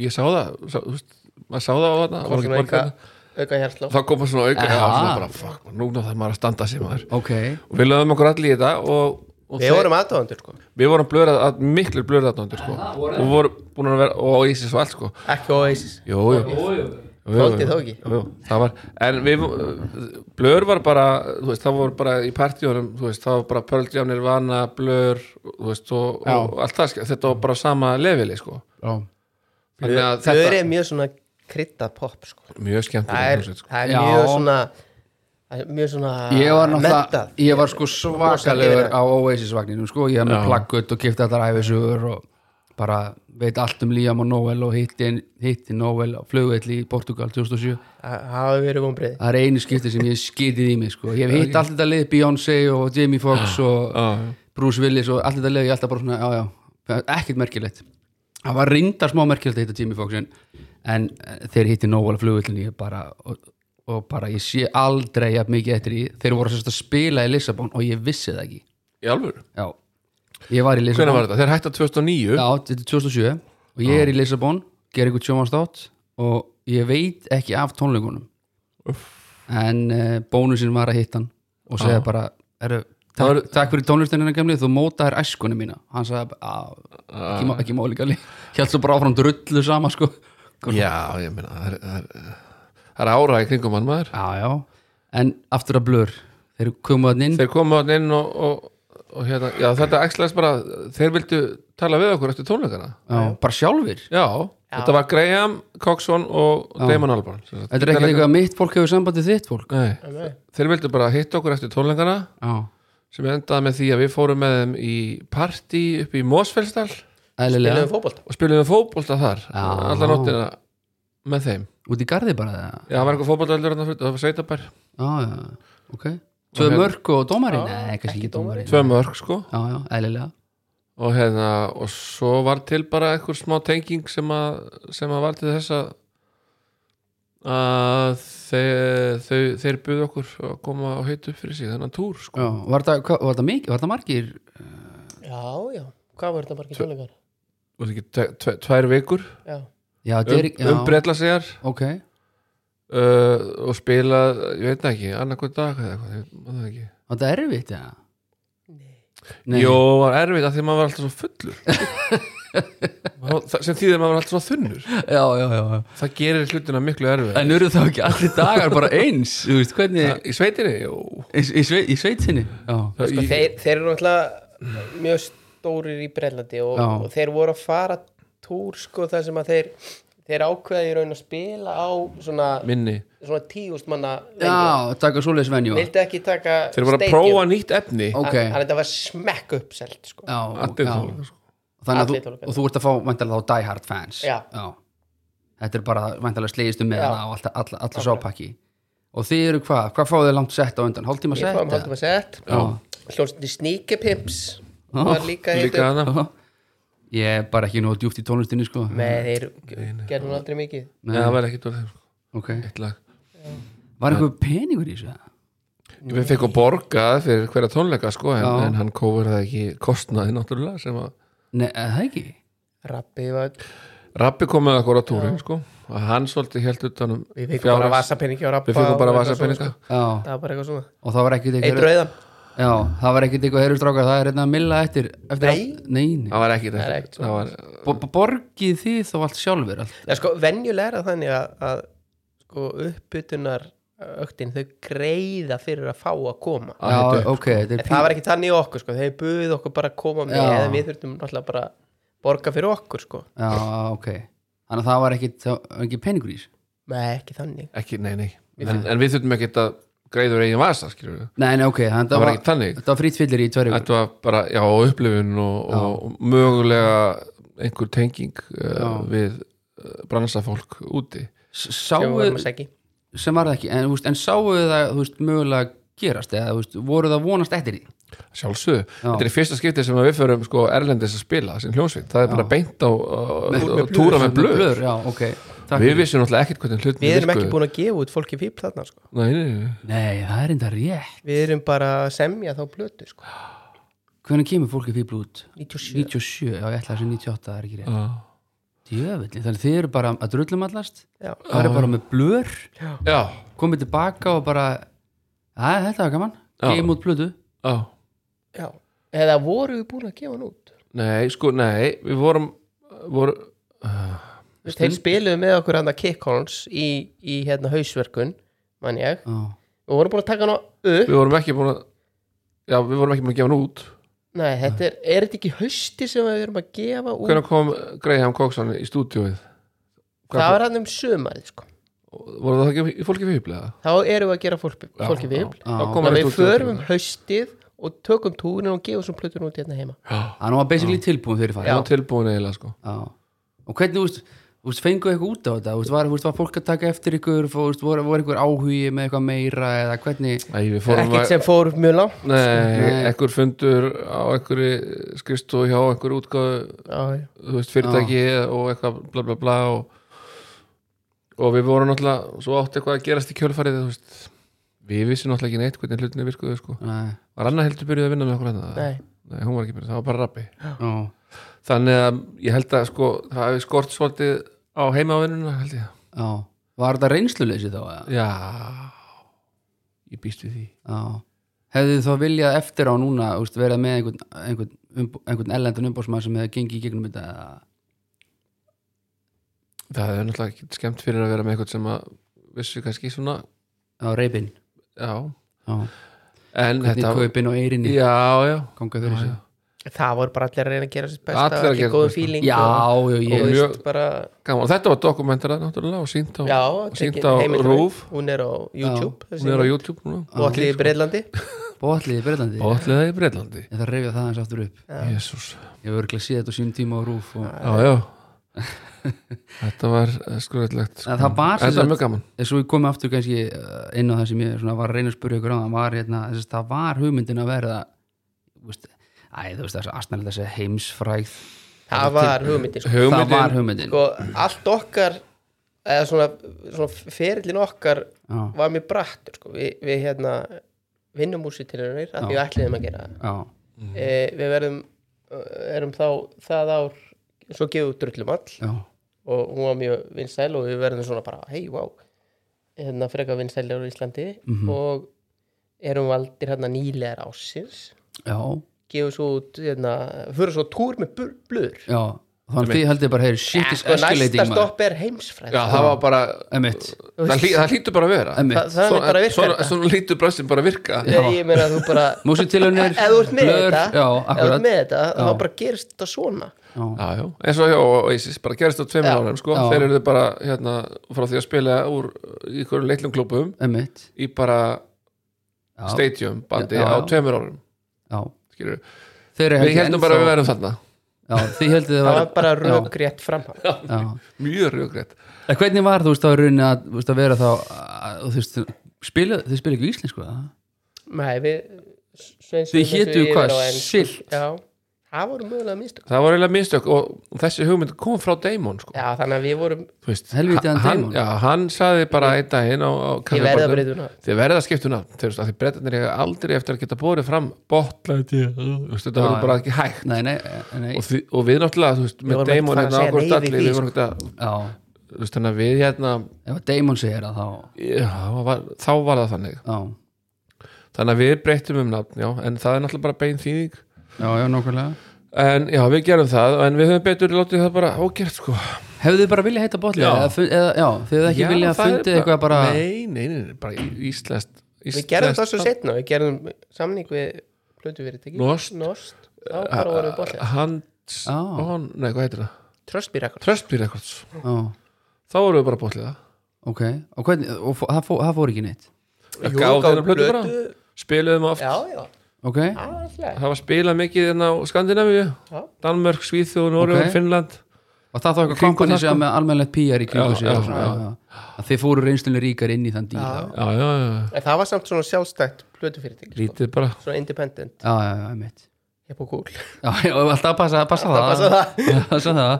Speaker 3: ég sá það sá, þú veist, maður sá það á þarna
Speaker 2: Kom
Speaker 3: var ekki
Speaker 2: svona
Speaker 3: hérna? borgað
Speaker 2: auka- auka hérslá
Speaker 3: þá kom maður svona auka já,
Speaker 1: Aha.
Speaker 3: svona bara, fuck, man, núna þarf maður að standa sér maður
Speaker 1: ok,
Speaker 3: og við lögum okkur allir í þetta og, og
Speaker 2: Við vorum aðdóðandur sko
Speaker 3: við vorum blörað, að, miklir blöðratnandur sko. og vorum búin að vera og ísis og allt sko
Speaker 2: Ekki Oasis
Speaker 3: jú, jú, jú, jú,
Speaker 2: Þoldi þó ekki.
Speaker 3: jú, það var, en við blör var bara, þú veist, það voru bara í partíunum, þú veist, það var bara pöldjafnir vana, blör, þú veist og, og allt það, sk- þetta var bara sama levili sko,
Speaker 1: já
Speaker 3: þannig að
Speaker 2: Þau
Speaker 3: þetta
Speaker 2: eru mjög svona krytta pop sko Það
Speaker 3: mjög
Speaker 2: er,
Speaker 3: skemmtilega sko.
Speaker 2: það er
Speaker 1: Já.
Speaker 2: mjög svona það er Mjög svona
Speaker 1: Ég var náttúrulega,
Speaker 2: mettað.
Speaker 1: ég var sko svakalegur á Oasis vagninum sko, ég hef með plakkut og kipta allar æfisugur og bara veit allt um Liam og Noel og hitti, hitti Noel á flugvelli í Portugal 2007
Speaker 2: Það hafa verið vonbrið
Speaker 1: það er einu skipti sem ég hef skitið í mig sko. ég hef hitt allt þetta lið, Beyoncé og Jamie Foxx og
Speaker 3: já.
Speaker 1: Bruce Willis og allt þetta lið, ég er alltaf bara svona, já já ekkert merkilegt, það var reyndar smá merkilegt að hitta Jamie Foxx en, en eh, þeir hitti Nóvala flugvillin ég bara, og, og bara ég sé aldrei jafn mikið eftir því, þeir voru sérst að spila í Lissabon og ég vissi það ekki
Speaker 3: í alvöru,
Speaker 1: já, ég var í Lissabon
Speaker 3: hvernig var þetta, þeir hætta 2009
Speaker 1: Já, þetta er 2007 og ég er í Lissabon, ger ykkur sjómanstátt og ég veit ekki af tónleikunum en uh, bónusin var að hitta hann og segja bara, eru Takk,
Speaker 3: Það var-
Speaker 1: takk fyrir tónlistinina gamli, þú mótaðir æskunni mína hann sagði, að, ekki, má- ekki máli gamli hjátt svo bara áfram drullu sama sko.
Speaker 3: Já, ég meina það er, það er, það er ára í kringum hann maður
Speaker 1: já, já en aftur að blur þeir komu þann inn
Speaker 3: þeir komu þarna inn og, og, og hérna, já, þetta æxlaðist bara þeir vildu tala við okkur eftir tónleikana
Speaker 1: já, bara sjálfur
Speaker 3: já, þetta var Graham, Coxon og Damon Albarn sem sagt.
Speaker 1: þetta er ekkert eitthvað að mitt fólk hefur sambandið þitt fólk
Speaker 3: Nei, þeir vildu bara hitta okkur eftir tónleikana
Speaker 1: já,
Speaker 3: sem endaði með því að við fórum með þeim í partí upp í Mosfellsdal
Speaker 1: eðlilega
Speaker 2: Spilum fótbolt
Speaker 3: og spilum við fótbolta þar
Speaker 1: Já.
Speaker 3: alla nóttina með þeim
Speaker 1: út í garði bara það
Speaker 3: já, það var einhver fótboltaðallur þarna fyrir, það var sveitabær
Speaker 1: já, já, ok tvö
Speaker 3: hérna-
Speaker 1: mörg og dómari,
Speaker 2: Já,
Speaker 1: nei, kannski
Speaker 2: ekki
Speaker 1: ekki dómari
Speaker 3: tvö mörg sko
Speaker 1: já, já, eðlilega
Speaker 3: og hérna, og svo var til bara einhver smá tenging sem að sem að var til þess að að þeir, þau, þeir buðu okkur að koma og heita upp fyrir sig þennan túr sko.
Speaker 1: já, var það, hvað, var það mikið, var það margir
Speaker 2: Já, já, hvað voru þetta margir tónleikar?
Speaker 3: og ekki, tve, tve, tvær vikur
Speaker 2: Já,
Speaker 1: já,
Speaker 3: um,
Speaker 1: Derek,
Speaker 3: um
Speaker 1: já,
Speaker 3: brella segjar
Speaker 1: ok
Speaker 3: uh, og spila, ég veit það ekki annarkvæð dag eða eitthvað, ég man það ekki
Speaker 1: var það erfitt, já nei,
Speaker 3: Jó, var erfitt að því maður var alltaf svo fullur Maður- það- sem þýðir að maður var alltaf svo þunnur
Speaker 1: já, já, já, já
Speaker 3: það gerir hlutina miklu erfið
Speaker 1: En eru þá ekki allir dagar bara eins Þú veist, hvernig
Speaker 3: í sveitinni, jú
Speaker 1: Í, í, svei- í sveitinni Já,
Speaker 2: sko, þeir, þeir eru náttúrulega mjög stórir í Brellandi og,
Speaker 1: Já.
Speaker 2: og þeir voru að fara túr sko þar sem að þeir þeir ákveða í raun að spila á svona,
Speaker 3: minni
Speaker 2: svona tíust manna venue.
Speaker 1: já taka svoleiðis venjú
Speaker 2: vildi ekki taka
Speaker 3: þeir voru að
Speaker 2: stadium.
Speaker 3: prófa nýtt efni
Speaker 1: Ok.
Speaker 2: Hann- hann þetta var smekk uppselt sko.
Speaker 1: Já,
Speaker 3: Allir
Speaker 1: já.
Speaker 3: tónleikar, sko.
Speaker 1: Þannig að
Speaker 2: Allir
Speaker 1: þú,
Speaker 2: tónleikar.
Speaker 1: og þú ert að fá væntanlega þá Die Hard fans
Speaker 2: Já.
Speaker 1: Þetta er bara væntanlega slegistu með
Speaker 2: Já.
Speaker 1: hana og alltaf all, all, sápakki Og þið eru hvað? Hvað fáðu þið langt sett á undan? Hálftíma
Speaker 2: ég um
Speaker 1: sett?
Speaker 2: fáum haldum að sett
Speaker 1: Já.
Speaker 2: hljónstandi sníkipimps
Speaker 1: Já.
Speaker 2: var líka
Speaker 3: líka
Speaker 2: heitur
Speaker 3: hana
Speaker 1: Ég er bara ekki nú djúpt í tónlistinni sko
Speaker 2: með þeir gerðum hún aldrei mikið
Speaker 3: Nei, það var ekki tólið
Speaker 1: Ok
Speaker 3: eitt lag
Speaker 1: Var eitthvað peningur í þessu?
Speaker 3: Við fekkum borgað fyrir hverja tónleika sko, en,
Speaker 1: Já.
Speaker 3: en hann kófur það ekki kostnaði náttúrulega sem að
Speaker 1: Nei, er það ekki
Speaker 2: rappi var,
Speaker 3: Rappi kom með okkur á túrin sko, og hann svolítið held utanum
Speaker 2: við fengum bara vasapenningi á rappa
Speaker 3: Við fengum bara
Speaker 2: og eitthvað
Speaker 3: vasapeninga
Speaker 2: svona,
Speaker 1: Já
Speaker 2: sko. það var bara eitthvað svona
Speaker 1: Og það var ekkert
Speaker 2: eitt
Speaker 1: eitthvað
Speaker 2: rauðan
Speaker 1: Já, það var ekkert eitthvað herustrákar Það er hérna að milla eftir, eftir
Speaker 2: Nei.
Speaker 1: að- Nei, nei
Speaker 3: Það var ekki
Speaker 2: Það er ekkert
Speaker 3: þetta Það var
Speaker 1: Bo- bo- borgið þið þá allt sjálfur allt.
Speaker 2: Já, sko, venjulega er það þannig að, að sko, uppbytunar öktin, þau greiða fyrir að fá að koma
Speaker 3: að hitta upp.
Speaker 1: ok, þetta
Speaker 2: en
Speaker 1: er
Speaker 2: það var ekki þannig í okkur, sko, þeir buðið okkur bara að koma með,
Speaker 1: Já.
Speaker 2: eða við þurftum náttúrulega bara að borga fyrir okkur, sko
Speaker 1: já, ok, þannig að það var ekki, það var ekki peningur í þessu
Speaker 2: Nei, ekki þannig
Speaker 3: ekki, nei, nei en, en við þurfum ekki að greiður eigin vasa skilur við,
Speaker 1: nei, nei, ok, þannig að
Speaker 3: það
Speaker 1: það
Speaker 3: var
Speaker 1: var,
Speaker 3: ekki þannig
Speaker 1: þetta var frýtt fyllir í tverju
Speaker 3: þetta var bara, já, upplifun og, og mögulega einhver tenging uh,
Speaker 1: Já.
Speaker 3: við uh, bransafólk úti
Speaker 2: Sem við vorum
Speaker 1: sáu,
Speaker 2: að segja
Speaker 1: sem var það ekki en, þú veist, en sáu það, þú veist, mögulega gerast eða, þú veist, voru það vonast eftir því
Speaker 3: sjálfsög, þetta er í fyrsta skipti sem við förum sko erlendis að spila sem hljónsveit, það er bara beint á, á, á túra með blöð,
Speaker 1: já, ok, takk
Speaker 3: við vissum náttúrulega ekkert hvernig hlutin
Speaker 2: Við erum ekki búin að gefa út fólki fíl þarna, sko
Speaker 3: nei, nei, nei.
Speaker 1: nei, það er enda rétt
Speaker 2: Við erum bara að semja þá blötu, sko
Speaker 1: hvernig kemur fólki fíbl út?
Speaker 2: 97
Speaker 1: 97, já, ég ætla þessi 98, það er ekki rétt
Speaker 3: Já.
Speaker 1: djöfulli, þannig þið eru bara að drullum allast
Speaker 2: Já,
Speaker 1: það eru bara með blör
Speaker 3: já,
Speaker 1: komið tilbaka og bara að þetta var gaman,
Speaker 3: Já.
Speaker 1: geim út blödu
Speaker 3: já
Speaker 2: já Eða voru við búin að gefa hann út?
Speaker 3: nei, sko, nei, við vorum eh, voru,
Speaker 2: Þú veist, Þeir spiluðu með okkur hann að kickhorns í, í hérna hausverkun, mann ég
Speaker 1: já,
Speaker 2: Við vorum búin að taka hana upp
Speaker 3: við vorum ekki búin að já, við vorum ekki búin að gefa hann út
Speaker 2: Nei, þetta er, er þetta ekki hausti sem við erum að gefa út
Speaker 3: Hvernig kom Graham Coxon í stúdíóið?
Speaker 2: Það var hann um sumarið sko
Speaker 3: Voru það ekki í fólki fyrirlega?
Speaker 2: Þá erum við að gera fólki, fólki vipl
Speaker 1: já.
Speaker 3: Þá kom
Speaker 2: Þannig
Speaker 3: hann
Speaker 2: að
Speaker 3: í
Speaker 2: við
Speaker 3: stúdíóið.
Speaker 2: förum um haustið og tökum túrin og gefum svo plötur út hérna heima
Speaker 1: hann var basically tilbúin fyrir farið
Speaker 3: Það var tilbúin eiginlega sko
Speaker 1: Já. og hvernig, þú veist, þú veist, fenguðu eitthvað út á þetta Þú veist, var, þú veist, var fólk að taka eftir ykkur fó- þú veist, voru, voru ykkur áhugi með eitthvað meira eða hvernig,
Speaker 3: Æ, við fórum
Speaker 2: Ekkert sem fór mjög langt
Speaker 3: Nei, ekkur fundur á einhverju skristu hjá einhverju útgáðu
Speaker 2: Já, já.
Speaker 3: þú veist, fyrirtæki og eitthvað bla bla bla og, og við vorum náttúrulega svo átt eitthvað að gerast í kjölfarið þú veist Við vissum náttúrulega ekki neitt hvernig hlutinni virkuðu sko
Speaker 1: Nei.
Speaker 3: Var annað heldur byrjuð að vinna með okkur hérna?
Speaker 2: Nei.
Speaker 3: Nei, hún var ekki byrjuð, það var bara rappi
Speaker 1: já,
Speaker 3: Þannig að ég held að sko það hefði skort svolítið á heimavinnuna held ég
Speaker 1: já var þetta reynsluleysi þá eða?
Speaker 3: Já Ég býst við því
Speaker 1: já, hefðu þið þá viljað eftir á núna þú veist, verið með einhvern, einhvern, umb, einhvern ellendan umbóðsmann sem hefði gengið í gegnum þetta eða?
Speaker 3: Það er náttúrulega ekki skemmt fyrir að vera með eitthvað sem að vissu kannski svona
Speaker 1: á reypin
Speaker 3: já,
Speaker 1: já,
Speaker 3: en
Speaker 1: hvernig
Speaker 3: þetta
Speaker 1: kaupin og eirinni
Speaker 3: já, já,
Speaker 1: ganga þau þessu
Speaker 3: já.
Speaker 2: það voru bara allir að reyna að gera sér
Speaker 3: Allir
Speaker 2: besta
Speaker 3: að
Speaker 2: allir
Speaker 3: gera
Speaker 2: góðu
Speaker 3: sitt besta.
Speaker 2: fíling
Speaker 1: já, já,
Speaker 2: og,
Speaker 1: ég
Speaker 2: og
Speaker 3: mjög-
Speaker 2: veist bara
Speaker 3: gaman, þetta var dokumentarað náttúrulega og sínt á,
Speaker 2: já,
Speaker 3: og sínt
Speaker 2: tekin
Speaker 3: á
Speaker 2: heimildarmynd.
Speaker 3: RÚV
Speaker 2: hún er á YouTube þessi
Speaker 3: hún er á
Speaker 2: mynd.
Speaker 3: YouTube núna
Speaker 2: og allir í Breitlandi
Speaker 1: bóðallið í Breitlandi ég
Speaker 3: allir það í Breitlandi
Speaker 1: þarf að reyfja það eins aftur upp
Speaker 3: Jésús,
Speaker 1: ég hef örglega séð þetta á sínum tíma á rúf og,
Speaker 3: já, já þetta var skurðilegt
Speaker 1: en það var
Speaker 3: þetta var mjög gaman
Speaker 1: eins og ég komið aftur kannski eh, inn á það sem ég svona var að reyna að spyrja ykkur á það var, hérna, þess, það var hugmyndin að verða þú veist, æ, þú veist þessi astnæli þessi heimsfræð
Speaker 2: það var hugmyndin sko.
Speaker 3: Hugmyndin-
Speaker 1: það var hugmyndin
Speaker 2: sko, allt okkar eða svona, svona ferillin okkar
Speaker 1: já,
Speaker 2: var mjög brattur sko. Vi, við hérna vinnum úr sér til hennir að því við ætliðum að gera það
Speaker 1: já,
Speaker 2: e, við verðum erum þá það ár svo gefum við drullum all
Speaker 1: já,
Speaker 2: og hún var mjög vinsæl og við verðum svona bara hei, wow hérna frekar vinsælir á Íslandi
Speaker 3: Mhm.
Speaker 1: mhm,
Speaker 2: og erum valdir hérna nýlegar ásins
Speaker 1: já,
Speaker 2: gefum svo út hérna, fyrir svo túr með bl- blöður
Speaker 1: já. þannig að þið heldur bara heyr, shit is
Speaker 2: sko, næsta
Speaker 1: escalating maður.
Speaker 2: stopp er heimsfræð
Speaker 3: já, það var bara
Speaker 1: Einmitt,
Speaker 3: það, hlý, það hlýtur bara að vera eh,
Speaker 1: einmitt.
Speaker 2: það, það er bara að virka
Speaker 3: svona,
Speaker 2: þetta
Speaker 3: svona hlýtur bröstin bara að virka
Speaker 1: Já.
Speaker 2: ég, ég meina að þú bara
Speaker 1: Músitilunir,
Speaker 2: ef þú ert með
Speaker 1: blör,
Speaker 2: þetta
Speaker 1: já,
Speaker 2: ef þú
Speaker 1: akkurat.
Speaker 2: ert með þetta
Speaker 1: Já.
Speaker 2: þá bara gerist þetta svona
Speaker 3: Já, já, eins og hjá Oasis, bara gerist á tveimur
Speaker 2: Já.
Speaker 3: árum sko,
Speaker 1: Já.
Speaker 3: þeir eru bara hérna frá því að spila úr í einhverjum leitlum klubum
Speaker 1: Einmitt,
Speaker 3: í bara
Speaker 1: já,
Speaker 3: stadium bandi
Speaker 1: Já, já.
Speaker 3: á tveimur árum
Speaker 1: já.
Speaker 3: skilur.
Speaker 1: Þeir
Speaker 3: við heldum bara að við verðum þarna
Speaker 1: Já, þið heldur þið
Speaker 2: það var
Speaker 1: var
Speaker 2: bara rökrétt framhald
Speaker 1: já.
Speaker 3: mjög röggrætt
Speaker 1: En hvernig var þú veist að raunin að, þú veist, að vera þá að, þú veist, spila, þið spila ekki íslensku eða?
Speaker 2: Nei, við Sveinsson
Speaker 1: Þið hétu hvað, silt
Speaker 2: Já, það voru mögulega mistök
Speaker 3: það var eiginlega mistök og þessi hugmynd kom frá Damon sko.
Speaker 2: Já, þannig að við vorum
Speaker 3: Þú veist,
Speaker 1: Helvíti hann
Speaker 3: hann,
Speaker 1: Damon.
Speaker 3: já, hann saði bara einn daginn á, á
Speaker 2: Ég verða að
Speaker 3: kaffibarnum,
Speaker 2: breyta um það
Speaker 3: þið verða að skipta um nafn þegar því breytanir eiga aldrei eftir að geta borið fram botlæti þetta
Speaker 1: Já,
Speaker 3: verður
Speaker 1: já.
Speaker 3: bara ekki hægt
Speaker 1: Nei, nei, eh, nei,
Speaker 3: og, því, og við náttúrulega, þú veist,
Speaker 2: vorum
Speaker 3: með
Speaker 2: ekki
Speaker 3: Damon
Speaker 2: farin að
Speaker 3: hérna á
Speaker 2: segja
Speaker 3: hvort
Speaker 2: nei við
Speaker 3: allir,
Speaker 2: því, sko.
Speaker 3: við vorum ekki að
Speaker 1: já
Speaker 3: þú veist, þannig að við hérna
Speaker 1: Ef að Damon segir það þá,
Speaker 3: já, það var, þá var það þannig
Speaker 1: já
Speaker 3: þannig að við breyttum um nafn, já, en það er náttúrulega bara bein þýðing,
Speaker 1: Já, já, nákvæmlega
Speaker 3: en já, við gerum það en við höfum betur látið það bara ógert sko.
Speaker 1: Hefðu þið bara viljað heita bollið?
Speaker 3: Já.
Speaker 1: Eða, fun- eða, já, þið hefðu ekki
Speaker 3: Já,
Speaker 1: viljað
Speaker 3: það er
Speaker 1: fundið eitthvað bara
Speaker 3: nei, nei, nei, nei, bara íslenskt
Speaker 2: Við gerðum það svo setna, við gerðum samning við Plötu verið ekki
Speaker 3: Nost.
Speaker 2: Nost, þá bara vorum við bollið
Speaker 3: Hans,
Speaker 1: Já.
Speaker 3: Ah, on, nei, hvað heitir það?
Speaker 2: Tröstby Records
Speaker 3: Trustby Records,
Speaker 1: Já,
Speaker 3: þá vorum við bara bóttið það
Speaker 1: ok Og, hvernig, og fó, það, fó, það fór ekki neitt
Speaker 3: Jú, gáðu þeirra plötu bara spiluðum oft,
Speaker 2: Já, já,
Speaker 1: Ok,
Speaker 2: það var alltaf leið.
Speaker 3: það var spilað mikið hérna á Skandinavíu,
Speaker 2: Já.
Speaker 3: Danmörk, Svíþjóð, Norrjóð,
Speaker 1: Ok.
Speaker 3: Finnland
Speaker 1: og það þá eitthvað
Speaker 3: Kringum
Speaker 1: kompani
Speaker 3: það,
Speaker 1: sem
Speaker 3: sko.
Speaker 1: með almennlegt PR í kringu
Speaker 3: Já,
Speaker 1: sig og
Speaker 3: já,
Speaker 1: svona,
Speaker 3: já.
Speaker 1: já, já. Að Þið fóru reynslunni ríkar inn í þann díl
Speaker 2: Já.
Speaker 1: þá.
Speaker 3: já, já, já,
Speaker 2: En það var samt svona sjálfstætt Plötu fyrirtæki sko.
Speaker 3: lítið bara
Speaker 2: Svona independent,
Speaker 1: Já, já, já, mitt
Speaker 2: hip og cool
Speaker 1: Já, já, og alltaf passa, passa það
Speaker 2: passa það.
Speaker 1: passa það,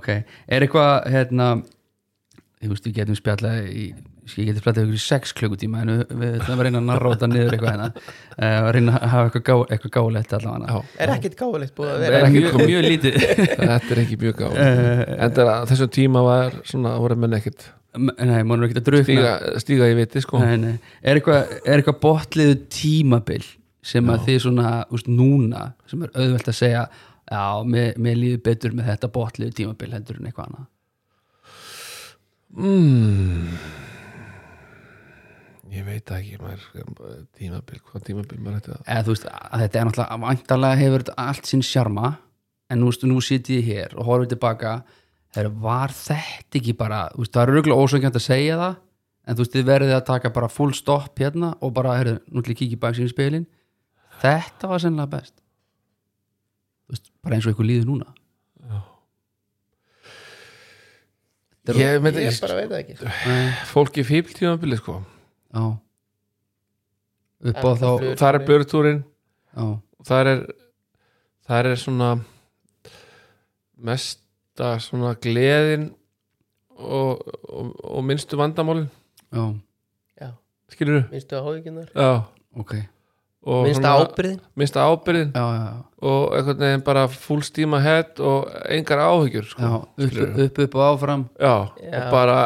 Speaker 1: ok Er eitthvað, hérna Þú veist, við getum spjallað í ég geti spjallað ykkur í sex klukkutíma en við- við ætlum að reyna að narróta niður eitthvað hérna uh, að reyna að hafa eitthvað, gá, eitthvað gálegt allavega
Speaker 3: já,
Speaker 2: Er ekkert gáfulegt búið að vera
Speaker 1: hana mjög, mjög lítið
Speaker 3: þetta er ekki mjög gáð
Speaker 1: Eh,
Speaker 3: en það er að þessum tíma var svona voru menn ekkert
Speaker 1: Nei, maður er ekki að drukna
Speaker 3: stíga, stíga í viti sko
Speaker 1: Nei, nei. Er eitthvað, er eitthvað botliðu tímabil sem að þið svona úst, núna sem er auðvelt að segja já, mér, mér líður betur með þetta botliðu tímabil heldur en eitthvað annað
Speaker 3: mm. ég veit það ekki maður, sko, tímabil, hvað tímabil maður hætti
Speaker 1: eða þú veist að þetta er náttúrulega vantarlega hefur þetta allt sinn sjarma en nú, veistu, nú sit ég hér og horfum tilbaka þegar var þetta ekki bara þú veist, það er rauglega ósöngjönd að segja það en þú veist þið verðið að taka bara full stopp hérna og bara, heyrðu, nú til ég kíkja í baksinu spilin þetta var sennilega best þú veist, bara eins og eitthvað líður núna
Speaker 3: það ég veit
Speaker 2: Ég
Speaker 3: ekki,
Speaker 2: bara veit það ekki
Speaker 1: Nei,
Speaker 3: fólki fíbl tímabili sko
Speaker 1: já upp á
Speaker 2: En
Speaker 1: þá
Speaker 2: flug-
Speaker 3: þar er björntúrin,
Speaker 1: já,
Speaker 3: þar er þar er svona mesta svona gleðin og, og, og minnstu vandamálin
Speaker 1: já,
Speaker 2: Já,
Speaker 3: skilur du?
Speaker 2: minnstu að hóðuginnar
Speaker 3: Já,
Speaker 1: ok já,
Speaker 3: og
Speaker 2: Minnstu
Speaker 3: svona-
Speaker 2: ábyrðin
Speaker 3: minnsta ábyrðin
Speaker 1: já, já,
Speaker 3: og einhvern veginn bara full steam ahead og engar áhyggjur sko.
Speaker 1: já upp,
Speaker 3: skilurðu.
Speaker 1: upp, upp og áfram
Speaker 3: já,
Speaker 2: Já.
Speaker 3: og bara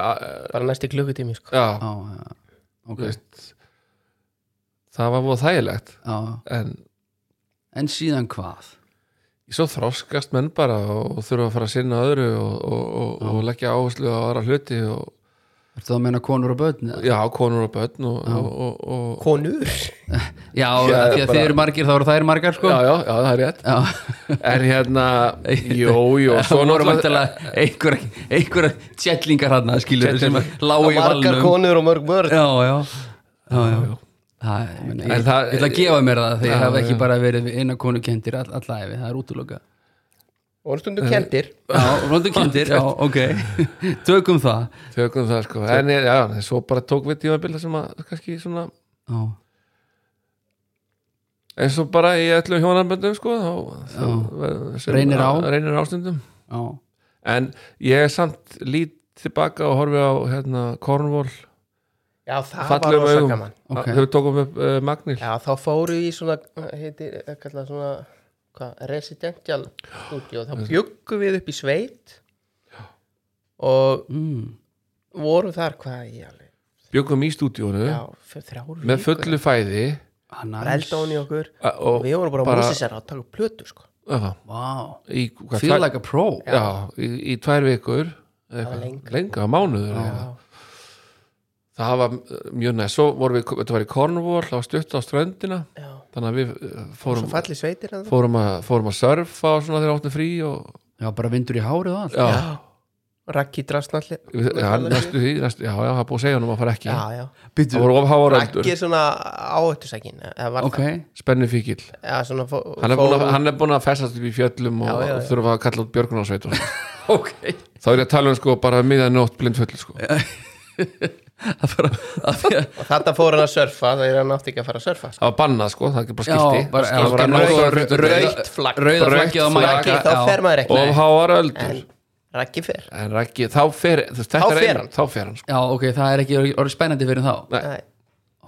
Speaker 2: Bara næsti klukkutími sko
Speaker 3: já,
Speaker 1: já, já, ok
Speaker 3: þú veist það var búið þægilegt
Speaker 1: já,
Speaker 3: en
Speaker 1: en síðan hvað
Speaker 3: svo þroskast menn bara og þurfa að fara að sinna öðru og, og, og, og leggja áherslu á aðra hluti og
Speaker 1: Ertu þá að meina konur og börn? eða?
Speaker 3: já, konur og börn og, og, og, og
Speaker 2: konur
Speaker 1: Já, já
Speaker 3: Já,
Speaker 1: því að
Speaker 3: bara-
Speaker 1: þið eru margir þá eru þær margar sko
Speaker 3: já, já, já, það er rétt
Speaker 1: Já.
Speaker 3: en hérna, jú, jú
Speaker 1: Það voru vantilega einhverja einhver tjellingar hann skilur sem að lágu í
Speaker 2: margar
Speaker 1: valnum
Speaker 2: konur og mörg mörg
Speaker 1: Já, já, já, já. Það, ég meina,
Speaker 3: En
Speaker 1: ég,
Speaker 3: það-
Speaker 1: ég ætla að gefa mér það því
Speaker 3: Já,
Speaker 1: ég hef ekki
Speaker 3: já.
Speaker 1: bara verið eina konu kendir all, allæfi, það er útloka
Speaker 2: og stundum kendir
Speaker 1: Já, rondum kendir, já, ok Tökum það
Speaker 3: tökum það sko en ég- já, en svo bara tók við tímabil þar sem að kannski svona
Speaker 1: Já, eins
Speaker 3: eins og bara í öllum hjónarböndum sko þá, þá verður- sem-
Speaker 1: Reynir á.
Speaker 3: reynir ástundum
Speaker 1: já,
Speaker 3: en ég er samt lít tilbaka og horfi á hérna Cornwall
Speaker 2: já það var
Speaker 3: fallegum
Speaker 2: rosa
Speaker 3: augum
Speaker 2: gaman
Speaker 1: Ok.
Speaker 3: þau tókum upp uh, Magnil
Speaker 2: já þá fóru í svona heitir, eh, kallað svona hva, residential studio þá bjöggum við upp í sveit og
Speaker 1: mm,
Speaker 2: vorum þar hvað í alveg
Speaker 3: bjökum í stúdíónu
Speaker 2: já, f- þrjár
Speaker 3: Eh? með
Speaker 2: vikur.
Speaker 3: fullu fæði
Speaker 1: hann
Speaker 2: Bara elda ofan í okkur
Speaker 3: a-
Speaker 2: og
Speaker 3: og
Speaker 2: við vorum bara,
Speaker 3: bara-
Speaker 2: bara músisar að taka upp plötu sko.
Speaker 3: öfa,
Speaker 1: Vá,
Speaker 3: í, hvað,
Speaker 1: feel
Speaker 3: tvær-
Speaker 1: like a pro
Speaker 3: já, í, í tvær vikur eða
Speaker 2: var
Speaker 3: eitthvað,
Speaker 2: lengra.
Speaker 3: lengra, mánuður eða. það var uh, mjög næst svo vorum við, þetta var í Cornwall það var stutt á ströndina
Speaker 2: já,
Speaker 3: þannig að við uh,
Speaker 2: svo
Speaker 3: fórum
Speaker 2: falli sveitir að það
Speaker 3: fórum að, fórum að surfa og svona þegar áttum frí og,
Speaker 1: Já, bara vindur í hárið og allt
Speaker 3: já,
Speaker 2: Já. Raggi drastnalli
Speaker 3: við, já, næstu því næstu, já, já, það er búið að segja honum að fara ekki
Speaker 2: já, já.
Speaker 3: það voru ofháar
Speaker 2: Raggi
Speaker 3: öldur,
Speaker 2: er svona áhættusækin eða var
Speaker 1: Ok,
Speaker 3: spennu fíkil
Speaker 2: það eða svona fó,
Speaker 3: hann er, búin að, hann er búin að festast upp í fjöllum og
Speaker 2: Já, já, já.
Speaker 3: þurfa að kalla út björgunarsveit og svona.
Speaker 1: ok
Speaker 3: þá er ég að tala um sko bara miðan nótt blindfull sko.
Speaker 1: Það bara, að því að
Speaker 2: og þetta fór hann að surfa það er hann átti ekki að fara að surfa sko.
Speaker 3: það var bannað sko, það er ekki bara
Speaker 1: Já,
Speaker 3: skilti
Speaker 1: bara
Speaker 3: það
Speaker 1: já,
Speaker 3: var að
Speaker 1: ok,
Speaker 3: nótt
Speaker 1: rauð-
Speaker 3: rauð-
Speaker 1: rauð-
Speaker 2: flagg.
Speaker 1: Rauða
Speaker 3: Rautt
Speaker 1: flaggið á
Speaker 3: flagg.
Speaker 2: Raggi,
Speaker 1: mæka
Speaker 2: þá
Speaker 1: já.
Speaker 2: fer maður ekki
Speaker 3: og
Speaker 2: Nei,
Speaker 3: háar
Speaker 2: en
Speaker 3: öldur
Speaker 2: Raggi fer
Speaker 3: en Raggi, þá fer þú veist, þetta
Speaker 2: Þá
Speaker 3: er
Speaker 2: fer
Speaker 3: einu-
Speaker 2: hann.
Speaker 3: þá fer hann sko.
Speaker 1: Já, ok, það er ekki orðið spennandi fyrir þá
Speaker 3: Nei.
Speaker 2: Nei.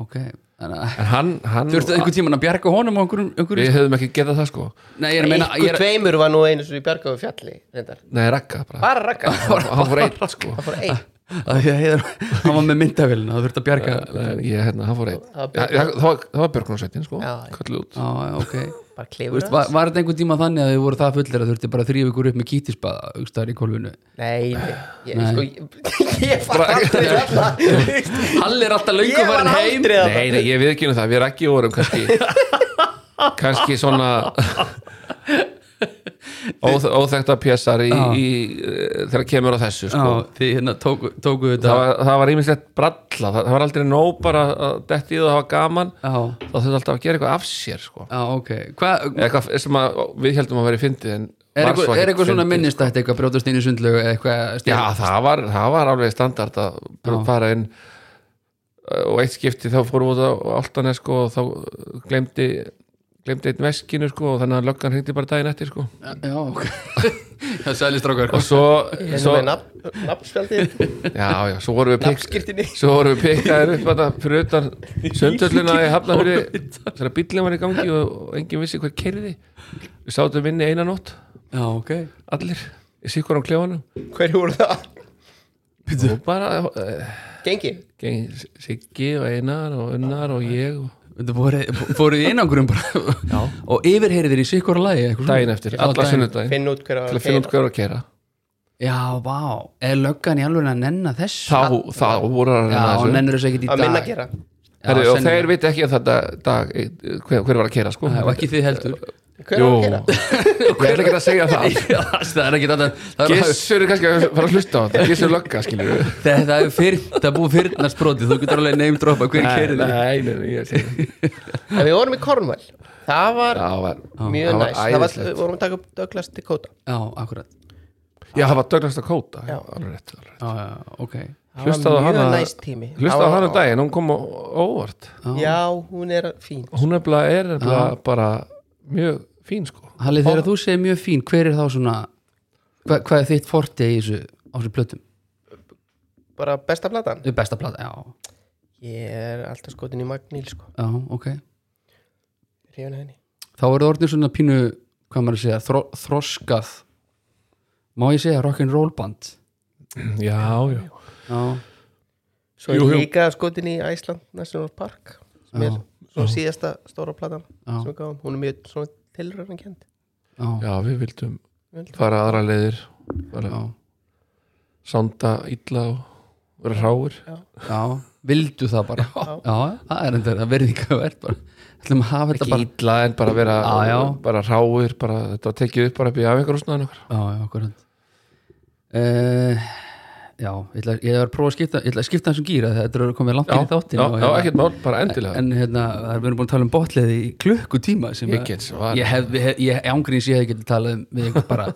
Speaker 1: Ok, þannig að
Speaker 3: en hann, hann
Speaker 1: Þurftu einhvern tímann að bjarga honum og einhverjum, einhverjum
Speaker 3: við hefðum ekki getað það sko
Speaker 1: Nei, ég er að meina ég
Speaker 2: ykkur
Speaker 1: er,
Speaker 2: tveimur var nú einu sem í bjargaðu fjalli reyndar.
Speaker 3: nei, Ragga bara,
Speaker 2: bara Ragga það
Speaker 3: hann fór einn sko
Speaker 2: fór einn
Speaker 1: að ég heiðar, Hann var með myndavélina, það þurfti að bjarga Já,
Speaker 3: Nei, ég, hérna, hann fór einn
Speaker 2: Það var
Speaker 3: Já, já, það var, það var björgunarsveitin sko,
Speaker 2: Já, já.
Speaker 3: kallu út
Speaker 1: já, ok
Speaker 2: bara
Speaker 1: Þú
Speaker 2: klifur
Speaker 1: veist, var, var þetta einhvern tíma þannig að þau voru það fullir að þurfti bara þrýf ykkur upp með kítisbaða augstaðar í kolvinu
Speaker 2: Nei, nei, ég,
Speaker 1: Nei.
Speaker 2: Sko, ég, ég var aldrei þarna
Speaker 1: Hall er alltaf löngu
Speaker 2: Ég var
Speaker 1: farin heim
Speaker 2: aldrei þarna
Speaker 3: Nei, nei, ég viðkynna það, við erum ekki vorum kannski kannski svona óþ, óþekta pjessar í,
Speaker 1: Já.
Speaker 3: í, eh, þegar kemur á þessu
Speaker 1: Já,
Speaker 3: sko.
Speaker 1: því hérna tóku, tóku þetta
Speaker 3: það, var, það var ímislegt bralla það, það var aldrei nóg bara að detti í það og hafa gaman
Speaker 1: Já,
Speaker 3: þá þurfti alltaf að gera eitthvað af sér sko.
Speaker 1: já, ok Hvað,
Speaker 3: Eða eitthvað sem að, við heldum að vera fyndið en
Speaker 1: er
Speaker 3: var
Speaker 1: eitthvað,
Speaker 3: svo
Speaker 1: er
Speaker 3: ekkert
Speaker 1: eitthvað svona
Speaker 3: fyndið.
Speaker 1: minnistætt eitthvað brjótast inn í sundlögu eða eitthvað
Speaker 3: Já,
Speaker 1: stelast?
Speaker 3: það var, það var alveg standard að bara fara inn uh, og eitt skipti þá fórum við út á Altanes sko og þá uh, glemdi glemdi einn veskinu sko og þannig að löggan hringdi bara daginn eftir sko
Speaker 1: Já, ok Það sæli strákar
Speaker 3: og svo,
Speaker 2: Eins
Speaker 3: svo
Speaker 2: og með nafn- nafnspjaldið
Speaker 3: já, já, svo vorum við pikk
Speaker 2: Nafnskirtinni
Speaker 3: svo vorum við pikkaðir upp þetta fyrir utan söndulluna í Hafnafyrir þegar bíllinn var í gangi og, og enginn vissi hver kerði við sátum inni eina nótt
Speaker 1: Já, ok
Speaker 3: allir, í sikkur á klefanum
Speaker 2: Hverju voru það?
Speaker 3: og bara uh,
Speaker 2: Gengi?
Speaker 3: geng, Siggi og Einar og Unnar og ég og
Speaker 1: Þetta voru, fóruð í einangurum bara Já. og yfirheyriðir í sikkur að lagi eitthvað svona?
Speaker 3: daginn eftir,
Speaker 1: Mm. Já,
Speaker 3: alla
Speaker 1: daginn.
Speaker 3: sunnudaginn
Speaker 2: Finn út hverju
Speaker 3: til að finna út hvað er að gera
Speaker 1: Já, vá, er löggan í alveg að nenna þess
Speaker 3: þá, þá voru hann
Speaker 1: Já,
Speaker 3: að
Speaker 1: hún
Speaker 3: þessu
Speaker 1: nennur þess ekkert í dag
Speaker 2: Að minna gera
Speaker 1: Já,
Speaker 3: Herri, og
Speaker 1: sennilega.
Speaker 3: þeir veit ekki að þetta dag, eh, hver, hver var að kera sko
Speaker 1: Já, og ekki þið heldur
Speaker 2: Hverju
Speaker 3: Jú,
Speaker 2: voru að gera?
Speaker 3: ég ætla ekki að segja það
Speaker 1: Já, það er ekki alltaf það er-
Speaker 3: Gissur er kannski að fara að hlusta á þetta Gissur lögga, skilur við
Speaker 1: það- það er fyrir, það er búið fyrirnast brotið þú getur alveg name dropa hver
Speaker 3: Nei,
Speaker 1: kerið þig
Speaker 3: nei, nei, ég segi það.
Speaker 2: En við vorum í Cornwall Það var
Speaker 3: Já, var-
Speaker 2: mjög
Speaker 3: það var
Speaker 2: næst Það var,
Speaker 3: æðislegt.
Speaker 2: við vorum að taka upp Douglas Dakota
Speaker 1: Já, akkurat
Speaker 3: uh, Já, það var Douglas Dakota
Speaker 2: Já.
Speaker 3: alveg rétt, alveg rétt.
Speaker 1: Já, já, ok
Speaker 2: Það
Speaker 3: Hlustaðu á
Speaker 2: var mjög
Speaker 3: hana-
Speaker 2: næst tími Það
Speaker 3: Hlustaðu á
Speaker 2: var-
Speaker 3: hann um daginn, hún kom á á óvart
Speaker 2: Já, hún er fín
Speaker 3: Hún er bara, er nefnilega bara mjög fín sko
Speaker 1: Halli, þegar þú segir mjög fín, hver er þá svona hva, hvað er þitt fortið í þessu á þessu plötum?
Speaker 2: Bara besta platan
Speaker 1: Þau besta plata, já,
Speaker 2: Ég er alltaf skotin í Magníl sko
Speaker 1: já, ok
Speaker 2: Hrifin af henni
Speaker 1: þá eru það orðin svona pínu hvað maður að segja, þro, þroskað má ég segja rock'n'roll band
Speaker 3: Já, já
Speaker 1: já,
Speaker 2: Svo er
Speaker 3: Jú, jú.
Speaker 2: líka skotin í Æsland National Park sem
Speaker 1: Já.
Speaker 2: er svona síðasta stóra platan
Speaker 1: Já.
Speaker 2: sem við gáum Hún er mjög svona
Speaker 1: já,
Speaker 2: tilröðankend
Speaker 1: já,
Speaker 3: Já, við vildum
Speaker 2: Vildum.
Speaker 3: fara aðra leiðir bara
Speaker 1: já.
Speaker 3: sanda illa og vera hráir
Speaker 1: já, vildu það bara já, það er enda það verðingavert bara ætlum að hafa þetta
Speaker 3: ekki
Speaker 1: bara
Speaker 3: illa en bara vera
Speaker 1: Já, já.
Speaker 3: bara hráir, bara þetta var tekið upp bara upp í afingarúsnaðan okkar
Speaker 1: já, já, akkurat uh, já, ég ætla, ég ætla að prófa að skipta ég ætla að skipta um þessum gýra þetta er komið langt
Speaker 3: já,
Speaker 1: inn í þáttin
Speaker 3: já, já, ekkert mál, bara endilega
Speaker 1: en hérna, það er- við erum búin að tala um botleði í klukkutíma sem
Speaker 3: Ég
Speaker 1: að-
Speaker 3: get svarið.
Speaker 1: ég hef, ég hef, ég ángríns ég hef getið talað um við einhvern bara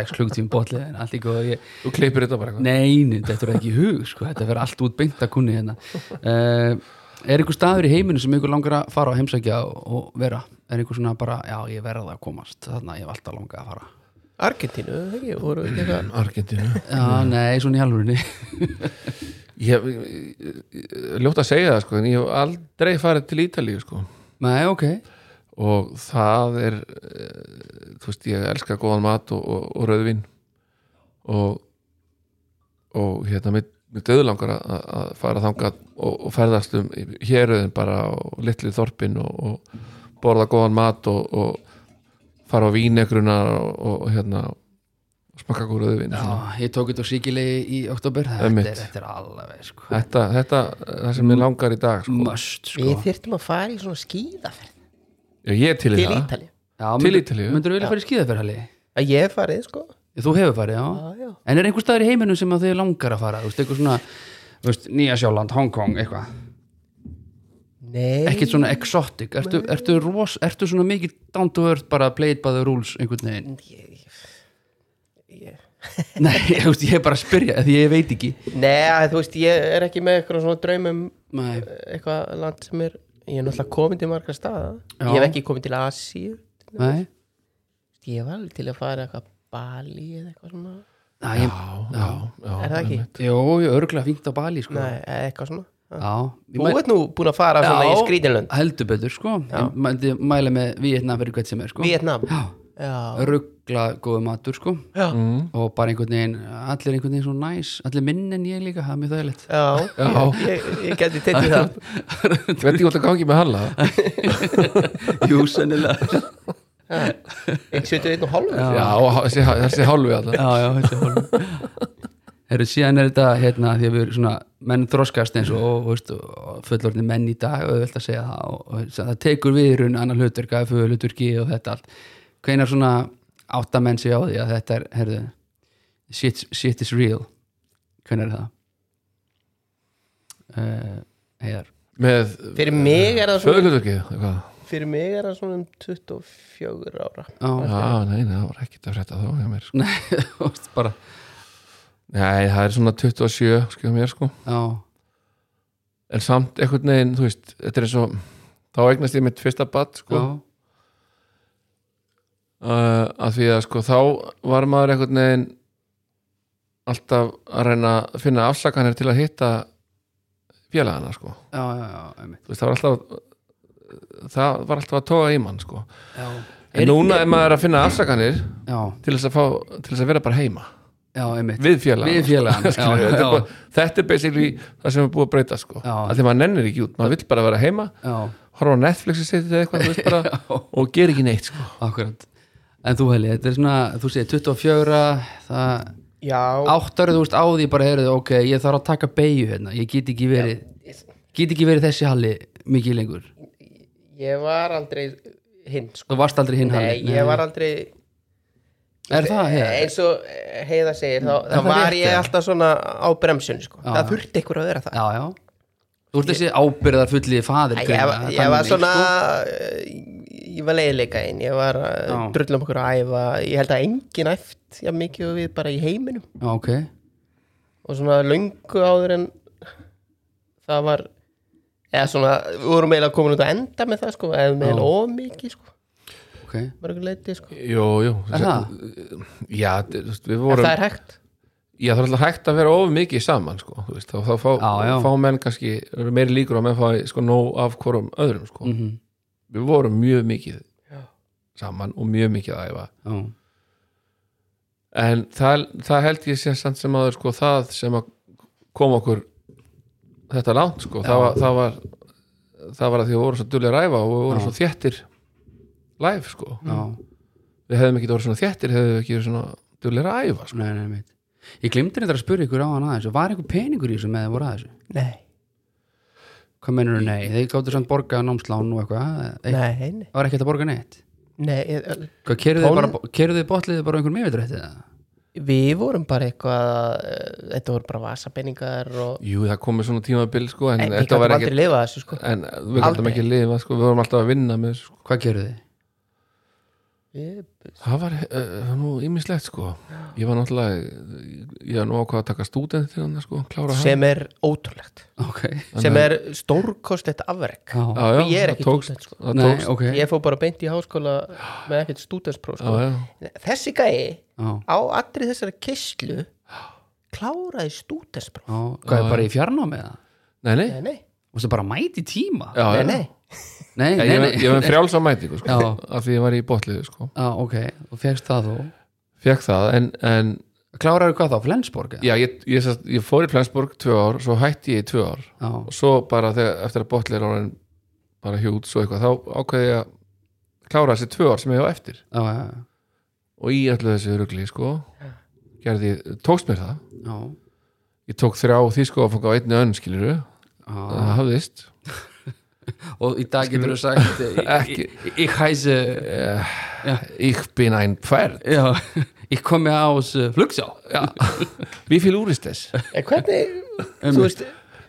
Speaker 1: 6 klukkutíma botleði en allt í góðu, ég,
Speaker 3: þú kleipir þetta bara eitthvað
Speaker 1: nein, þetta er ekki í hug sko, þetta verður allt út beint að kunni hérna uh, er einhver staður í heiminu sem ykkur langar að fara á heimsækja og, og vera, er einhver svona bara já, ég verða að komast, þannig að ég hef alltaf langað að fara
Speaker 2: Argentínu, það ekki, voru ekki eitthvað
Speaker 3: Argentínu
Speaker 1: já, nei, svona í alvörinni
Speaker 3: ég hef ég- ég- ljótt að segja það sko en ég hef aldrei farið til Ítalíu sko
Speaker 1: nei, ok,
Speaker 3: og það er eh, þú veist, ég elska góðan mat og, og, og rauðvin og og hérna, mér, mér döðlangar að, að fara þangað og, og ferðast um héröðin bara og litlu þorpin og, og borða góðan mat og, og fara á vínegruna og, og hérna smakka góð rauðvin
Speaker 1: já, ég tók þetta á síkilegi í oktober, þetta
Speaker 3: Einmitt.
Speaker 1: er, þetta er alveg sko,
Speaker 3: þetta, þetta, það sem mér langar í dag sko.
Speaker 1: must sko.
Speaker 2: Við þyrftum að fara í svona skíðaferð
Speaker 3: Já, ég er til í
Speaker 2: til
Speaker 3: það
Speaker 2: Ítalíu
Speaker 1: já,
Speaker 3: til
Speaker 1: myndir-
Speaker 3: Ítalíu.
Speaker 1: myndirðu vilja fara í skíðaferðali
Speaker 2: að ég hef farið sko
Speaker 1: þú hefur farið, já
Speaker 2: Já, já.
Speaker 1: en er einhver staður í heiminum sem að þið langar að fara, þú veist, eitthvað svona þú veist, Nýja Sjáland, Hong Kong, eitthvað
Speaker 2: Nei,
Speaker 1: ekkert svona exotic ertu, ertu, ros, ertu svona mikið down to earth bara played by the rules einhvern veginn
Speaker 2: ég, ég.
Speaker 1: nei, ég, veist, ég er bara að spyrja því ég veit ekki
Speaker 2: Nei, að þú veist, ég er ekki með eitthvað svona draumum eh,
Speaker 1: nei,
Speaker 2: eitthvað land sem er ég er náttúrulega komin til margra staða
Speaker 1: Já.
Speaker 2: ég hef ekki komin til Asíu
Speaker 1: nei,
Speaker 2: ég var alveg til að fara eitthvað Bali eða eitthvað svona
Speaker 1: Æ,
Speaker 3: já,
Speaker 1: ég,
Speaker 3: já, já,
Speaker 2: er það ekki?
Speaker 1: jó, ég örgla fínt á Bali sko.
Speaker 2: Nei, eða eitthvað svona
Speaker 1: já, ég
Speaker 2: Þú
Speaker 1: mæ-
Speaker 2: ert nú búin að fara svona
Speaker 1: Já.
Speaker 2: í skrítinlönd
Speaker 1: heldur betur sko. ég mæ- mæla með Vietnam fyrir hvert sem er sko.
Speaker 2: Vietnam
Speaker 1: já,
Speaker 2: Já,
Speaker 1: örgla góðu matur sko.
Speaker 2: já,
Speaker 1: og bara einhvern veginn, allir einhvern veginn svo næs allir minn en ég líka, það er mjög þægilegt
Speaker 2: já. Ég, ég geti tekið það
Speaker 3: Ég veit ekki hvort að gangi með halla
Speaker 1: jú, sennilega
Speaker 2: Ég 71 og hálfur
Speaker 3: Já, og þessi, þessi hálfi alltaf
Speaker 1: já, já, þetta er hálfur Heru, síðan er þetta hérna því að við erum svona menn þroskast eins og, og, veist, og fullorðni menn í dag og auðvelt að segja það og, og sem það tekur við í raun annar hlutur, gafið hluturki og þetta allt hvenar svona átta menn sig á því að þetta er, herðu shit, shit is real hvenar er það uh, heiðar
Speaker 3: með
Speaker 2: Fyrir mig er það svona
Speaker 3: föðlutverkið eitthvað
Speaker 2: Fyrir mig er það svona um 24 ára
Speaker 1: Já,
Speaker 3: Já, nei, nei, það var ekkert að frétta þá hjá mér sko.
Speaker 1: þú veist, bara,
Speaker 3: Nei, það er svona 27 sko, hjá mér sko
Speaker 1: já,
Speaker 3: En samt einhvern veginn, þú veist, þetta er eins og Þá eignast ég mitt fyrsta bat sko
Speaker 1: já,
Speaker 3: uh, Að því að sko, þá var maður einhvern veginn Alltaf að reyna að finna afsakanir til að hitta félagana sko
Speaker 1: já, já, já, einmitt.
Speaker 3: Þú veist, það var alltaf Það var alltaf að toga í mann sko
Speaker 1: já.
Speaker 3: En núna er maður að finna afsakanir
Speaker 1: já,
Speaker 3: til þess að, fá, til þess að vera bara heima
Speaker 1: já, einmitt
Speaker 3: við félagann
Speaker 1: Við félagann, já,
Speaker 3: Skilur, þetta, er
Speaker 1: já.
Speaker 3: bara- þetta er basically það sem er búið að breyta sko.
Speaker 1: Já.
Speaker 3: að því maður nennir ekki út, maður vill bara vera heima
Speaker 1: já
Speaker 3: horfa á Netflixi sitt eða eitthvað þú veist, bara, og gera ekki neitt sko.
Speaker 1: Akkurat En þú Heli, þetta er svona, þú segir 24 það,
Speaker 2: Já,
Speaker 1: áttar þú veist á því bara heyrðu, ok, ég þarf að taka beigju hérna, ég get ekki verið get ekki verið þessi halli mikið lengur
Speaker 2: ég var aldrei hinn sko.
Speaker 1: þú varst aldrei hinn halli
Speaker 2: Nei, ég var aldrei
Speaker 1: Er það, Heiðar?
Speaker 2: eins og eh, heiða segir þá, þá
Speaker 1: Mm. það
Speaker 2: var
Speaker 1: rétt,
Speaker 2: ég
Speaker 1: eða?
Speaker 2: alltaf svona á bremsun sko.
Speaker 1: Já.
Speaker 2: það þurfti ykkur að vera það
Speaker 1: Já, já Þú ert þessi ábyrðar fulli faðir
Speaker 2: ég,
Speaker 1: greinilega,
Speaker 2: var-
Speaker 1: þannig
Speaker 2: ég var
Speaker 1: sko.
Speaker 2: svona eh, ég var leiðileika einn ég var að
Speaker 1: Já.
Speaker 2: drullum okkur að æfa ég held að engin æft já, mikið og við bara í heiminum
Speaker 1: Já, ok
Speaker 2: og svona löngu áður en það var eða svona, við vorum eiginlega komin út að enda með það sko, eða með of mikið sko,
Speaker 1: Ok,
Speaker 2: bara ykkur leiti sko
Speaker 3: jú, jú
Speaker 1: er það?
Speaker 3: já, þú veist, við
Speaker 2: en
Speaker 3: vorum
Speaker 2: það
Speaker 3: það er...
Speaker 2: er hægt
Speaker 3: já, það er alltaf hægt að vera of mikið saman sko. þú veist, þá, þá fá,
Speaker 1: Já, já.
Speaker 3: fá menn kannski eru meiri líkur á að menn fá sko, nóg af hvorum öðrum sko.
Speaker 1: Mhm.
Speaker 3: við vorum mjög mikið saman og mjög mikið að æfa
Speaker 1: Já,
Speaker 3: en það, það held ég sé samt sem aður sko það sem að kom okkur þetta langt sko það var, það var það var að því að við vorum svo dulli að ræfa og við vorum svo þéttir live sko
Speaker 1: já,
Speaker 3: Mhm. við hefðum ekki voru svona þéttir hefðum við ekki verið svona dulli að æfa sko.
Speaker 1: nei, nei, mitt Ég glimti þetta að spyrja ykkur á hann aðeins og var einhver peningur í þessu með þeir voru að þessu?
Speaker 2: Nei,
Speaker 1: Hvað mennur nei? Þeir gáttu samt borga námslán og eitthvað Eitt-
Speaker 2: nei, nei,
Speaker 1: Það var ekkert að borga neitt
Speaker 2: nei ég-
Speaker 1: Hvað, kerðu þið
Speaker 2: Tón-
Speaker 1: bara, kerðu þið botliðið bara einhver meðvitrætti það?
Speaker 2: Við vorum bara eitthvað eh, Þetta voru bara vasapenningar og
Speaker 3: Jú, það komið svona tímabil sko, en,
Speaker 2: En við
Speaker 3: þetta
Speaker 2: gætum
Speaker 3: var
Speaker 2: aldrei
Speaker 3: ekki
Speaker 2: ekki... lifað þessu sko
Speaker 3: en við gætum
Speaker 2: Aldrei.
Speaker 3: ekki lifa sko, við vorum alltaf að vinna með þessu, sko.
Speaker 1: Hvað kerðu þið?
Speaker 2: Við-
Speaker 3: það var uh, nú ýmislegt sko ég var náttúrulega ég var nú ákvað að taka stúdent til hann sko, klára hann
Speaker 2: Sem er ótrúlegt
Speaker 1: Ok
Speaker 2: Sem er stórkostlegt afrek
Speaker 1: Já,
Speaker 3: Já, já,
Speaker 2: Og ég er
Speaker 3: það
Speaker 2: ekki
Speaker 3: tókst,
Speaker 2: stúdent, sko.
Speaker 3: það
Speaker 1: Nei,
Speaker 3: tókst.
Speaker 1: ok
Speaker 2: Ég fór bara beint í háskóla með ekkert stúdenspróf
Speaker 3: Já,
Speaker 2: sko.
Speaker 3: já.
Speaker 2: Þessi gæi
Speaker 1: Já,
Speaker 2: á allri þessari kyslu kláraði stúdenspróf
Speaker 1: já Hvað er bara í fjarnámið það?
Speaker 3: Nei, nei,
Speaker 2: Nei, nei,
Speaker 1: Þú veist bara að mæta í tíma?
Speaker 3: já,
Speaker 2: nei,
Speaker 3: já.
Speaker 2: nei
Speaker 1: Nei,
Speaker 3: Ég,
Speaker 1: nei,
Speaker 3: ég,
Speaker 1: nei
Speaker 3: ég var frjáls á mætingu sko,
Speaker 1: Já.
Speaker 3: af því ég var í botliðu sko.
Speaker 1: Já, ok, og fegst það þú
Speaker 3: fekk það, en, en
Speaker 1: Kláraðu hvað þá, Flensborg? eða?
Speaker 3: já, ég, ég, ég, ég fór í Flensborg tvö ár, svo hætti ég í tvö ár
Speaker 1: Já,
Speaker 3: og svo bara þegar, eftir að botlið er orðin bara hjút svo eitthvað, þá ákveði ég að klára þessi tvö ár sem ég á eftir
Speaker 1: já, já, já.
Speaker 3: og í öllu þessu rugli sko gerði, ég- tókst mér það
Speaker 1: já,
Speaker 3: ég tók þrjá þýsku áfanga á einni önn skiluru, það
Speaker 1: já.
Speaker 3: hafðist
Speaker 1: Og í dag getur þú sagt
Speaker 3: Ekki.
Speaker 1: Ég- ég- Ég hæsi
Speaker 3: ég bin ein pferd
Speaker 1: Já, ég kom með ás uh, flugsá
Speaker 3: já, við fylg úrist þess
Speaker 2: En hvernig, þú veist,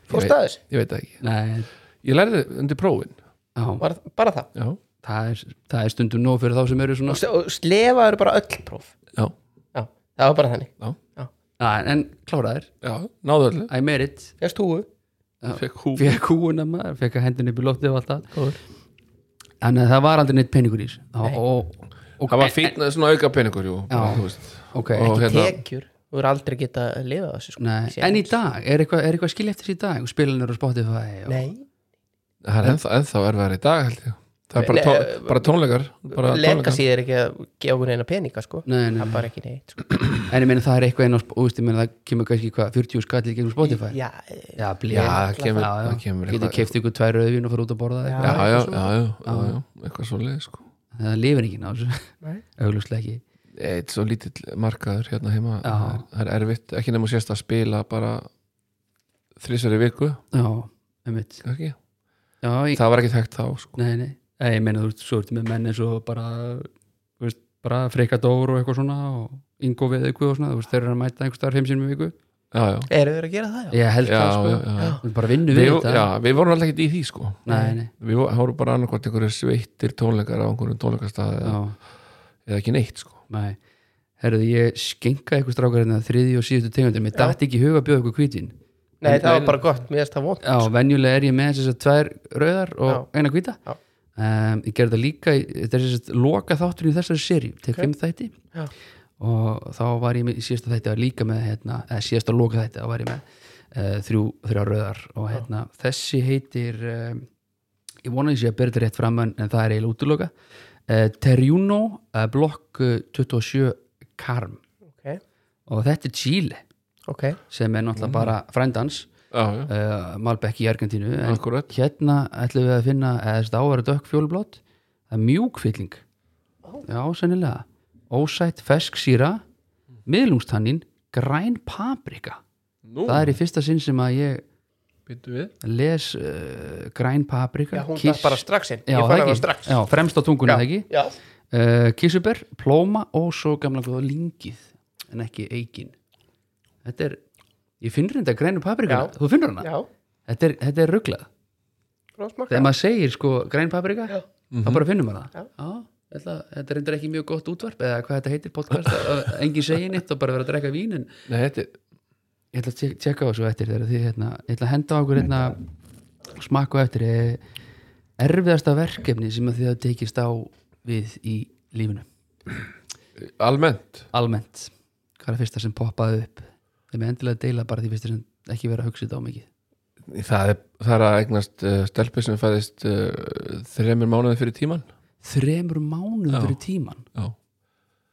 Speaker 2: fórst að þessu
Speaker 3: ég veit það ekki,
Speaker 1: Nei,
Speaker 3: ég lærði undir prófin
Speaker 1: já,
Speaker 2: Var bara það
Speaker 3: já,
Speaker 1: það er, það er stundum nóg fyrir þá sem eru svona
Speaker 2: Og s- og slefaður bara öll próf
Speaker 3: já,
Speaker 2: Já, það var bara þannig
Speaker 3: já,
Speaker 1: Já, en kláraðir,
Speaker 3: já náðu öllu
Speaker 1: I made it
Speaker 2: Ég stúu
Speaker 3: fekk hú
Speaker 1: Fekk húuna maður, fekk að hendin upp í loftið og allt það Þannig að það var aldrei neitt peningur í þessu Já, og, og,
Speaker 3: það var fín svona auka peningur jú, bara,
Speaker 1: Já.
Speaker 3: þú veist.
Speaker 1: ok
Speaker 3: Og hérna-
Speaker 2: tekjur Þú eru aldrei geta að lifa þessu sko.
Speaker 1: Nei,
Speaker 2: Sér.
Speaker 1: en í dag, er eitthvað eitthva skil eftir þessi í dag? Spilin eru á Spotify og...
Speaker 2: Nei,
Speaker 3: það er ennþá, ennþá erfiðar í dag held ég það er bara,
Speaker 2: Le-
Speaker 3: tó, bara tónleikar bara
Speaker 2: lega
Speaker 3: tónleikar.
Speaker 2: síður ekki að gefa okkur eina peninga sko.
Speaker 1: Nei,
Speaker 2: það
Speaker 1: nei,
Speaker 2: er bara ekki neitt sko.
Speaker 1: en ég meina það er eitthvað einn á Sp- og þú veist, ég meina það kemur kannski hvað, 40 skallið gegnum Spotify
Speaker 2: Já, eh,
Speaker 1: Já,
Speaker 3: já,
Speaker 1: blíð
Speaker 3: það kemur,
Speaker 1: já, já.
Speaker 3: það kemur
Speaker 1: Getur
Speaker 3: eitthvað-
Speaker 1: keift ykkur tvær rauðvín og fara út að borða
Speaker 2: Já.
Speaker 1: eitthvað.
Speaker 3: já, já, já, já, já, já, eitthvað svo leið sko.
Speaker 1: Það lifir ekki ná þessu
Speaker 2: Nei.
Speaker 1: Auglustlega ekki
Speaker 3: eitt svo lítill markaður hérna heima
Speaker 1: Já.
Speaker 3: það er- það er erfitt, ekki nefnum sérst að spila bara þrísveri viku
Speaker 1: Já, einmitt
Speaker 3: ekki?
Speaker 1: Já, ég,
Speaker 3: það var ekki þekkt þá sko.
Speaker 1: nei, nei Nei, Ég meina þú veist, svo ertu með menn eins og bara þú veist, bara freikadór og eitthvað svona og Ingo við eitthvað og svona þú veist, þeir eru að mæta einhver starf heimsinn með viku
Speaker 3: já, já,
Speaker 2: eru þeir að gera það?
Speaker 1: Ég held
Speaker 3: já,
Speaker 1: það sko
Speaker 3: já, já.
Speaker 1: Þú bara vinnu
Speaker 3: Við,
Speaker 1: við þetta
Speaker 3: já, við vorum alltaf ekki í því sko
Speaker 1: Nei, nei,
Speaker 3: við vo- það voru bara annarkvæmt einhverju sveittir tónleikar á einhverjum tónleikastað eða,
Speaker 1: já
Speaker 3: eða ekki neitt sko
Speaker 1: Nei, herruðu, ég skenkaði ykkur strákar hérna þriði og síðustu tegundum, ég dætti ekki í hug að bjóða ykkur hvítin.
Speaker 2: Nei, það var bara gott, mér finnst það vond
Speaker 1: Já, venjulega er ég með þess að tvær rauðar og eina hvíta.
Speaker 2: Já.
Speaker 1: Um, ég gerði það líka, í- þetta er þess að loka þáttur í þessari séri, til okay. fimm þætti
Speaker 2: Já.
Speaker 1: og þá var ég með, í síðasta þætti var líka með, hérna, eða síðasta loka þætti þá var ég með uh, þrjú, þrjá rauðar og hérna, þessi heitir um, ég vona þess að ég að byrja þetta rétt fram en, en það er eiginlega útiloka uh, Terjuno uh, blokk eh, 27 Karm
Speaker 2: Ok,
Speaker 1: og þetta er Chile
Speaker 2: ok,
Speaker 1: sem er
Speaker 2: Mm.
Speaker 1: náttúrulega bara frændans
Speaker 3: já, já,
Speaker 1: uh, Malbek í Argentínu en
Speaker 3: akkurat
Speaker 1: hérna ætlum við að finna eða þetta áverða dökk fjólublátt það er mjúkfylling já, sennilega, ósætt fesk síra miðlungstannin græn paprika
Speaker 3: nú,
Speaker 1: það er í fyrsta sinn sem að ég
Speaker 3: byttu við
Speaker 1: les uh, græn paprika
Speaker 2: já, hún
Speaker 1: kiss-
Speaker 2: datt bara strax inn
Speaker 1: Já,
Speaker 2: Ég
Speaker 1: það
Speaker 2: fann hana
Speaker 1: ekki.
Speaker 2: strax
Speaker 1: já, fremst á tungunni það ekki
Speaker 2: já,
Speaker 1: uh, kissuber, plóma og svo gamla góða lingið en ekki eikin þetta er, ég finnur þetta grænu paprika
Speaker 2: Já.
Speaker 1: þú finnur hana,
Speaker 2: já,
Speaker 1: þetta er, þetta er rugglað
Speaker 2: rósmakka
Speaker 1: þegar maður segir sko græn paprika
Speaker 2: Já.
Speaker 1: þá bara finnum maður
Speaker 2: Já.
Speaker 1: það Já, þetta, þetta reyndir ekki mjög gott útvarp eða hvað þetta heitir podcast að- engin segir nýtt og bara vera að drekka vín en
Speaker 3: Nei, þetta er
Speaker 1: ég ætla að tek- tjekka á þessu eftir þegar því hérna, ég ætla að henda á okkur hérna smakku eftir eh, erfiðasta verkefni sem að þið hafa tekist á við í lífinu
Speaker 3: almennt
Speaker 1: almennt hvað er fyrsta sem poppaði upp þeim er endilega að deila bara því fyrsta sem ekki vera að hugsa þetta á mikið
Speaker 3: það er, það er að eignast uh, stelpi sem fæðist uh, þremur mánuði fyrir tíman
Speaker 1: þremur mánuð
Speaker 3: Já.
Speaker 1: fyrir tíman
Speaker 3: já.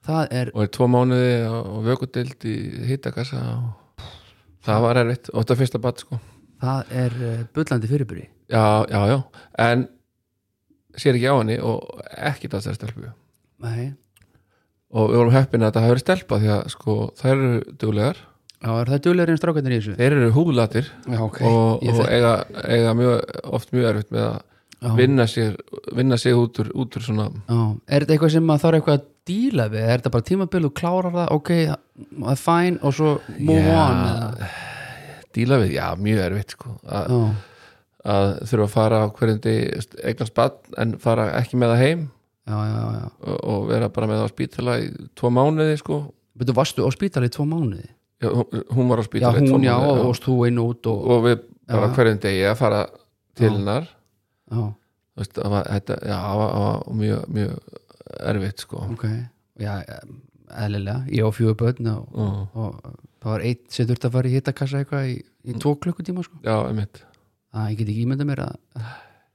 Speaker 1: það er,
Speaker 3: og er tvo mánuði á á vökudeild í hittakassa og það var erfitt og þetta er fyrsta bat sko
Speaker 1: það er eh, bullandi fyrirbyrði
Speaker 3: já, já, já, en sér ekki á henni og ekki það sér stelpu
Speaker 1: nei,
Speaker 3: og við vorum heppin að þetta hafi verið stelpa því að sko þær eru duglegar
Speaker 1: Já, er það duglegri en strákarnir í þessu?
Speaker 3: þeir eru húðlatir
Speaker 1: Já, ok
Speaker 3: og,
Speaker 1: Ég
Speaker 3: og
Speaker 1: þekki-
Speaker 3: eiga, eiga mjög, oft mjög erfitt með að
Speaker 1: Já.
Speaker 3: vinna sér, vinna sér út, úr, út úr svona
Speaker 1: Já, er þetta eitthvað sem maður þarf eitthvað að díla við? Er þetta bara tímabil og klárar það, ok, það er fæn og svo move
Speaker 3: Já.
Speaker 1: on eða?
Speaker 3: díla við, já, mjög erfitt sko, að,
Speaker 1: Já,
Speaker 3: að þurfa að fara á hverjum degi eignast bann en fara ekki með það heim
Speaker 1: já, já, já.
Speaker 3: og, og vera bara með það á spítala í tvo mánuði sko
Speaker 1: Betur, varstu á spítali í tvo mánuði?
Speaker 3: já, hún, hún var á
Speaker 1: Já,
Speaker 3: spítala í tvo
Speaker 1: hún, já, og
Speaker 3: mánuði
Speaker 1: og þú inn og út og,
Speaker 3: og við bara
Speaker 1: Já.
Speaker 3: hverjum degi að fara til hennar
Speaker 1: já,
Speaker 3: Þú veist, það var, þetta, já, það var, það var mjög, mjög erfitt sko
Speaker 1: ok. Já, eðlilega, ég á fjögur börn og,
Speaker 3: og,
Speaker 1: og það var eitt sem þurfti að fara í hittakassa eitthvað í, í tvo klukkutíma, sko.
Speaker 3: já, einmitt
Speaker 1: Það, ég get ekki ímynda mér að að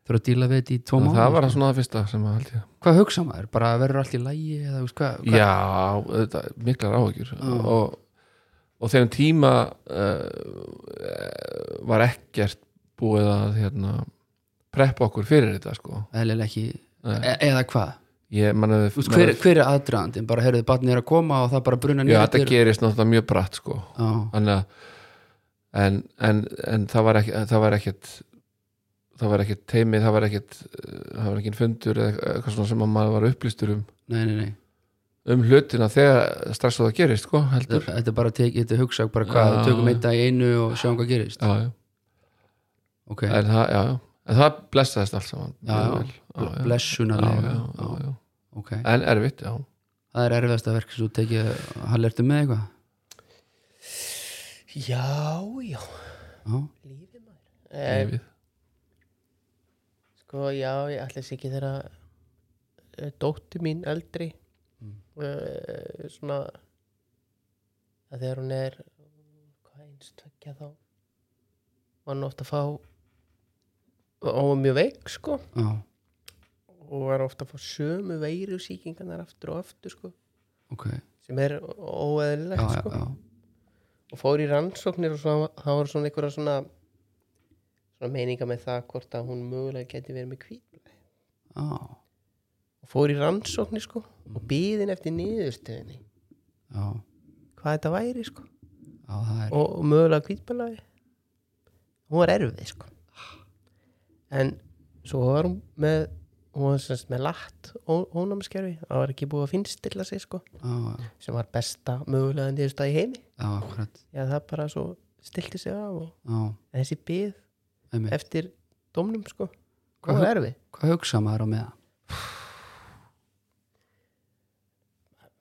Speaker 1: þurfa að díla við þetta í tvo
Speaker 3: það,
Speaker 1: mánuði.
Speaker 3: það var
Speaker 1: sko.
Speaker 3: svona það fyrsta sem að held ég
Speaker 1: Hvað hugsa maður? Bara verður allt í lægi eða, þú veist, hvað? hvað-
Speaker 3: já, þetta, miklar áhyggjur og, og þegar tíma uh, var ekkert búið að hérna, preppa okkur fyrir þetta sko
Speaker 1: Eðlilega ekki,
Speaker 3: Nei.
Speaker 1: e eða hvað?
Speaker 3: ég manna
Speaker 1: Þú veist, hver, hver er aðdragandinn? Bara heyrðu, barnið er að koma og það bara bruna
Speaker 3: já,
Speaker 1: niður
Speaker 3: þetta gerist náttúrulega mjög bratt sko
Speaker 1: Já,
Speaker 3: þannig að en, en, en það var ekki það var ekkert það var ekkert teimið, það var ekkert uh, það var ekkert fundur eða eitthvað svona sem að maður var upplýstur um,
Speaker 1: nei, nei, nei
Speaker 3: um hlutina þegar strax og það gerist sko,
Speaker 1: Þetta,
Speaker 3: heldur
Speaker 1: þetta er bara að tek- þetta er hugsa bara hvað,
Speaker 3: Já.
Speaker 1: tökum einn dag í einu og sjáum hvað gerist
Speaker 3: já, já.
Speaker 1: Ok,
Speaker 3: en það, já, já en það blessaðist allt saman
Speaker 1: Já, já.
Speaker 3: Vel, já, já. já,
Speaker 1: blessunarlega
Speaker 3: já, já, já.
Speaker 1: Ok,
Speaker 3: en erfitt, já
Speaker 1: það er erfiðasta verk sem þú tekið, hann lertu með eitthvað
Speaker 2: já, já
Speaker 1: Já,
Speaker 2: lífið maður eh,
Speaker 3: Lífið.
Speaker 2: Sko, já, ég ætla þess ekki þegar eh, dóttir mín eldri
Speaker 1: Mm.
Speaker 2: eh, svona að þegar hún er hvað eins tvekja þá var hún ofta að fá og hún var mjög veik sko
Speaker 1: já,
Speaker 2: og var ofta að fá sömu veiru sýkingarnar aftur og aftur sko
Speaker 1: ok Já,
Speaker 2: sem er óeðlilegt
Speaker 1: já,
Speaker 2: sko
Speaker 1: já,
Speaker 2: og fór í rannsóknir og svona, það var svona einhverja svona, svona meininga með það hvort að hún mögulega geti verið með kvít
Speaker 1: já,
Speaker 2: og fór í rannsóknir sko og býðin eftir niðurstöðinni
Speaker 1: já,
Speaker 2: hvað þetta væri sko
Speaker 1: já, það er
Speaker 2: og, og mögulega kvítbælagi hún var erfið sko en svo var hún með hún var semst með latt ónámskerfi, það var ekki búið að finnstilla sig sko
Speaker 1: Já, já,
Speaker 2: sem var besta mögulega niðurstöð í heimi
Speaker 1: já, akkurat
Speaker 2: já það bara svo stilti sig af og
Speaker 1: Já,
Speaker 2: þessi býð
Speaker 1: einmitt
Speaker 2: eftir dómnum sko
Speaker 1: Hvað
Speaker 2: hún var erfið
Speaker 1: Hvað hugsa maður á meðan?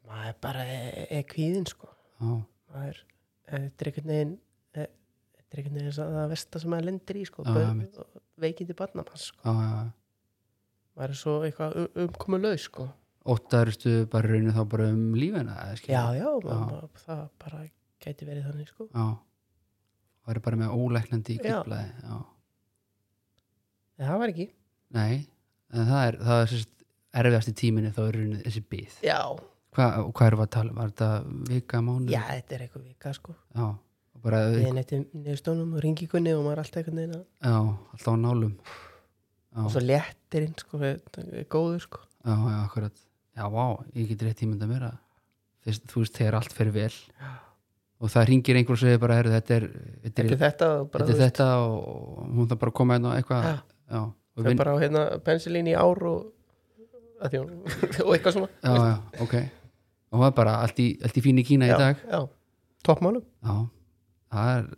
Speaker 2: maður bara er, er kvíðin sko
Speaker 1: Já,
Speaker 2: maður eh, þetta er einhvern veginn eh, þetta er einhvern veginn það- það versta sem maður lendir í sko,
Speaker 1: Já,
Speaker 2: börn,
Speaker 1: einmitt.
Speaker 2: og veikindi barnamann sko.
Speaker 1: já, já, já
Speaker 2: maður er svo eitthvað umkomu laus sko.
Speaker 1: Óttaðurstu bara í rauninu þá bara um lífina eða skilur?
Speaker 2: já, já, maður,
Speaker 1: Já.
Speaker 2: Maður, það bara gæti verið þannig sko.
Speaker 1: Já Það er bara með ólæknandi
Speaker 2: Já.
Speaker 1: kipplaði Já
Speaker 2: en það var ekki
Speaker 1: Nei, en það er, það er sérst erfiðast í tíminni þá er raunin þessi byð
Speaker 2: já,
Speaker 1: Hva, og hvað erum við að tala? um? Var þetta vika mánu?
Speaker 2: já, þetta er eitthvað vika sko.
Speaker 1: Já, og bara,
Speaker 2: við erum eftir neðstónum og ringi kunni og maður er alltaf einhvern veginn að-
Speaker 1: já, alltaf á nálum
Speaker 2: og
Speaker 1: Já,
Speaker 2: svo léttirinn sko, þetta er góður sko.
Speaker 1: já, já, akkurat Já, vá, ég get rétt tímynda mér að fyrst, þú veist, þegar allt fer vel og það ringir einhver og segir bara, herru, þetta er þetta er
Speaker 2: þetta er
Speaker 1: þetta,
Speaker 2: þetta og bara,
Speaker 1: er þetta og hún það bara að koma einn og eitthvað
Speaker 2: Já.
Speaker 1: já, og
Speaker 2: það er
Speaker 1: vin,
Speaker 2: bara á hérna, pensilín í ár og, að því hún- og eitthvað svona
Speaker 1: já, já, ok og það er bara allt í, allt í fínu kína
Speaker 2: já,
Speaker 1: í dag
Speaker 2: já, toppmálum
Speaker 1: Já, það er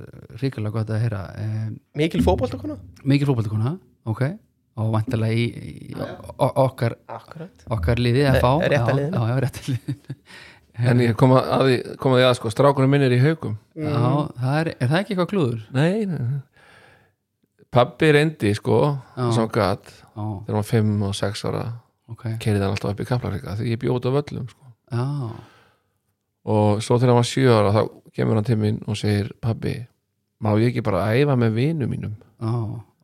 Speaker 1: ríkilega gott að heyra um,
Speaker 2: mikil fótboltakona
Speaker 1: Mikið fótboltakona, ok og vantarlega í, í o- okkar,
Speaker 2: akkurat
Speaker 1: okkar liði að fá
Speaker 2: Eh, rétta
Speaker 1: já,
Speaker 2: liðinu.
Speaker 1: já, já, rétta liðinu.
Speaker 3: en ég kom að, að, því- kom að því að sko, strákunum minn er í haugum
Speaker 1: já, það er, er það ekki eitthvað klúður?
Speaker 3: nei, nei, nei. pabbi reyndi sko,
Speaker 1: Já.
Speaker 3: sem hann gat
Speaker 1: Já,
Speaker 3: þegar hann var 5 og 6 ára
Speaker 1: ok
Speaker 3: keiriði hann alltaf upp í Kaplafrika því ég bjóði á völlum sko.
Speaker 1: Já,
Speaker 3: og svo þegar hann var 7 ára þá kemur hann til mín og segir pabbi, má ég ekki bara æfa með vinum mínum
Speaker 1: já,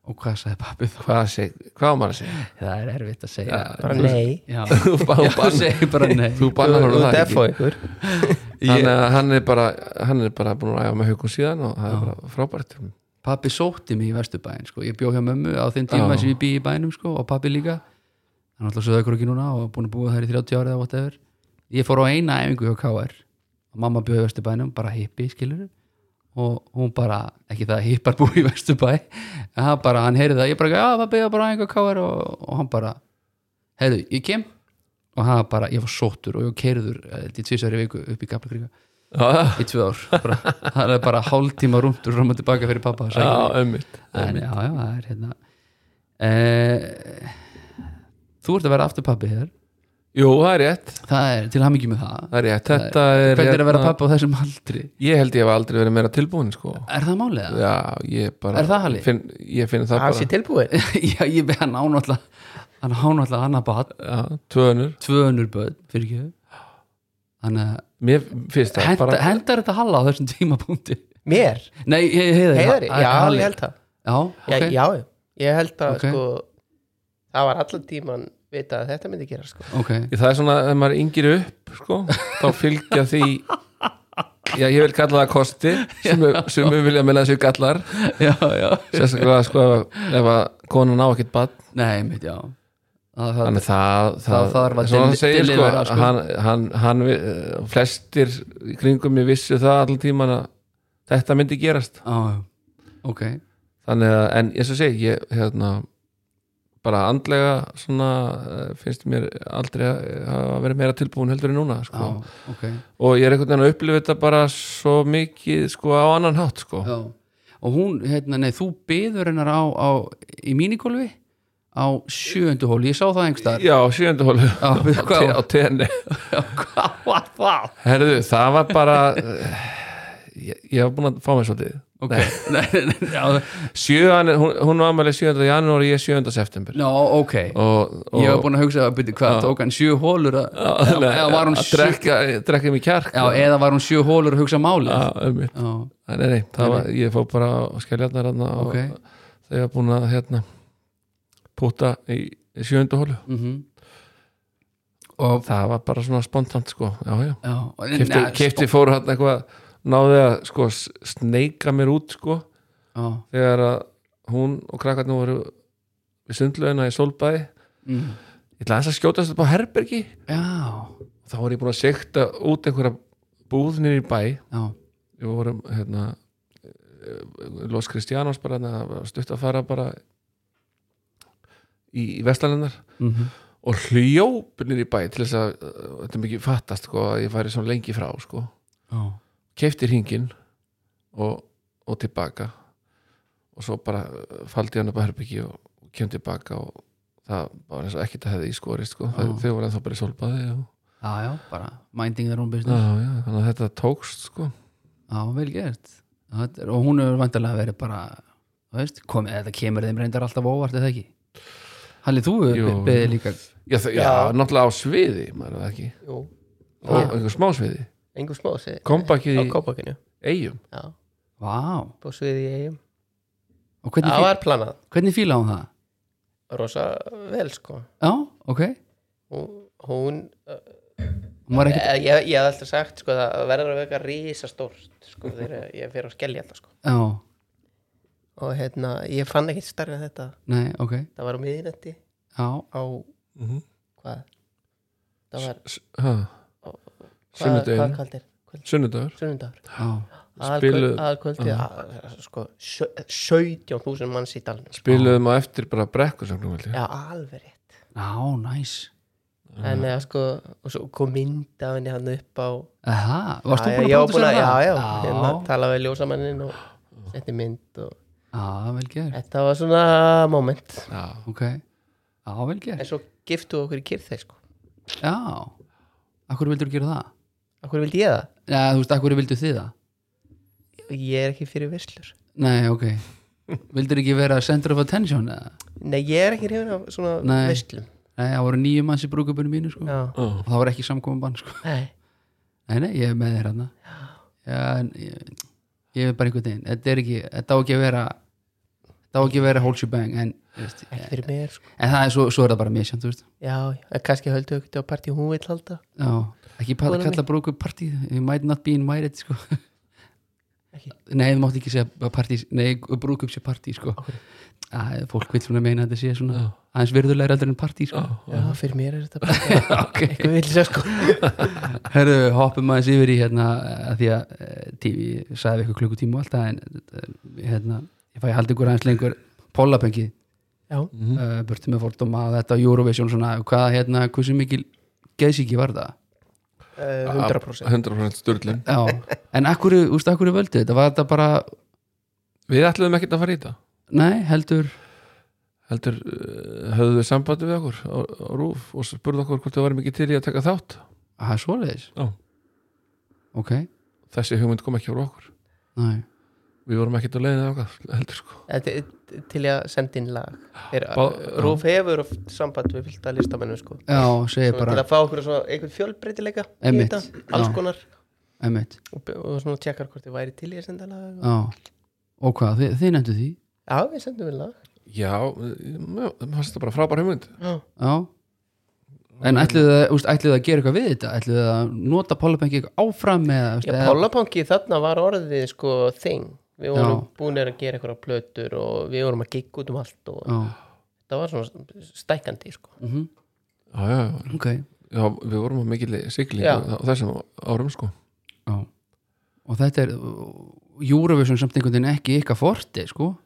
Speaker 1: og hvað sagði pappi þá?
Speaker 3: hvað, seg, hvað á maður að segja
Speaker 1: Það er erfitt að segja
Speaker 3: Ja,
Speaker 2: bara nei
Speaker 1: Já,
Speaker 3: þú, bara,
Speaker 1: já þú segir bara nei
Speaker 3: þú bannar hann það ekki
Speaker 2: ykkur
Speaker 3: þannig að hann er bara, hann er bara búin að æfa með haugum síðan og það er bara frábært
Speaker 1: Pappi sótti mig í vesturbæin, sko Ég bjó hjá mömmu á þeim tíma
Speaker 3: Já.
Speaker 1: sem ég býi í bænum, sko og pappi líka Hann er alltaf sögðu ekki núna og búin að búa þær í 30 ára eða whatever Ég fór á eina æfingu hjá KR og mamma bjóði í vesturbænum, bara hippi, skilur og hún bara, ekki það að hippar búi í Vesturbæ en hann bara, hann heyrði það, ég bara, já, það beða bara einhver káir og, og hann bara heyrðu, ég kem og hann bara, ég var sóttur og ég keirður í tvisari viku upp í Gablakríka
Speaker 3: já,
Speaker 1: í tvö ár, bara, hann er bara hálftíma rúndur fram og tilbaka fyrir pappa að
Speaker 3: já,
Speaker 1: sækja mig.
Speaker 3: ömmit
Speaker 1: en, já, já, það er hérna e, þú ert að vera aftur pappi hér
Speaker 3: Jú, það er rétt,
Speaker 1: það er til hamingi með það
Speaker 3: það er rétt Þetta er
Speaker 1: hvernig er að vera
Speaker 3: hérna-
Speaker 1: pappi á þessum aldri
Speaker 3: Ég held ég hef aldrei verið meira tilbúin sko.
Speaker 1: er það málið? það?
Speaker 3: Já, ég bara
Speaker 1: Er það Halli?
Speaker 3: Finn, ég finn það
Speaker 2: hans
Speaker 3: bara
Speaker 2: er tilbúin
Speaker 1: já, ég beða hann ánáttúrulega hann ánáttúrulega annar bad
Speaker 3: Já, tvöðunur,
Speaker 1: 200 börn fyrir ekki þannig að
Speaker 3: mér finnst það
Speaker 1: henda,
Speaker 3: bara
Speaker 1: hendar þetta Halla á þessum tímapunkti
Speaker 2: mér,
Speaker 1: nei, he- heiðari
Speaker 2: heiðari,
Speaker 1: Ha-
Speaker 2: já,
Speaker 1: Halli.
Speaker 2: ég held það
Speaker 1: já, ok,
Speaker 2: já, já, ég held að
Speaker 1: Ok.
Speaker 2: sko, það var allan tíman vita að þetta myndi gera sko.
Speaker 1: ok
Speaker 3: Það er svona, ef maður yngir upp sko, þá fylgja því Já, ég vil kalla það kosti sem við vilja meina þessu gallar
Speaker 1: já, já,
Speaker 3: sérstaklega sko, ef að konan á ekkert bad
Speaker 1: nei, mitt, já það, það,
Speaker 3: þannig það,
Speaker 1: það þarf að
Speaker 3: svona hann
Speaker 1: deli-
Speaker 3: segir, sko,
Speaker 1: delivera, sko.
Speaker 3: Hann, hann, hann, vi- eh, flestir í kringum mér vissu það allan tíman að þetta myndi gerast
Speaker 1: á, ok,
Speaker 3: þannig að, en eins og segi ég, hérna, bara andlega svona, eh, finnst mér aldrei að hafa verið meira tilbúin heldur en núna,
Speaker 1: á,
Speaker 3: sko
Speaker 1: ok
Speaker 3: og ég er einhvern veginn að upplifa þetta bara svo mikið, sko, á annan hátt, sko
Speaker 1: já. og hún, hérna, nei, þú byður hennar á, á í mínikólfi á sjöundu hóli, ég sá það einhverstaðar
Speaker 3: Já, sjöundu hólu
Speaker 1: Já,
Speaker 3: á,
Speaker 1: við- hvað
Speaker 3: te- á
Speaker 1: var-
Speaker 3: tenni
Speaker 1: Já, hvað var það?
Speaker 3: Herðu, það var bara eh, ég, ég var búin að fá mér svolítið
Speaker 1: Ok, nei, nei, nei, já,
Speaker 3: Sjöan, hún, hún var aðmæli 7. janúar og ég 7. september
Speaker 1: já, ok
Speaker 3: og, og
Speaker 1: Ég var búin að hugsa að byrja hvað, tók hann sjö hólur að, eða, eða var hún
Speaker 3: að
Speaker 1: sjö,
Speaker 3: drekka, drekka mér kjark sko.
Speaker 1: já, eða var hún sjö hólur að hugsa málið
Speaker 3: Já, um
Speaker 1: Já,
Speaker 3: Nei, nei, það var, ég fór bara á skæljarnar hann og
Speaker 1: Ok.
Speaker 3: þegar ég var búin að hérna, púta í í sjöundu hólu
Speaker 1: mhm
Speaker 3: og það var bara svona spontant sko, já, já
Speaker 1: já en-
Speaker 3: Kefti,
Speaker 1: nei,
Speaker 3: kefti fór hann eitthvað náði að sko s- sneika mér út sko,
Speaker 1: stopp, Já,
Speaker 3: þegar að hún og krakkarnir voru við sundlaugina í Solbæði
Speaker 1: mm,
Speaker 3: ég ætla aðeins að skjótast upp á herbergi
Speaker 1: já,
Speaker 3: þá var ég búin að sekta út einhverja búðnir í bæ
Speaker 1: já,
Speaker 3: við vorum hérna eh, Los Cristianos bara hérna, það var stutt að fara bara í, í vestlaninnar
Speaker 1: mhm
Speaker 3: og hljópnir í bæ til þess að eh, þetta er mikið fattast sko að ég færi svona lengi frá sko
Speaker 1: Já,
Speaker 3: keifti hringin og, og tilbaka og svo bara eh, faldi ég hann upp að herbyggi og kem tilbaka og það var eins og ekkert að hefði í skori sko.
Speaker 1: Já.
Speaker 3: þau voru ennþá bara í solbaði og
Speaker 1: já, já, bara minding their own
Speaker 3: Já,
Speaker 1: business
Speaker 3: já, þannig að þetta tókst sko
Speaker 1: Já, vel gert Þetta er- Og hún hefur vantarlega verið bara, þú veist, komið, þetta kemur þeim reyndar alltaf á óvart eða ekki Halli, þú
Speaker 3: Jú,
Speaker 1: beðið
Speaker 3: jú.
Speaker 1: líka
Speaker 3: Já, það, já.
Speaker 2: Já.
Speaker 3: náttúrulega á sviði, maður er það ekki
Speaker 2: Jú,
Speaker 3: og
Speaker 1: Já.
Speaker 3: einhver smá sviði,
Speaker 2: engu smá segi-
Speaker 3: kompakið
Speaker 2: á
Speaker 3: í
Speaker 2: kópakinu
Speaker 3: eigum
Speaker 2: já,
Speaker 1: Vá,
Speaker 2: búið sviði í eigum
Speaker 1: og hvernig,
Speaker 2: það
Speaker 1: fí,
Speaker 2: var planað,
Speaker 1: hvernig fíla hún það?
Speaker 2: rosa vel sko
Speaker 1: Já, ok
Speaker 2: hún, hún
Speaker 1: Hún var ekki,
Speaker 2: ég, Eh, ég, ég hef alltaf sagt sko það verður að veka risastórt sko þegar ég fer á skelja alltaf sko
Speaker 1: já,
Speaker 2: og hérna, ég fann ekkert starri en þetta
Speaker 1: nei, ok
Speaker 2: það var á miðinætti
Speaker 1: Já,
Speaker 2: á
Speaker 3: mm -hmm.
Speaker 2: hvað það var, hvað, hvað
Speaker 3: Sunnudagurinn
Speaker 2: kaldir
Speaker 3: Sunnudagur,
Speaker 2: sunnudagur,
Speaker 1: já,
Speaker 2: aðalkvöld,
Speaker 3: Spiluðu-
Speaker 2: aðalkvöldi að, sko, sjö- 17.000 manns í dalnum sko.
Speaker 3: spiluðum á eftir bara brekkusögnum held ég
Speaker 2: já, alveg rétt
Speaker 1: já, næs
Speaker 2: en eða sko, og svo kom mynd af henni hann upp á
Speaker 1: Aha, varst þú
Speaker 2: Já,
Speaker 1: búin að
Speaker 2: já, ég var
Speaker 1: búin að
Speaker 2: Já, já, hérna,
Speaker 1: já,
Speaker 2: tala við ljósamannin og setti mynd og
Speaker 1: já, vel gert,
Speaker 2: þetta var svona moment
Speaker 3: Já,
Speaker 1: ok Já, vel
Speaker 2: en
Speaker 1: gert,
Speaker 2: svo giftu okkur í kyrþeg sko
Speaker 1: já Akkur vildur gera það?
Speaker 2: Akkur vildi ég það?
Speaker 1: Já, þú veist, akkur vildu þið það?
Speaker 2: Ég er ekki fyrir verslur
Speaker 1: Nei, ok Vildur ekki vera center of attention eða?
Speaker 2: Nei, ég er ekki hrifin af svona
Speaker 1: Nei.
Speaker 2: verslum
Speaker 1: Nei, það voru nýju manns í brúkupunum mínu, sko
Speaker 2: Já,
Speaker 3: já,
Speaker 1: Og það voru ekki samkomum bann, sko
Speaker 2: nei,
Speaker 1: Nei, nei, ég er með þér hérna Já, en ég, ég er bara einhvern veginn Þetta er ekki, þetta á ekki að vera Þetta á ekki að vera whole shebang En, þú veist, en
Speaker 2: ekki fyrir mér sko
Speaker 1: það er svo, svo er það bara misjönd, þú veist
Speaker 2: Já, já, en kannski höldu okkur á partí hún vill halda
Speaker 1: Já, ekki pala,
Speaker 2: Skoðanir.
Speaker 1: kalla brúku partíð You might not be invited, sko
Speaker 2: Ekki?
Speaker 1: Nei, þú mátt ekki segja partí Nei, brúkup sé partí sko. Æ, Fólk vil svona meina að þetta sé svona aðeins virðulegur aldrei en partí sko.
Speaker 2: Já, fyrir mér er þetta bara
Speaker 1: okay.
Speaker 2: eitthvað vill sér sko
Speaker 1: Herðu, hoppum aðeins yfir í hérna að því að eh, TV sagði eitthvað klukkutíma og alltaf en eh, hérna, ég fæ að halda ykkur aðeins lengur Pollapöngi,
Speaker 2: Já,
Speaker 1: mm burtu með fordóma og þetta Eurovision svona, hvað hérna, hversu mikil geðsíki var það?
Speaker 2: eh, 100%
Speaker 3: 100% styrlun
Speaker 1: Já, en akkur, úst, akkur völdu þetta, var þetta bara,
Speaker 3: Við ætluðum ekkert að fara í þetta
Speaker 1: nei, heldur
Speaker 3: heldur uh, höfðu við sambandi við okkur á, á rúf og spurðu okkur hvort það var mikið til í að taka þátt
Speaker 1: að það er svoleiðis
Speaker 3: Já.
Speaker 1: Ok,
Speaker 3: þessi hugmynd kom ekki frá okkur
Speaker 1: næ,
Speaker 3: við vorum ekkert á leiðinu okkar heldur sko
Speaker 2: Þetta er til í að senda inn lag Þeir-
Speaker 3: Bá-
Speaker 2: Rúf hefur oft samband við fylgta listamennum sko
Speaker 1: já, segi
Speaker 2: Svona til
Speaker 1: bara
Speaker 2: að fá okkur svona einhvern fjölbreytileika í
Speaker 1: Einmitt.
Speaker 2: þetta, alls
Speaker 1: Já.
Speaker 2: konar
Speaker 1: emmitt,
Speaker 2: og, og svona tjekkar hvort þið væri til í að senda lag og-
Speaker 1: já og hvað, þið, þið nefndu því
Speaker 2: Já, við sendum við lag
Speaker 3: já, mér mér fannst þetta bara frábær hugmynd
Speaker 2: Já,
Speaker 1: Já En ætluðu það, úst, ætluðu það að gera eitthvað við þetta? Ætluðu það að nota Pollapengi áfram eða, úst,
Speaker 2: Já Pollapangi þarna var orðið sko þing Við vorum
Speaker 1: Já.
Speaker 2: búinir að gera eitthvað plötur og við vorum að gigg út um allt og
Speaker 1: Já,
Speaker 2: það var svona stækandi sko
Speaker 1: mm
Speaker 3: já, já, já,
Speaker 1: ok já.
Speaker 3: já, við vorum á mikil sigling
Speaker 2: Já.
Speaker 3: á þessum árum sko
Speaker 1: Og þetta er uh, Eurovision samt einhvern veginn ekki ykkar forti, sko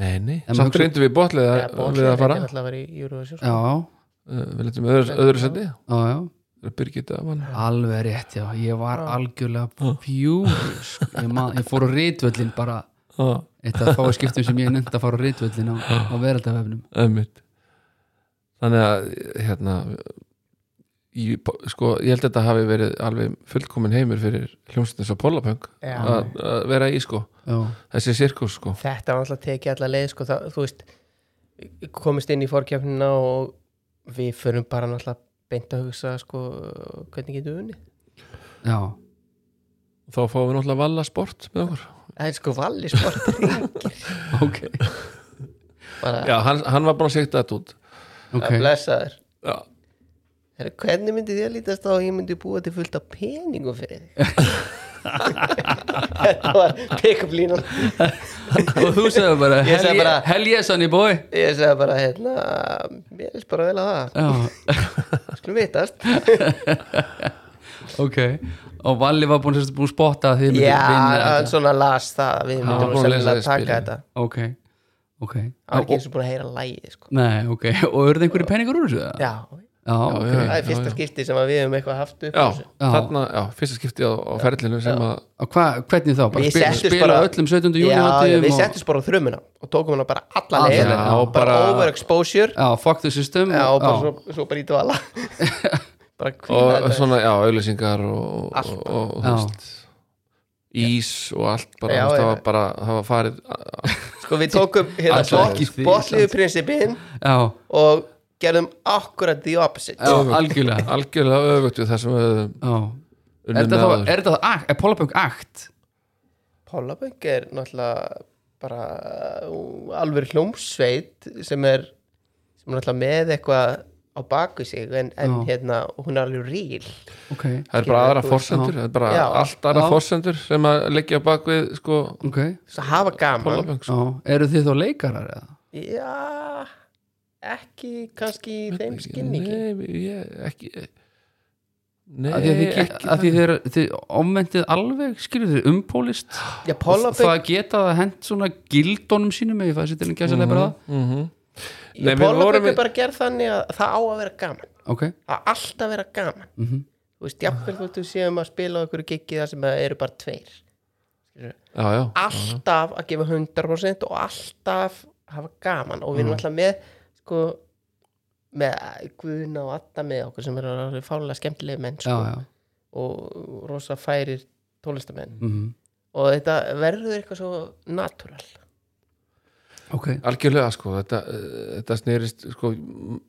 Speaker 3: nei, nei,
Speaker 1: En
Speaker 3: samt
Speaker 1: maður-
Speaker 3: reyndum við bótlið
Speaker 2: Eða
Speaker 3: við
Speaker 2: Bolsheim
Speaker 3: að fara
Speaker 2: er alltaf að vera í Eurovision sko.
Speaker 1: Já,
Speaker 3: Uh, við letum öðru, öðru seti
Speaker 1: já, já,
Speaker 3: Birgitta mann
Speaker 1: alveg rétt já. Ég var algjörlega fjúris ég, man- ég fór á ritvöllin bara
Speaker 3: ah,
Speaker 1: eitt af fáið skiptum sem ég nefndi að fara á ritvöllin á, á veraldafefnum
Speaker 3: ömmit þannig að hérna í, sko, ég held að þetta hafi verið alveg fullkomin heimur fyrir hljómsveitins á Pollapöng
Speaker 2: Já.
Speaker 3: að að vera í sko
Speaker 1: Já,
Speaker 3: þessi sirkus sko
Speaker 2: Þetta var alltaf tekið allar leið sko það, þú veist komist inn í fórkjöfnina og við förum bara alltaf beint að hugsa sko hvernig getum við unni
Speaker 1: já,
Speaker 3: þá fáum við náttúrulega valla sport með okkur
Speaker 2: Það er sko valli sport
Speaker 1: ok,
Speaker 2: bara
Speaker 3: já, hann, hann var búin að segja þetta út
Speaker 1: okay.
Speaker 2: að blessa þér
Speaker 3: já,
Speaker 2: Heru, Hvernig myndi þér lítast á að ég myndi búa til fullt af peningum fyrir þig? Þetta var pick-up línan
Speaker 1: og þú segði bara
Speaker 2: Ég sagði
Speaker 1: hell, bara
Speaker 2: bara-
Speaker 1: hell yes honey boy
Speaker 2: Ég sagði bara hérna Mér er bara vel að það,
Speaker 1: já,
Speaker 2: skulum vitast
Speaker 1: ok og Valli var búin að búin að spotta að þið mynduð
Speaker 2: Já,
Speaker 1: vinna
Speaker 2: hann
Speaker 1: þetta.
Speaker 2: svona las það að Við
Speaker 3: var
Speaker 2: myndum
Speaker 3: búinn að lesa
Speaker 2: sennilega að
Speaker 3: í
Speaker 2: taka
Speaker 3: spilinu.
Speaker 2: þetta
Speaker 1: ok, ok
Speaker 2: Það var ekki eins og búin að heyra lægið sko.
Speaker 1: Nei, ok, og eru það einhverju peningar úr þessu?
Speaker 2: Já,
Speaker 1: já,
Speaker 3: já,
Speaker 1: ok,
Speaker 3: já,
Speaker 2: það er
Speaker 3: já,
Speaker 2: fyrsta
Speaker 3: já.
Speaker 2: skipti sem að við hefum eitthvað haft upp
Speaker 3: já,
Speaker 2: á þessu.
Speaker 1: Já.
Speaker 3: þarna, já, fyrsta skipti á, á ferlinu sem að
Speaker 1: og hva, hvernig þá? Bara
Speaker 2: Við
Speaker 1: spila,
Speaker 2: settumst
Speaker 1: spila
Speaker 2: bara-
Speaker 1: öllum 17. júni
Speaker 2: Já, já, við
Speaker 1: og...
Speaker 2: settumst bara á þrumuna og tókum hana bara alla
Speaker 1: Alla leið,
Speaker 2: leið bara,
Speaker 3: já, bara-
Speaker 2: overexposure
Speaker 1: Já, fuck the system
Speaker 2: já, og bara
Speaker 1: já,
Speaker 2: svo, svo bara í dvala bara kvíða
Speaker 3: og
Speaker 2: þetta
Speaker 3: svona, já, auðlýsingar og,
Speaker 2: Allt
Speaker 3: og, og, og
Speaker 1: Já.
Speaker 3: þú veist ís og allt bara,
Speaker 2: Já,
Speaker 3: já, það
Speaker 2: já.
Speaker 3: var bara, það var farið
Speaker 2: sko við tókum hérna
Speaker 1: Alla leið, sko.
Speaker 2: botliðu prinsipin
Speaker 1: já,
Speaker 2: og gerðum akkurat the opposite
Speaker 1: já, algjörlega
Speaker 3: algjörlega öfugt við það sem við höfum
Speaker 1: já. Er
Speaker 3: unnið
Speaker 1: þetta
Speaker 3: með
Speaker 1: þá,
Speaker 3: áður.
Speaker 1: er þetta þá, akt- er Polapunk akt?
Speaker 2: Pollaböng er náttúrulega bara uh, alveg hljómsveit sem er sem er náttúrulega með eitthvað á baku sig en, en
Speaker 1: Já.
Speaker 2: hérna, hún er alveg ríl
Speaker 1: Ok,
Speaker 3: það er bara
Speaker 2: skilur,
Speaker 3: aðra
Speaker 2: þú veist,
Speaker 3: forsendur það er bara
Speaker 2: Já.
Speaker 3: allt aðra
Speaker 1: Já.
Speaker 3: forsendur sem að leggja á bak við sko,
Speaker 1: ok,
Speaker 2: svo hafa gaman
Speaker 3: Pollapöng
Speaker 1: já, eru þið þá leikarar eða?
Speaker 2: já ekki kannski í þeim skilningi
Speaker 3: Nei, ég, ekki Nei,
Speaker 1: Af því að þið,
Speaker 3: ekki
Speaker 1: get, að því þið, er- þið omvendið alveg, um skilur þið, umpólist
Speaker 2: já
Speaker 1: og
Speaker 2: Pollaböng
Speaker 1: það geta það hent svona gildónum sínum ef ég fæði sér til en gæsa leifra
Speaker 2: Mhm.
Speaker 1: það
Speaker 3: mm Nei, við vorum
Speaker 2: Pólabögg
Speaker 3: við-
Speaker 2: er bara gerð þannig að það á að vera gaman
Speaker 1: ok,
Speaker 2: það á alltaf að vera gaman
Speaker 1: Mhm.
Speaker 2: þú veist, jafnvel þú þú séum að spila á einhverju giggi þar sem það eru bara tveir
Speaker 3: Já, já,
Speaker 1: Mhm.
Speaker 2: alltaf að gefa 100% og alltaf hafa gaman og við
Speaker 1: Mhm.
Speaker 2: erum alltaf með sko með Guðna og Adda með okkur sem eru alveg fálega skemmtilegi menn
Speaker 1: já,
Speaker 2: sko,
Speaker 1: já
Speaker 2: og rosa færir tólestamenn
Speaker 1: mm
Speaker 2: og þetta verður eitthvað svo natúral
Speaker 1: ok,
Speaker 3: algjörlega sko þetta, eh, þetta snerist sko m-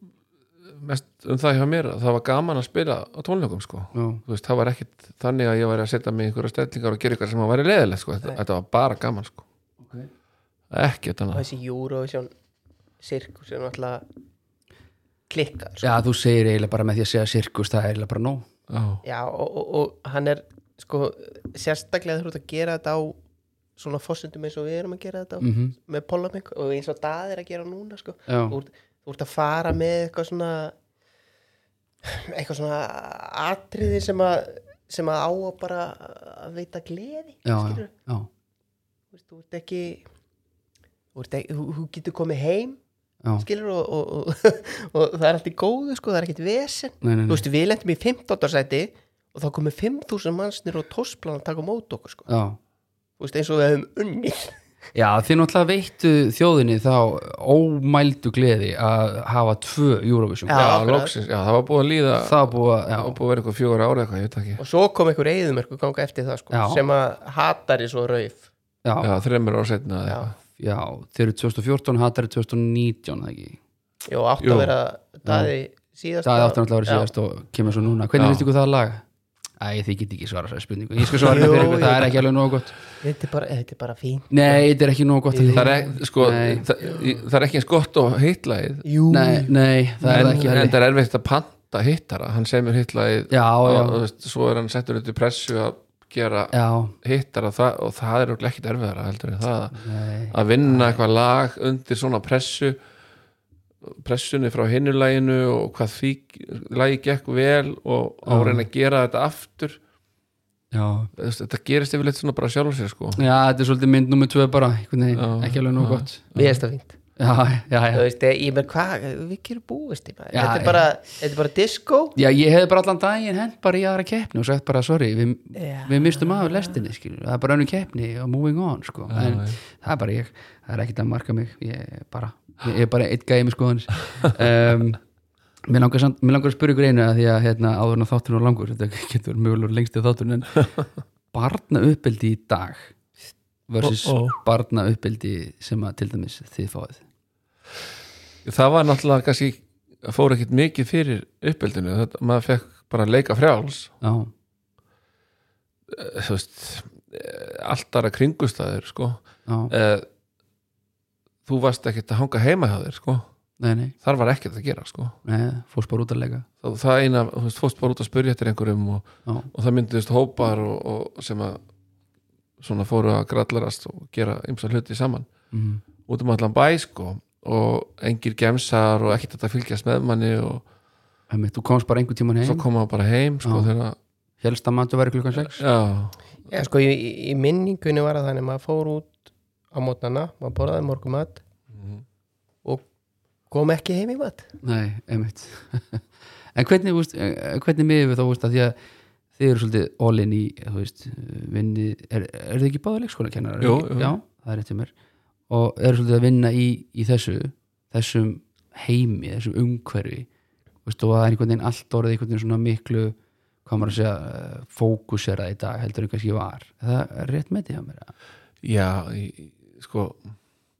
Speaker 3: mest um það hjá mér að það var gaman að spila á tónleikum sko
Speaker 1: já,
Speaker 3: Þú veist, það var ekkit þannig að ég væri að setja mig í einhverja stellingar og gera eitthvað sem að væri leðilegt sko. þetta, þetta var bara gaman sko
Speaker 1: ok
Speaker 3: ekki þetta
Speaker 2: og þessi Eurovision sirkus er náttúrulega klikkar sko.
Speaker 1: já, þú segir eiginlega bara með því að segja sirkus það er eiginlega bara nóg
Speaker 3: já,
Speaker 2: já, og, og, og hann er sko sérstaklega þú ert að gera þetta á svona fórsendum eins og við erum að gera þetta á,
Speaker 1: mhm,
Speaker 2: með Pollamink og eins og Dað er að gera núna sko.
Speaker 1: já,
Speaker 2: þú, ert, þú ert að fara með eitthvað svona eitthvað svona atriði sem að sem að á að bara að veita gleði
Speaker 1: já, já,
Speaker 2: skilurðu?
Speaker 1: já,
Speaker 2: Þú veist, þú ert ekki þú, ert ekki, þú, þú getur komið heim
Speaker 1: já,
Speaker 2: skilur og, og, og, og það er allt í góðu sko, það er ekkert vesen
Speaker 1: nei, nei,
Speaker 2: þú
Speaker 1: nei,
Speaker 2: veist, við lendum í 15. sæti og þá komið 5.000 mannsnir og tósplan að taka á mót okkur sko,
Speaker 1: já.
Speaker 2: þú veist, eins og við hefum unnið
Speaker 1: Já, þið náttúrulega veittu þjóðinni þá ómældu gleði að hafa tvö Eurovision
Speaker 2: Já,
Speaker 3: já,
Speaker 2: akkurat.
Speaker 3: loksins, já, það var búið að líða
Speaker 1: Það var búið að,
Speaker 3: það var
Speaker 1: já,
Speaker 3: búið að vera eitthvað fjögur ára eitthvað, ég veit það ekki
Speaker 2: og svo kom einhver reyðumerku ganga eftir það sko,
Speaker 1: Já.
Speaker 2: sem að hatar í svo rauf
Speaker 1: já,
Speaker 3: já, þreymur ára setna
Speaker 2: Já.
Speaker 1: já, þeir eru 2014, hattar eru 2019, það ekki
Speaker 2: Jó, átt
Speaker 3: Jú.
Speaker 2: að vera daði síðast
Speaker 1: Það er aftur náttúrulega að vera síðast og kemur svo núna Hvernig
Speaker 3: Já.
Speaker 1: finnst ykkur það lag? Æ, þið get ekki svara sér spurningu Ég skal svara henni
Speaker 2: Jú,
Speaker 1: fyrir ykkur,
Speaker 2: jú.
Speaker 1: það er ekki alveg nóg gott
Speaker 2: Þetta er bara, þetta er bara fín
Speaker 1: Nei, þetta er ekki nóg gott að
Speaker 3: það er,
Speaker 1: því
Speaker 3: ekki, sko,
Speaker 1: Nei.
Speaker 3: það, það er ekki eins gott og hitlaðið
Speaker 2: Jú,
Speaker 1: Nei, nei, það er
Speaker 3: en,
Speaker 1: það ekki
Speaker 3: en
Speaker 1: heldur.
Speaker 3: það er erfitt að panta hittara hann semur hitlaðið
Speaker 1: Já,
Speaker 3: og,
Speaker 1: já,
Speaker 3: og, veist, svo er hann settur undir pressu að gera
Speaker 1: já
Speaker 3: hittara það, og það er örugglega ekkit erfiðara heldur en það
Speaker 1: Nei,
Speaker 3: að vinna eitthvað lag undir svona pressu pressunni frá hinnu laginu og hvað því lagi gekk vel og á
Speaker 1: Já.
Speaker 3: reyna að gera þetta aftur
Speaker 1: já
Speaker 3: Þú veist, þetta gerist yfirleitt svona bara sjálf sér sko
Speaker 1: Já, þetta er svolítið mynd nummer tvö bara einhvern veginn,
Speaker 3: Já,
Speaker 1: ekki alveg nóg
Speaker 3: já.
Speaker 1: gott
Speaker 2: við erum það fínt
Speaker 1: Já, já, já
Speaker 2: Þú veist, ég með hvað, við gerum búist í maður
Speaker 1: Já,
Speaker 2: Þetta
Speaker 1: já.
Speaker 2: er bara, þetta er bara disco
Speaker 1: Já, ég hefði bara allan daginn hent bara í aðra keppni og sagt bara, sorry, við,
Speaker 2: Já.
Speaker 1: við mistum af lestinni, skilur, það er bara önnu keppni og moving on, sko, en það er bara ég það er ekkert að marka mig, ég er bara ég er bara eitt gæmi, sko hans um, mér, langar samt, mér langar að spyrja ykkur einu að því að, hérna, áður en að þátturinn og langur, þetta getur mjögulegur lengst í þátturinn en barna uppeldi í dag versus
Speaker 3: Oh,
Speaker 1: oh,
Speaker 3: oh.
Speaker 1: barna uppeldi sem að til dæmis þið fáið
Speaker 3: það var náttúrulega kannski fór ekkit mikið fyrir uppeldinu þetta, maður fekk bara að leika frjáls
Speaker 1: Já,
Speaker 3: Eh, þú veist eh, alltara kringustæður sko
Speaker 1: já,
Speaker 3: Eh, þú varst ekkit að hanga heima hjá þér sko
Speaker 1: nei, nei,
Speaker 3: þar var ekkert að gera sko
Speaker 1: nei fórst bara út að leika
Speaker 3: það, það eina, þú veist, fórst bara út að spurja eftir einhverjum og,
Speaker 1: Já,
Speaker 3: og það mynduðist hópar og, og sem að svona fóru að grallarast og gera ymsa hluti saman
Speaker 1: mm,
Speaker 3: út um allan bæ sko og engir gemsar og ekkert að fylgjast með manni og
Speaker 1: einmitt, þú komst bara einhvern tímann heim
Speaker 3: svo koma maður bara heim sko
Speaker 1: Já.
Speaker 3: þegar að,
Speaker 1: helst að matur væri klukkan 6
Speaker 3: já,
Speaker 2: Já, sko, í, í- í minningunni var það þannig að maður fór út á mótnana, maður borðaði morgum mat
Speaker 1: Mhm.
Speaker 2: og kom ekki heim í mat
Speaker 1: nei, einmitt en hvernig, úst, eh, hvernig miður við þá úst, að því að þið eru svolítið all-in í þú veist, vinni, er, er þið ekki báði leikskólakennar?
Speaker 3: Jú, jú.
Speaker 1: Já, það er rétt hjá mér og eru svolítið að vinna í, í þessu þessum heimi, þessum umhverfi veist, og það er einhvern veginn allt orðið einhvern veginn svona miklu hvað maður að segja, fókuserað í dag heldur en kannski var, Er það er rétt með því hjá mér eða?
Speaker 3: já í, í- sko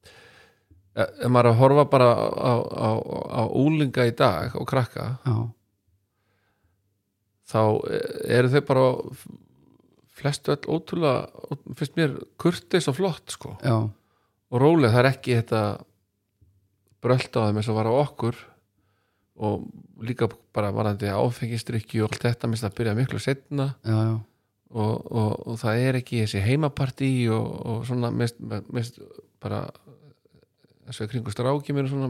Speaker 3: eh, ef maður er að horfa bara á, á, á, á úlinga í dag og krakka
Speaker 1: Já,
Speaker 3: þá eh, eru þau bara flestu öll ótrúlega finnst mér kurtis og flott sko
Speaker 1: já,
Speaker 3: og róleg það er ekki þetta brölt á þeim eins og var á okkur og líka bara varandi áfengistrykki og allt þetta minnst að byrja miklu setna
Speaker 1: já, já
Speaker 3: og, og, og það er ekki þessi heimapartí og, og svona mist, mist bara eins og í kringu stráki mér svona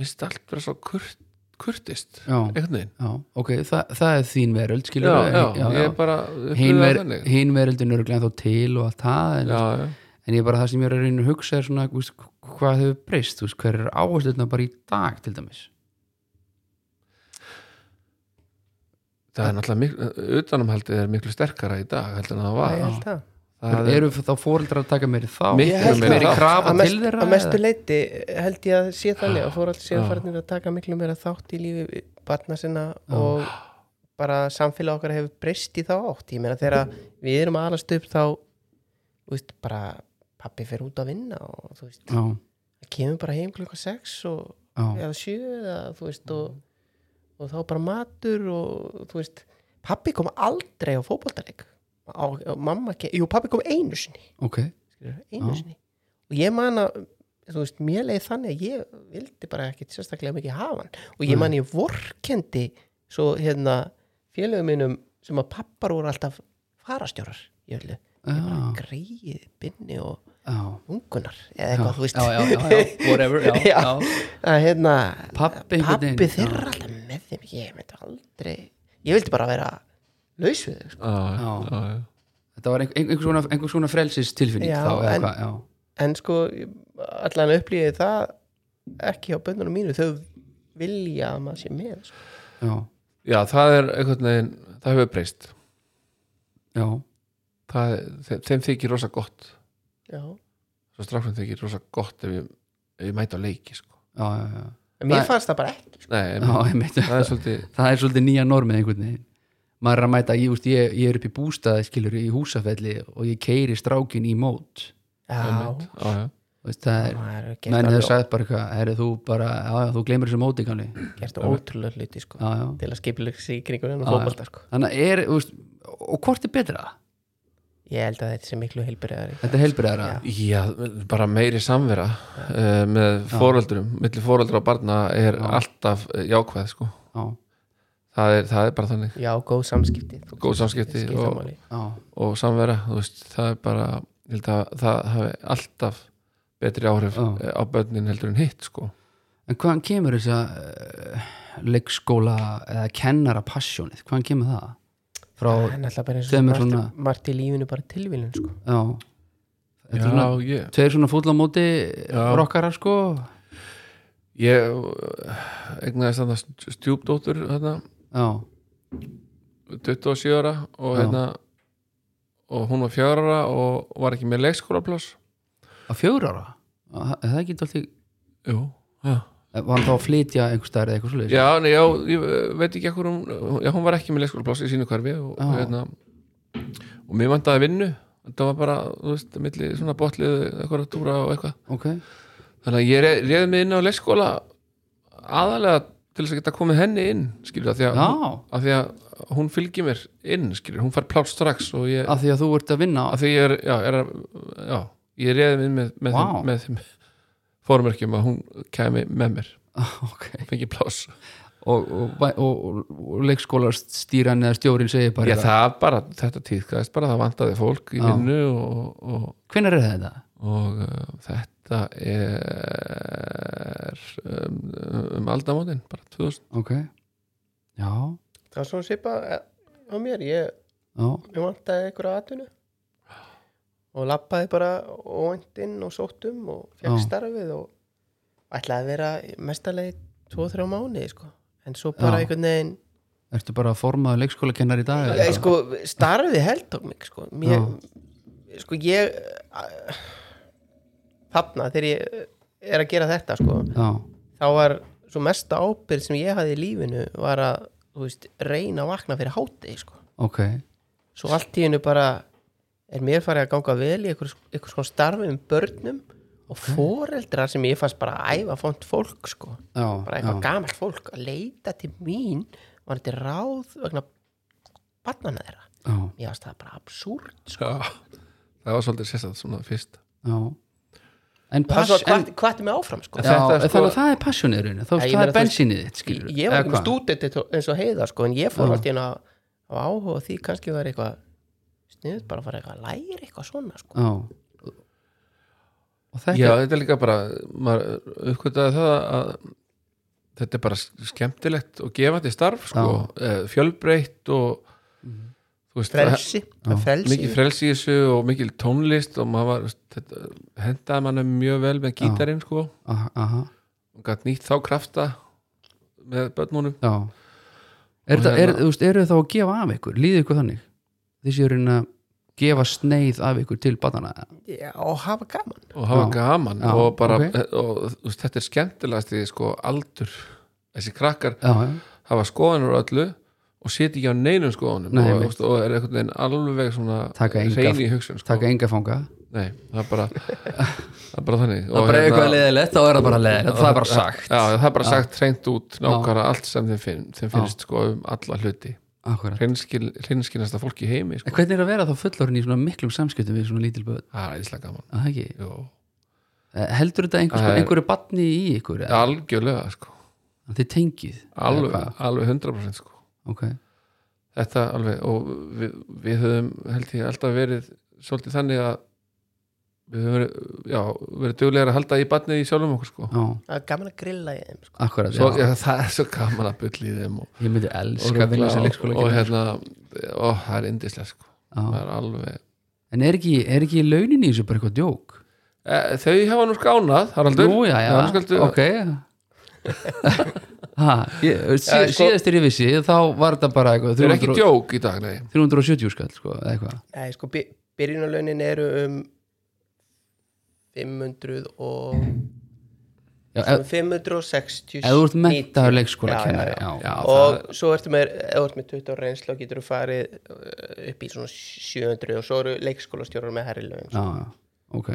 Speaker 3: mist allt vera svo kurt, kurtist
Speaker 1: Já.
Speaker 3: einhvern veginn
Speaker 1: Já, ok, Þa, það er þín veröld, skilur
Speaker 3: já,
Speaker 1: við
Speaker 3: já, ég er
Speaker 1: já,
Speaker 3: bara
Speaker 1: já.
Speaker 3: upplifði
Speaker 1: Hin,
Speaker 3: það
Speaker 1: ver,
Speaker 3: þannig.
Speaker 1: hin veröldin eru glæðan þá til og allt það en,
Speaker 3: já, já.
Speaker 1: en ég er bara það sem ég er að reyna að hugsa er svona, víst, hvað hefur breyst, þú veist, hver er áhersluðna bara í dag til dæmis
Speaker 3: það er náttúrulega miklu, utanumhaldið er miklu sterkara í dag heldur en það
Speaker 2: Nei,
Speaker 3: var
Speaker 2: ég held það
Speaker 3: það
Speaker 1: eru þá fóreldrar að taka meiri þá
Speaker 3: Miklu
Speaker 1: Er
Speaker 3: meiri
Speaker 1: meiri
Speaker 3: þátt.
Speaker 1: krafa
Speaker 2: Að
Speaker 1: til
Speaker 2: mest-
Speaker 1: þeirra
Speaker 2: að mestu
Speaker 1: eða?
Speaker 2: leiti held ég að sé þannig að fór alls
Speaker 3: Já.
Speaker 2: síðan farnir að taka miklu meira þátt í lífi barna sinna og bara samfélag okkar hefur breyst í þá átt ég meina þegar við erum að alast upp þá þú veist bara pappi fer út að vinna og þú veist
Speaker 1: já,
Speaker 2: kemur bara heim klukka 6 og,
Speaker 1: já, Mm.
Speaker 2: eða 7 eða, þú veist og, og þá bara matur og þú veist pappi kom aldrei á fótboltaleik og, og mamma, ke- jú pappi kom einu sinni
Speaker 1: ok
Speaker 2: skilur, einu
Speaker 1: Já.
Speaker 2: sinni og ég man að, þú veist, mér leiði þannig að ég vildi bara ekkit sérstaklega mikið hafa hann og
Speaker 1: Mm.
Speaker 2: ég man ég vorkendi svo hérna félögum minnum sem að pappar voru alltaf farastjórar í öllu,
Speaker 1: já,
Speaker 2: greið, binni og
Speaker 1: já
Speaker 2: ungunar eða eitthvað, þú veist
Speaker 1: já, já, já, já, whatever já,
Speaker 2: Já.
Speaker 1: já.
Speaker 2: að hérna
Speaker 1: Pabbi einhvern veginn,
Speaker 2: pabbi
Speaker 1: já.
Speaker 2: þeirra alltaf með þeim ég myndi aldrei, ég vildi bara vera laus við þau sko.
Speaker 1: Já.
Speaker 3: já, já.
Speaker 1: þetta var ein- ein- einhvers konar, einhvers konar frelsistilfinning
Speaker 2: Já,
Speaker 1: þá, eða
Speaker 2: en-
Speaker 1: hvað, já,
Speaker 2: en sko, allan upplýði það ekki hjá bönnunum mínu þau vilja að maður sé með sko.
Speaker 1: já,
Speaker 3: já, það er einhvern veginn það hefur breyst
Speaker 1: já
Speaker 3: það, þeim, þeim þykir rosa gott
Speaker 2: já,
Speaker 3: svo strafnum þykir rosa gott ef ég, ef ég mæti á leiki sko.
Speaker 1: já, já, já,
Speaker 2: en mér
Speaker 1: Það-
Speaker 2: fannst það bara ekki sko.
Speaker 3: Nei,
Speaker 1: já,
Speaker 3: em,
Speaker 1: einmitt
Speaker 3: það er svolítið
Speaker 1: það er svolítið nýja normið einhvern veginn maður er að mæta, ég, úst, ég, ég er upp í bústaði skilur í húsafelli og ég keiri strákin í mót
Speaker 2: já,
Speaker 3: já, já.
Speaker 1: Þú veist, það er,
Speaker 2: maður er
Speaker 1: menn hefur
Speaker 2: gert,
Speaker 1: sagt bara eitthvað herri þú bara, já, já, þú gleymir þessu móti kannu
Speaker 2: alveg, gert ótrúlega hluti sko,
Speaker 1: já, já,
Speaker 2: til að skipileg sig í kringum
Speaker 1: Já,
Speaker 2: hennar
Speaker 1: já.
Speaker 2: fótbolta sko.
Speaker 1: þannig að er, þú veist og hvort er betra?
Speaker 2: ég held að þetta sé miklu heilbyrðari
Speaker 1: Þetta er helbriðara
Speaker 2: Já.
Speaker 3: Já, bara meiri samvera uh, með fóröldurum, milli fóröldur og barna er alltaf eh, jákvæð sko.
Speaker 1: já,
Speaker 3: það, er, það er bara þannig
Speaker 2: já, góð samskipti
Speaker 3: góð samskipti
Speaker 2: Skipta
Speaker 3: og,
Speaker 2: máli.
Speaker 1: já,
Speaker 3: og samvera þú veist, það er bara ég held að, það hafi alltaf betri áhrif
Speaker 1: Já.
Speaker 3: eh, á börnin heldur en hitt sko.
Speaker 1: en hvaðan kemur þess að leikskóla eða kennara passjónið, hvaðan kemur það? frá,
Speaker 2: Það er náttúrulega bara eins og
Speaker 1: sem er
Speaker 2: margt-
Speaker 1: svona-
Speaker 2: margt í lífinu bara tilvílun sko.
Speaker 1: já Þetta er svona,
Speaker 3: ég,
Speaker 1: tveir svona fúllamóti
Speaker 3: Já.
Speaker 1: rockarar sko
Speaker 3: ég eh, eignaðist þarna stjúpdóttur þarna,
Speaker 1: já,
Speaker 3: 27 ára og,
Speaker 1: Já.
Speaker 3: hérna, og hún var 4 ára og var ekki með leikskólapláss
Speaker 1: á fjögur ára Já, það það er ekki alltaf
Speaker 3: Jú, já
Speaker 1: var hann þá að flytja einhver stær eða eitthvað svolítið
Speaker 3: Já, nei, já, ég eh, veit ekki ekkur hún, já, hún var ekki með leikskólapláss í sínu hverfi og,
Speaker 1: Já.
Speaker 3: hérna, og mér vantaði vinnu þetta var bara, þú veist, milli svona botlið eitthvað að túra og eitthvað
Speaker 1: ok,
Speaker 3: þannig að ég re- réði mig inn á leikskóla aðalega til þess að geta komið henni inn skilur, af því að,
Speaker 1: já,
Speaker 3: hún, af því að hún fylgir mér inn, skilur, hún fær pláss strax og ég,
Speaker 1: af því að þú ert að vinna
Speaker 3: af því ég er, já, er að, já, ég réði mig inn með, með,
Speaker 1: Vá.
Speaker 3: þeim, með þeim formörkjum að hún kæmi með mér
Speaker 1: Ah, ok,
Speaker 3: fengi pláss
Speaker 1: og, og, og, og, og leikskólastýran eða stjórin segir bara
Speaker 3: Já, það bara, þetta tíðkæðist bara, það vantaði fólk í
Speaker 1: Já.
Speaker 3: vinnu og, og,
Speaker 1: hvenær er þetta?
Speaker 3: og uh, þetta er um, um aldamótin, bara 2000
Speaker 1: ok, já,
Speaker 2: það var svona svipa á mér ég,
Speaker 1: já
Speaker 2: ég vantaði einhverja atvinnu og lappaði bara óvænt inn og sóttum og fekk
Speaker 1: Já.
Speaker 2: starfið og ætlaði að vera mestalegi 2-3 mánuði sko. en svo bara
Speaker 1: Já.
Speaker 2: einhvern veginn
Speaker 1: ertu bara að forma leikskólakennar í dag? eða
Speaker 2: ég,
Speaker 1: eitthvað?
Speaker 2: sko, starfið held á mig sko. Mér, sko ég eh, þarna þegar ég eh, er að gera þetta sko,
Speaker 1: já,
Speaker 2: þá var svo mesta ábyrgð sem ég hafði í lífinu var að þú veist, reyna að vakna fyrir hátegi sko.
Speaker 1: ok,
Speaker 2: svo allt í hennu bara er mér farið að ganga vel í einhvers einhvers konar starfi um börnum og foreldrar sem ég fannst bara að æfa fónt fólk sko,
Speaker 1: já,
Speaker 2: bara
Speaker 1: já,
Speaker 2: eitthvað gamalt fólk að leita til mín var þetta ráð vegna barnana þeirra
Speaker 1: já,
Speaker 2: mér fannst það bara absúrt sko.
Speaker 3: Já, það var svolítið sérstætt svona fyrst
Speaker 1: já en
Speaker 2: það
Speaker 1: pass
Speaker 2: var
Speaker 1: en,
Speaker 2: hvað, hvað er mig áfram sko
Speaker 1: já,
Speaker 3: Þetta er sko-
Speaker 1: þannig að það er passjónirinu þá
Speaker 2: Já,
Speaker 1: það
Speaker 2: ég
Speaker 1: er
Speaker 2: meina, þú veist,
Speaker 1: bensínið þitt skilur
Speaker 2: ég var ekki með stúdent eins og heiða sko, en ég fór
Speaker 1: Já.
Speaker 2: allt í hennu að að áhuga á því kannski var eitthvað sniðut bara að fara eitthvað að læra eitthvað svona sko.
Speaker 1: já og
Speaker 3: Já,
Speaker 1: þetta,
Speaker 3: þetta er líka bara, maður uppkvitaði það að þetta er bara skemmtilegt og gefandi starf sko, eh, fjölbreytt og
Speaker 1: Mhm.
Speaker 3: þú veist, það-
Speaker 2: frelsi,
Speaker 1: Já.
Speaker 2: frelsi.
Speaker 3: mikið frelsi í þessu og mikil tónlist og maður var, þetta, hendaði manna mjög vel með gítarinn sko
Speaker 1: aha, aha
Speaker 3: og gætt nýtt þá krafta með börnunum
Speaker 1: Já Er
Speaker 3: Og
Speaker 1: það, er,
Speaker 3: hérna-
Speaker 1: þú veist, eru þá að gefa af ykkur? Líðu ykkur þannig? Þessi eru að gefa sneið af ykkur til batana
Speaker 2: Já, og hafa gaman
Speaker 3: og hafa
Speaker 1: Já.
Speaker 3: gaman
Speaker 1: Já,
Speaker 3: og bara, eh,
Speaker 1: ok.
Speaker 3: og, þú veist, þetta er skemmtilegast í sko aldur þessi krakkar
Speaker 1: Já, já,
Speaker 3: hafa skoðanur á öllu og setja ekki á neinum skoðanum
Speaker 1: Nei,
Speaker 3: og,
Speaker 1: einmitt.
Speaker 3: veist, og er einhvern veginn alveg svona
Speaker 1: Taka enga-
Speaker 3: hrein í hugsun sko.
Speaker 1: taka enga fanga
Speaker 3: nei, það er bara það er bara þannig
Speaker 1: Það er bara eitthvað leðilegt, þá er það bara leðilegt Það er bara sagt
Speaker 3: hérna- já, það er bara sagt hreint út nákvæmlega allt sem þeim, finn, þeim finnst sko um alla hluti
Speaker 1: Akkurat.
Speaker 3: Hreinskil- hreinskinnasta fólk í heimi sko.
Speaker 1: En hvernig er að vera þá fullorinn í svona miklum samskiptum við svona lítil böt?
Speaker 3: það er æðislega gaman
Speaker 1: Það ekki?
Speaker 3: Jó.
Speaker 1: Eh, Heldur þetta einhvers,
Speaker 3: Það er-
Speaker 1: einhverju batni í ykkur? Ja.
Speaker 3: algjörlega sko
Speaker 1: Þið tengið?
Speaker 3: alveg,
Speaker 1: Eða hvað?
Speaker 3: alveg 100% sko
Speaker 1: Ok,
Speaker 3: þetta alveg og við, við höfum held ég alltaf verið svolítið þannig að við höfum verið, já, verið duglegar að halda í barnið í sjálfum okkur sko.
Speaker 1: já,
Speaker 2: það er gaman að grilla í þeim sko.
Speaker 1: akkurat
Speaker 3: Svo,
Speaker 1: já.
Speaker 3: já, það er svo gaman að bylla í þeim og,
Speaker 1: ég myndi elska að vinna
Speaker 3: rugla
Speaker 1: sem
Speaker 3: og,
Speaker 1: leikskóla
Speaker 3: og hérna, ó, það er indislega sko. það er alveg
Speaker 1: en er ekki, er ekki launin í þessu bara eitthvað djók
Speaker 3: e, þau hafa nú skánað, Haraldur
Speaker 1: Nú, já, já,
Speaker 3: nú skaldu,
Speaker 1: ok ha, ég, sí,
Speaker 3: Já, sko-
Speaker 1: síðast er ég vissi þá var þetta bara eitthvað
Speaker 3: þau eru ekki
Speaker 1: 300
Speaker 3: djók í dag, nei
Speaker 1: 370 skall sko, eða eitthvað
Speaker 2: Nei, sko, by- byrjunarlaunin eru um 500 og
Speaker 1: Já,
Speaker 2: svona
Speaker 1: ef, ef
Speaker 2: 560
Speaker 1: þú ert
Speaker 2: 90.
Speaker 1: menntaður leikskóla
Speaker 2: Já,
Speaker 1: kennari
Speaker 2: já,
Speaker 1: já, já.
Speaker 2: og svo ertu með, ef þú ert með 20 ára reynsla getur þú farið uh, upp í svona 700 og svo eru leikskólastjórar með herri laun
Speaker 1: Já, já, ok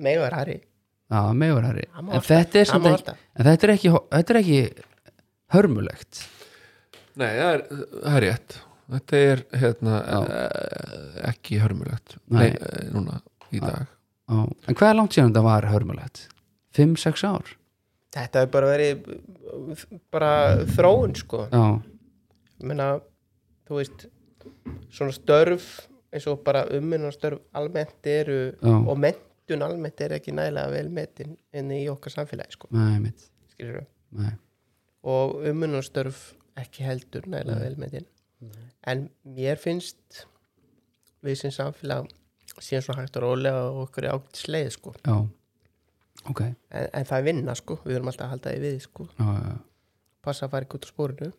Speaker 2: meira er herri
Speaker 1: já, meður herri
Speaker 2: Hann má
Speaker 1: en
Speaker 2: alltaf-
Speaker 1: þetta er,
Speaker 2: hann
Speaker 1: samt
Speaker 2: má
Speaker 1: ekki,
Speaker 2: alltaf.
Speaker 1: en þetta er ekki þetta er ekki hörmulegt
Speaker 3: Nei, það er, það er rétt Þetta er hérna eh, ekki hörmulegt
Speaker 1: Nei.
Speaker 3: Nei. eh, núna í dag
Speaker 1: já. en hvað er langt síðan þetta var hörmulegt? 5-6 ár?
Speaker 2: þetta hefur bara verið uh, bara þróun sko
Speaker 1: Já,
Speaker 2: menna, þú veist svona störf eins og bara umminnar störf almennt eru
Speaker 1: Já.
Speaker 2: og mentun almennt er ekki nægilega vel metin enn í okkar samfélagi sko
Speaker 1: nei, mitt
Speaker 2: skilurðu.
Speaker 1: nei.
Speaker 2: og umunarstörf ekki heldur nægilega vel með þinn en mér finnst við sem samfélag síðan svona hægt að rólega og okkur í ágætt sleið sko.
Speaker 1: Já, ok já,
Speaker 2: en, en það er vinna sko, við erum alltaf að halda því við sko,
Speaker 1: já, já.
Speaker 2: passa að fara ekki út á spórinu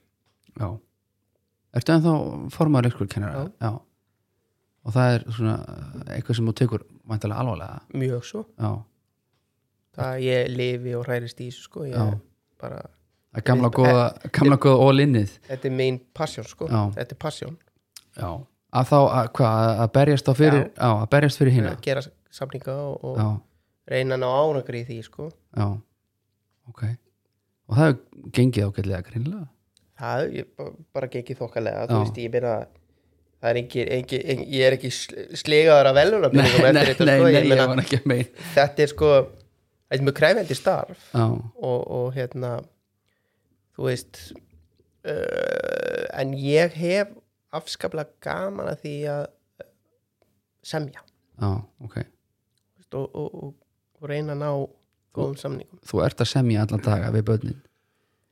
Speaker 1: Já Ertu ennþá formaður leikskólkennara? Já. Og það er svona eh, eitthvað sem þú tekur væntalega alvarlega
Speaker 2: mjög svo,
Speaker 1: Já,
Speaker 2: það ég lifi og hærist í þessu sko,
Speaker 1: Já.
Speaker 2: ég bara
Speaker 1: það er gamla góða gamla góða all-innið
Speaker 2: þetta er mín passjón sko,
Speaker 1: Já.
Speaker 2: þetta er passjón
Speaker 1: Já, að þá, að, hvað, að berjast þá fyrir Já, að berjast fyrir hina
Speaker 2: að gera samlinga og, og
Speaker 1: Já,
Speaker 2: reyna að ná ánagri í því sko.
Speaker 1: já, ok Og það hefur gengið ágætlega greinlega
Speaker 2: Það, ég ba- bara gengið þokkalega, þú
Speaker 1: Já.
Speaker 2: veist, ég meina það er engin, engin, engin ég er ekki sl- slegaður af velunarbyggingum eftir þetta, sko, ég meina,
Speaker 1: var ekki að mein
Speaker 2: þetta er sko, þetta er mjög kræfendi starf
Speaker 1: Já,
Speaker 2: og, og hérna, þú veist, uh, en ég hef afskaplega gaman að því að semja
Speaker 1: já, ok
Speaker 2: þú veist, og, og, og, og reyna að ná góðum samningum.
Speaker 1: Þú ert að semja allan daga við börnin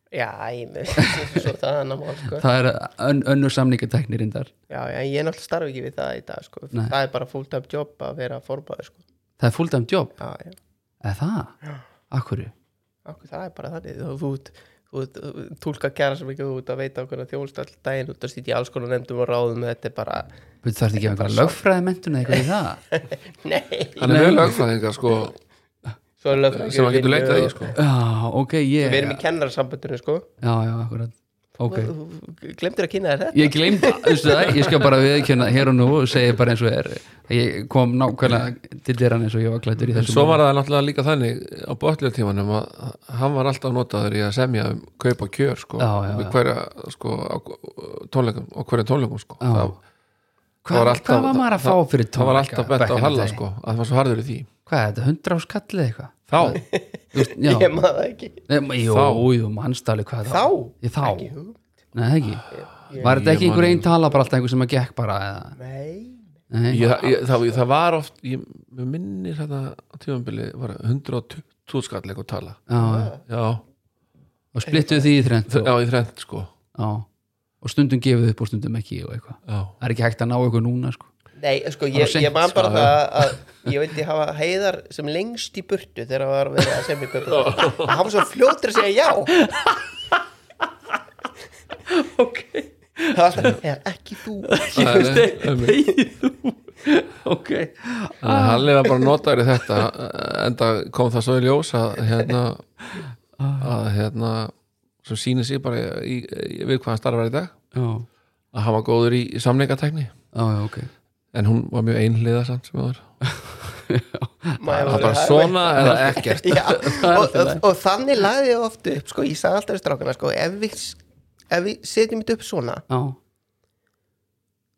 Speaker 2: Já, ég með, svo það er annar mál, sko.
Speaker 1: Það er ön, önnur samningateknir indar
Speaker 2: Já, já, ég náttúrulega starf ekki við það í dag sko.
Speaker 1: Nei.
Speaker 2: það er bara fulltime job að vera formaður sko.
Speaker 1: Það er fulltime job,
Speaker 2: já, já,
Speaker 1: eða það? Akkurru?
Speaker 2: okkur það er bara þannig þú, þú, ert- þú, þú, þú tólka kæra sem ekki þú ert að veita okkur að þjónust all daginn út að sýtja í alls konar nefndum og ráðum þetta er bara,
Speaker 1: Þú þarf ekki að einhverja lögfræði mentuna eitthvað í það
Speaker 2: nei
Speaker 3: Hann er með lögfræðingar sko
Speaker 2: svo er lögfræðingur
Speaker 3: sem
Speaker 2: í
Speaker 3: hann getur
Speaker 2: vinnu
Speaker 3: leitað í
Speaker 2: og-
Speaker 3: sko
Speaker 1: Já, ok, ég
Speaker 2: við erum í kennarsambandinu sko
Speaker 1: Já, já, akkurat Ok,
Speaker 2: glemtir að kynna þér þetta
Speaker 1: ég gleymd, veistu það, ég skal bara viðkjöna hér og nú og segja bara eins og er Ég kom nákvæmlega til dyrann eins og ég var klættur í
Speaker 3: En
Speaker 1: þessum
Speaker 3: svo var það náttúrulega líka þannig á botljöftímanum að hann var alltaf notaður í að semja um kaupa kjör sko
Speaker 1: Já, já,
Speaker 3: við
Speaker 1: já.
Speaker 3: hverja sko á tónleikum og hverja tónleikum sko
Speaker 1: Já.
Speaker 3: það,
Speaker 1: Hvað
Speaker 3: var
Speaker 1: var,
Speaker 3: alltaf-
Speaker 1: var maður að fá fyrir tónleika?
Speaker 3: það var alltaf
Speaker 1: back
Speaker 3: bent á
Speaker 1: in the
Speaker 3: Halla
Speaker 1: day?
Speaker 3: sko að það var svo harður í því
Speaker 1: Hvað er þetta, hundra áskallið eitthvað?
Speaker 3: þá,
Speaker 1: Þú veist, Já,
Speaker 2: ég maður það ekki
Speaker 1: Nei, jú,
Speaker 3: Þá.
Speaker 1: jú, mannstali hvað
Speaker 2: þá,
Speaker 1: Ég þá,
Speaker 2: Ekki hug-
Speaker 1: nei það ekki
Speaker 2: ég-
Speaker 1: Var þetta ekki
Speaker 3: Ah, Ég man-
Speaker 1: einhver einn tala bara alltaf einhver sem að gekk bara eða,
Speaker 2: nei,
Speaker 1: nei,
Speaker 3: ég, ég, það, ég, það var oft ég mig minnir þetta á tímanbili var 120 skall eitthvað tala
Speaker 1: já,
Speaker 3: já,
Speaker 1: og splittuð því í þrennt og-
Speaker 3: þ- já í þrend sko
Speaker 1: Já, og stundum gefið upp og stundum ekki og eitthvað.
Speaker 3: já.
Speaker 1: Það er ekki hægt að ná eitthvað núna, sko.
Speaker 2: Nei, sko,
Speaker 1: var
Speaker 2: ég,
Speaker 1: seint,
Speaker 2: ég man bara
Speaker 3: sko,
Speaker 2: það að ég vildi hafa heiðar sem lengst í burtu þegar það var verið að segja mig
Speaker 3: Oh.
Speaker 2: kaupið hann var svo fljótur að segja já ok það var alltaf, "Heiðar, ekki þú
Speaker 3: Það er- einmitt.
Speaker 1: ok.
Speaker 3: Þannig að Halli var bara notaður í þetta enda kom það svo í ljós að hérna að hérna sem sýnir sig bara í, í, við hvað hann starfar í dag
Speaker 1: Já,
Speaker 3: að hann var góður í, í samleikartekni
Speaker 1: já, já, ok.
Speaker 3: en hún var mjög einhliða samt sem áður
Speaker 2: maður
Speaker 3: það er bara svona eða ekkert
Speaker 2: já, og, og, og þannig lagði ég oft upp sko, ég sagði alltaf í strákana sko, ef við, ef við setjum þetta upp svona
Speaker 1: Já,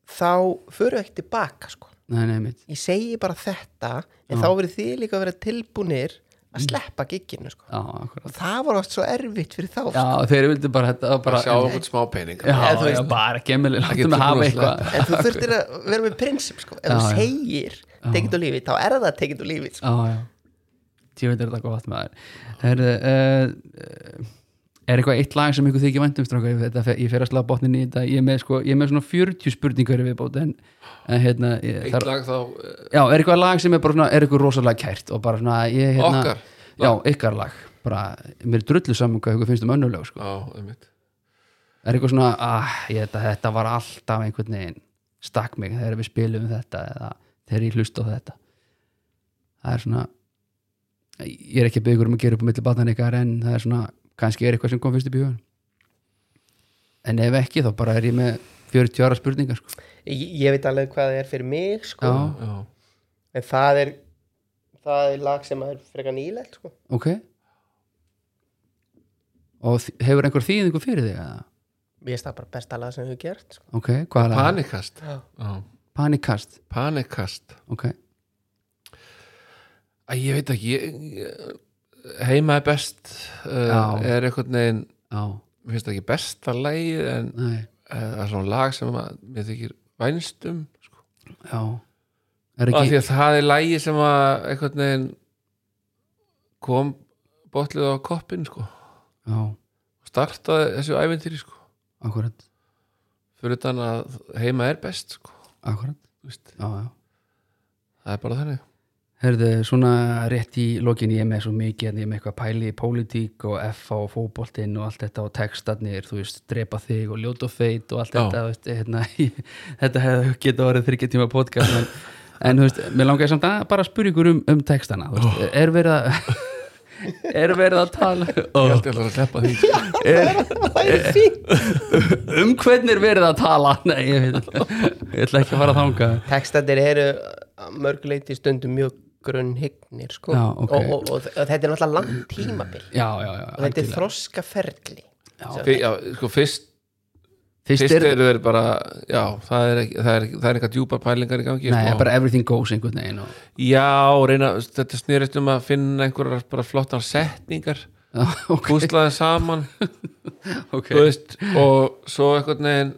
Speaker 2: þá förum við ekki tilbaka sko.
Speaker 1: nei, nei, mitt.
Speaker 2: ég segi bara þetta en þá verið þið líka að vera tilbúnir að sleppa gigginu sko.
Speaker 1: já, akkurat
Speaker 2: og það var oft svo erfitt fyrir þá
Speaker 1: já, þeir vildu bara þetta var bara,
Speaker 3: sjá okkur smá pening
Speaker 1: já,
Speaker 2: Eða þú
Speaker 1: já,
Speaker 2: veist-
Speaker 1: bara gemili
Speaker 3: Ekki
Speaker 1: láttum að hafa
Speaker 3: trúlega
Speaker 1: eitthvað
Speaker 2: en þú þurftir að vera með prinsip sko. ef
Speaker 1: Já,
Speaker 2: þú
Speaker 1: já.
Speaker 2: segir tekið úr lífi þá er það tekið úr lífi sko.
Speaker 1: Já, já Ég veit er þetta gott með þær Herðu, uh, Er eitthvað eitt lag sem ykkur þykir væntum strákar, Ég þetta- ég fer að slá botnin í þetta Ég er með, sko, ég er með svona 40 spurningar í viðbót en, en hérna ég,
Speaker 3: eitt
Speaker 1: þar,
Speaker 3: lag þá eh,
Speaker 1: Já, er eitthvað lag sem er bara svona er ykkur rosalega kært og bara svona ég, hérna,
Speaker 3: Okkar
Speaker 1: Já, ykkar lag bara, mér er drullu saman hvað ykkur finnst um önnulög sko.
Speaker 3: já, einmitt
Speaker 1: Er eitthvað svona, ah, ég, þetta, þetta var alltaf einhvern veginn stakk mig þegar við spilum þetta eða þegar ég hlusta á þetta það er svona ég er ekki að byggur um að gera upp á milli batnan ykkar en það er svona, kannski er eitthvað sem kom fyrst í bíóðan en ef ekki þá bara er ég með 40 ára spurningar sko.
Speaker 2: ég, ég veit alveg hvað það er fyrir mig sko.
Speaker 1: Já.
Speaker 3: já,
Speaker 2: en það er það er lag sem er frekar nýlegt sko.
Speaker 1: ok og þi- hefur einhver þýðingu fyrir þig eða?
Speaker 2: ég veist það bara besta lag sem hefur gert sko.
Speaker 1: ok, hvað er það?
Speaker 3: panikast
Speaker 2: Já.
Speaker 3: já,
Speaker 1: panikast,
Speaker 3: panikast
Speaker 1: ok
Speaker 3: Æ, ég veit ekki ég, ég, heima er best uh,
Speaker 1: Já.
Speaker 3: er einhvern veginn
Speaker 1: já,
Speaker 3: mér finnst það ekki besta lagið en
Speaker 1: nei,
Speaker 3: eh, það er svona lag sem að, mér þykir vænst um sko.
Speaker 1: já er
Speaker 3: af
Speaker 1: ekki,
Speaker 3: því að það er lagið sem að einhvern veginn kom botlið á koppin sko.
Speaker 1: já,
Speaker 3: startaði þessu æventýri sko.
Speaker 1: akkurat
Speaker 3: fyrir utan að heima er best sko.
Speaker 1: akkurat,
Speaker 3: Þú veist,
Speaker 1: já, já
Speaker 3: það er bara þannig
Speaker 1: Herðu, svona rétt í lokin ég er með svo mikið en ég er með eitthvað pæli í pólitík og F og fótboltinn og allt þetta og textarnir, þú veist, drepa þig og ljóta feit og allt
Speaker 3: Já.
Speaker 1: þetta, þú veist, hérna, ég, þetta hefði geta orðið þryggja tíma podcast en, en þú veist, mér langaði samt að bara spyrja ykkur um, um textana, þú veist, er verið að er verið að tala
Speaker 3: ég
Speaker 1: oh.
Speaker 3: held ég ætlar að sleppa því sko.
Speaker 2: Eh. það er fínt
Speaker 1: um hvernig er verið að tala nei, ég, veit, ég ætla ekki að fara að þanga
Speaker 2: textandir eru að mörguleiti stundum mjög grunnhygnir sko.
Speaker 1: Já, ok.
Speaker 2: og, og, og, og þetta er náttúrulega langt tímabil
Speaker 1: já, já, já,
Speaker 2: og þetta er
Speaker 1: algjörlega.
Speaker 2: þroskaferli
Speaker 3: Fy- já, sko, fyrst,
Speaker 1: fyrst
Speaker 3: fyrst
Speaker 1: er
Speaker 3: eru þeir bara já, það er, ekki- það er, það er eitthvað djúpar pælingar í gangi
Speaker 1: Nei,
Speaker 3: sko.
Speaker 1: bara everything goes einhvern veginn og,
Speaker 3: Já, reyna, þetta snýrist um að finna einhverjar bara flottar setningar
Speaker 1: Já, ok,
Speaker 3: húslaði saman
Speaker 1: ok
Speaker 3: þú veist, og svo einhvern veginn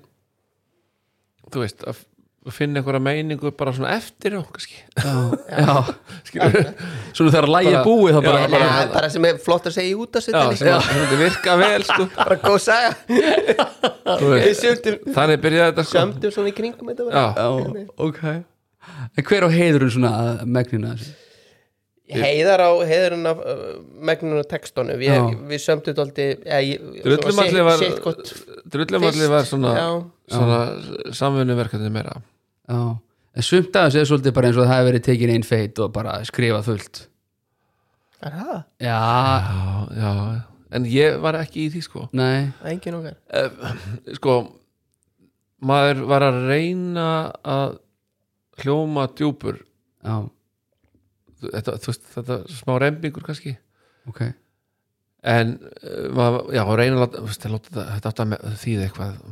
Speaker 3: þú veist, að f- finna einhverja meiningu bara svona eftir á, kannski
Speaker 1: já,
Speaker 3: skilur
Speaker 1: svona þegar lægið er
Speaker 3: Bara-
Speaker 1: búið þá
Speaker 3: já,
Speaker 1: bara,
Speaker 2: bara,
Speaker 1: bara
Speaker 2: bara, bara sem er flott að segja sko. út af
Speaker 3: Já,
Speaker 2: sveitinni
Speaker 3: sem að þetta virka vel sko,
Speaker 2: bara góð saga
Speaker 3: þú
Speaker 2: við
Speaker 3: veist,
Speaker 2: sömdum,
Speaker 3: þannig byrjaði þetta sko
Speaker 2: sömdum svona í kringum þetta bara.
Speaker 1: já,
Speaker 3: Já,
Speaker 1: ok en hver á heiðurinn svona að megnina þessu?
Speaker 2: heiðar á heiðarinn af uh, megnun og textunum Vi,
Speaker 1: Já.
Speaker 2: við sömdum doldi
Speaker 3: drullumalli var
Speaker 2: sitt gott
Speaker 3: drullumalli
Speaker 2: fyrst.
Speaker 3: var svona,
Speaker 2: Já.
Speaker 3: svona samvinnuverkefni meira
Speaker 1: já, en sumt af þessu er svolítið bara eins og það hefur verið tekin einn feit og bara skrifað fullt
Speaker 2: er það,
Speaker 1: já,
Speaker 3: já, já, en ég var ekki í því sko
Speaker 1: nei
Speaker 2: það er engin okkar
Speaker 3: sko maður var að reyna að hljóma djúpur
Speaker 1: já,
Speaker 3: þetta, þú veist, þetta er smá rembingur kannski
Speaker 1: ok,
Speaker 3: en uh, maður, já, að reyna að láta, þú veist, að láta þetta, þetta átt að me- þýða eitthvað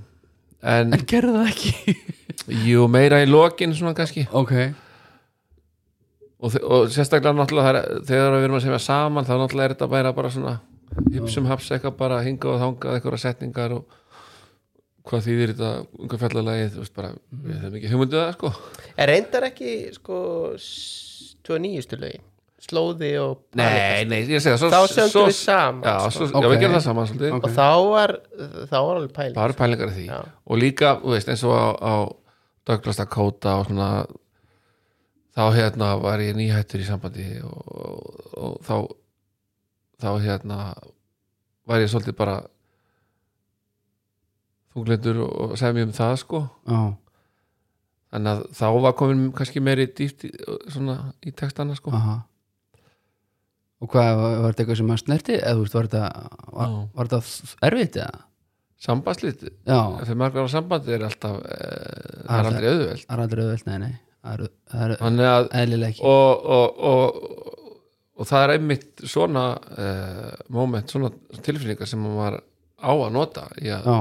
Speaker 3: en
Speaker 1: en gerðu það ekki
Speaker 3: jú, meira í lokin svona kannski
Speaker 1: ok,
Speaker 3: og, þe- og sérstaklega náttúrulega það er, þegar við erum að segja saman þá náttúrulega er þetta bara, bara svona hipsum haps eitthvað bara hingað og þangað eitthvað setningar og hvað þýðir þetta, hvað fjallalagið þú veist bara, við höfum ekki hugmynduð það sko
Speaker 2: er reyndar ekki sko 29 stulegi slóði og
Speaker 3: Nei, nei, ég segi það svo,
Speaker 2: Þá sömdum
Speaker 3: svo-
Speaker 2: við saman,
Speaker 3: Já,
Speaker 2: sko.
Speaker 3: svo,
Speaker 1: Ok.
Speaker 3: já við gerum það saman svolítið
Speaker 1: Ok.
Speaker 2: og þá var þá var alveg pæling
Speaker 3: Bara pælingar í því
Speaker 2: Já.
Speaker 3: Og líka, þú veist, eins og á, á Douglas Dakota og svona þá hérna var ég nýhættur í sambandi og, og, og þá þá hérna var ég svolítið bara þunglindur og, og segja mér um það sko
Speaker 1: já,
Speaker 3: þannig að þá var komin kannski meiri dýft í, svona í textana sko
Speaker 1: aha og hvað, var var þetta eitthvað sem maður snerti eða þú veist, var þetta var,
Speaker 3: Já.
Speaker 1: var þetta erfitt eða?
Speaker 3: Sambandslít,
Speaker 1: já,
Speaker 3: þegar margar á sambandi er alltaf, eh, það
Speaker 1: Alltaf.
Speaker 3: er aldrei auðveld
Speaker 1: það er aldrei auðvelt, nei, nei það er- það er
Speaker 3: þannig að
Speaker 1: eðlilega ekki
Speaker 3: og, og, og, og það er einmitt svona uh, moment, svona tilfinningar sem maður á að nota í að
Speaker 1: já,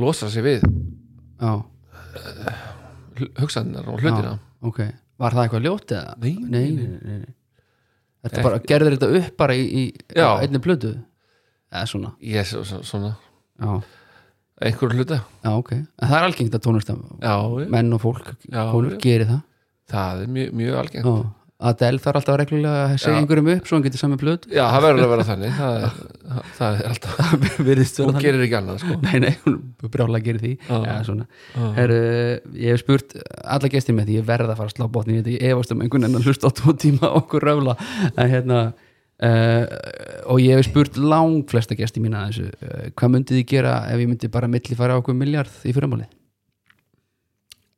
Speaker 3: losa sig við
Speaker 1: já
Speaker 3: hugsanir og hlutina
Speaker 1: Já, ok, var það eitthvað ljótt eða?
Speaker 3: Nei,
Speaker 1: nei, nei, nei, nei. Þetta bara, gerðir þetta upp bara í, í
Speaker 3: Já.
Speaker 1: einni plötu eða svona
Speaker 3: ég yes, svona
Speaker 1: já,
Speaker 3: einhverju hluta
Speaker 1: já, ok, en það er algengt að tónlistam
Speaker 3: já, ég-
Speaker 1: menn og fólk,
Speaker 3: Já,
Speaker 1: konur
Speaker 3: já.
Speaker 1: gerir það
Speaker 3: það er mjög, mjög algengt
Speaker 1: já. Adele þarf alltaf reglulega að segja
Speaker 3: Já.
Speaker 1: einhverjum upp svo hann getur sami plötu
Speaker 3: já, það verður að vera þannig það er, það er alltaf
Speaker 1: virðist
Speaker 3: hún
Speaker 1: vera þannig
Speaker 3: gerir ekki annað sko.
Speaker 1: Nei, nei, hún brjála að gera því
Speaker 3: Já.
Speaker 1: Já, svona
Speaker 3: Já.
Speaker 1: Heru, Ég hef spurt alla gestir með því ég verð að fara að slá botni í þetta, ég efast um einhvern enn að hlusta á tvo tíma á okkur röfla en hérna Uh, og ég hef spurt lang flesta gesti mína að þessu, uh, hvað myndið þið gera ef ég myndi bara milli fara á okkur miljard í fyrramáli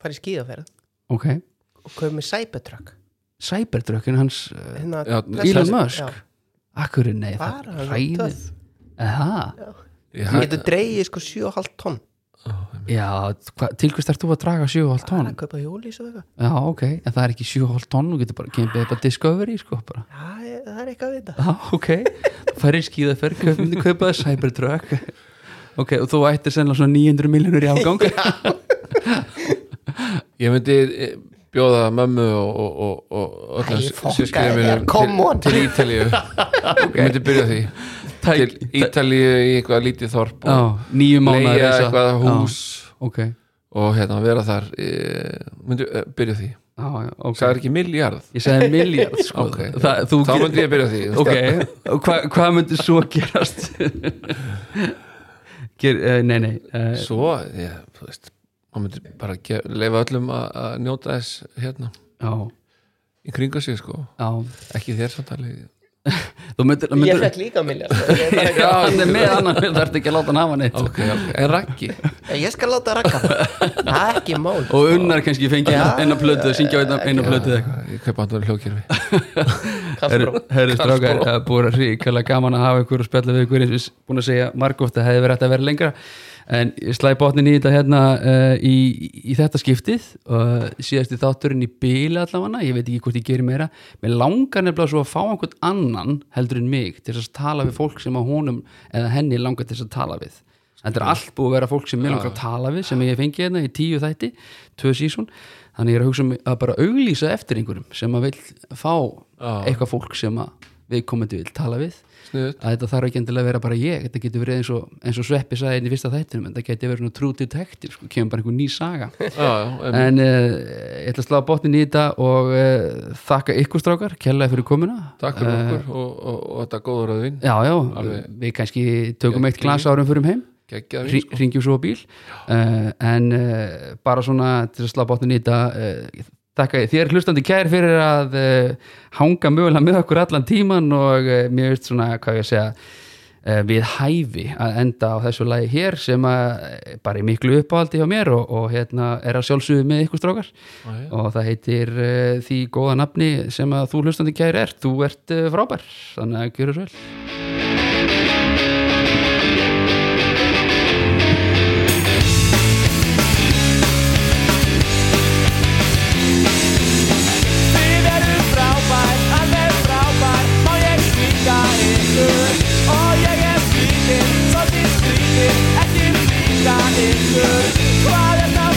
Speaker 2: farið skíðaferð
Speaker 1: ok,
Speaker 2: og köfum með Cybertruck
Speaker 1: Cybertruckin hans uh,
Speaker 2: hérna,
Speaker 3: Já,
Speaker 2: pressa-
Speaker 1: Elon Musk.
Speaker 2: já,
Speaker 1: akkurinn, nei,
Speaker 2: bara,
Speaker 1: það
Speaker 2: hann er
Speaker 1: ræði
Speaker 2: töff.
Speaker 1: eða,
Speaker 3: Ég-
Speaker 2: Þú getur dreigið sko 7,5 tonn
Speaker 1: já, hva, til hvers þarf þú að draga 7,5
Speaker 2: Það
Speaker 1: tonn
Speaker 2: er að kaupa hjóli svo eitthvað
Speaker 1: já, ok, en það er ekki 7,5 tonn þú getur bara, kemur bara Discovery, sko, bara
Speaker 2: Já, ég- það er eitthvað að vita
Speaker 1: Já, ok, færið skíðaferð kaup- myndi kaupa það Cybertruck ok, og þú ættir sennilega svona 900 miljonur í afgang
Speaker 3: ég myndi eh, bjóða mömmu og, og, og, og öllum
Speaker 2: Æ,
Speaker 3: sy-
Speaker 2: fokkaðu
Speaker 3: systkinum
Speaker 2: þér,
Speaker 3: mínum
Speaker 2: come
Speaker 3: til-
Speaker 2: on.
Speaker 3: til Ítalíu ég myndi byrja á því
Speaker 1: Tæk-
Speaker 3: til Ítalíu í eitthvað lítið þorp
Speaker 1: já,
Speaker 3: og
Speaker 1: nýju mánuð
Speaker 3: leia eitthvað hús
Speaker 1: ok, já,
Speaker 3: og hérna vera þar e, myndi eh, byrja á því
Speaker 1: já, ok
Speaker 3: það er ekki miljard
Speaker 1: ég sagði miljard, sko
Speaker 3: Ok.
Speaker 1: það, þú
Speaker 3: þá myndi ég byrja á því
Speaker 1: ok, og hva, hvað myndi svo gerast Ger, uh, nei, nei uh,
Speaker 3: svo, ég, þú veist maður myndi bara gef, leifa öllum að að njóta þess hérna,
Speaker 1: já,
Speaker 3: í kringa sig sko
Speaker 1: já
Speaker 3: ekki þér samtali
Speaker 1: þú myndir,
Speaker 2: Ég
Speaker 1: myndir
Speaker 2: fekk líka miljard
Speaker 1: já, hann er með annan, það ert ekki að láta hann hafa neitt
Speaker 3: okay, okay. en Raggi
Speaker 2: Ég skal láta rakka það Það er ekki mál
Speaker 1: og unnar kannski fengi eina plötu, syngja á eina, eina plötu eða eitthvað
Speaker 3: ég kaupa andur hljókjörfi
Speaker 2: Kaffró
Speaker 1: Herru strákar, það er búin að ríkala gaman að hafa ykkur og spjalla við ykkur eins og ég er búin að segja margóft að hefði verið hægt að vera lengra en ég slæði botnin í þetta hérna uh, í, í þetta skiptið og síðasti þátturinn í bíla allavega ég veit ekki hvort ég gerir meira mér langar nefnilega svo að fá einhvern annan heldur en mig til þess að tala við fólk sem að honum eða henni langar til þess að tala við Þetta er allt búið að vera fólk sem mér langar að tala við sem ég fengi hérna í tíu þætti, tvö sísón þannig ég er að hugsa um að bara auglýsa eftir einhverjum sem að vil fá
Speaker 3: Já.
Speaker 1: eitthvað fólk sem að við komandi vil tala við
Speaker 3: snuð
Speaker 1: að þetta þarf ekki endilega að vera bara ég þetta getur verið eins og, eins og sveppi sagði einn í fyrsta þættinum en þetta getur verið svona true detective sko, kemur bara einhver ný saga
Speaker 3: já,
Speaker 1: en uh, ég ætla að slá botnin í þetta og uh, þakka ykkur strákar kellaði fyrir komuna Eh,
Speaker 3: takk fyrir okkur og, og, og þetta góður að vinn
Speaker 1: já, já,
Speaker 3: Alveg.
Speaker 1: við kannski tökum eitt glas árum fyrir um heim
Speaker 3: geggjað vinn sko.
Speaker 1: ringjum svo á bíl uh, en uh, bara svona til að slá bátnum í þetta uh, þakka ég þér hlustandi kær fyrir að uh, hanga mögulega með okkur allan tíman og uh, mér veist svona hvað ég að segja uh, við hæfi að enda á þessu lagi hér sem að eh, bara er miklu uppáhaldi hjá mér og, og hérna er að sjálfsögðu með ykkur strákar
Speaker 3: Já, já.
Speaker 1: og það heitir uh, því góða nafni sem að þú hlustandi kær er þú ert uh, frábær, þannig að gjöra svo vel
Speaker 4: Þið eru frábær, alveg frábær Má ég svíka ykkur Og ég er svíkin, svolítið skrýtin Ekki svíka ykkur Hvað er það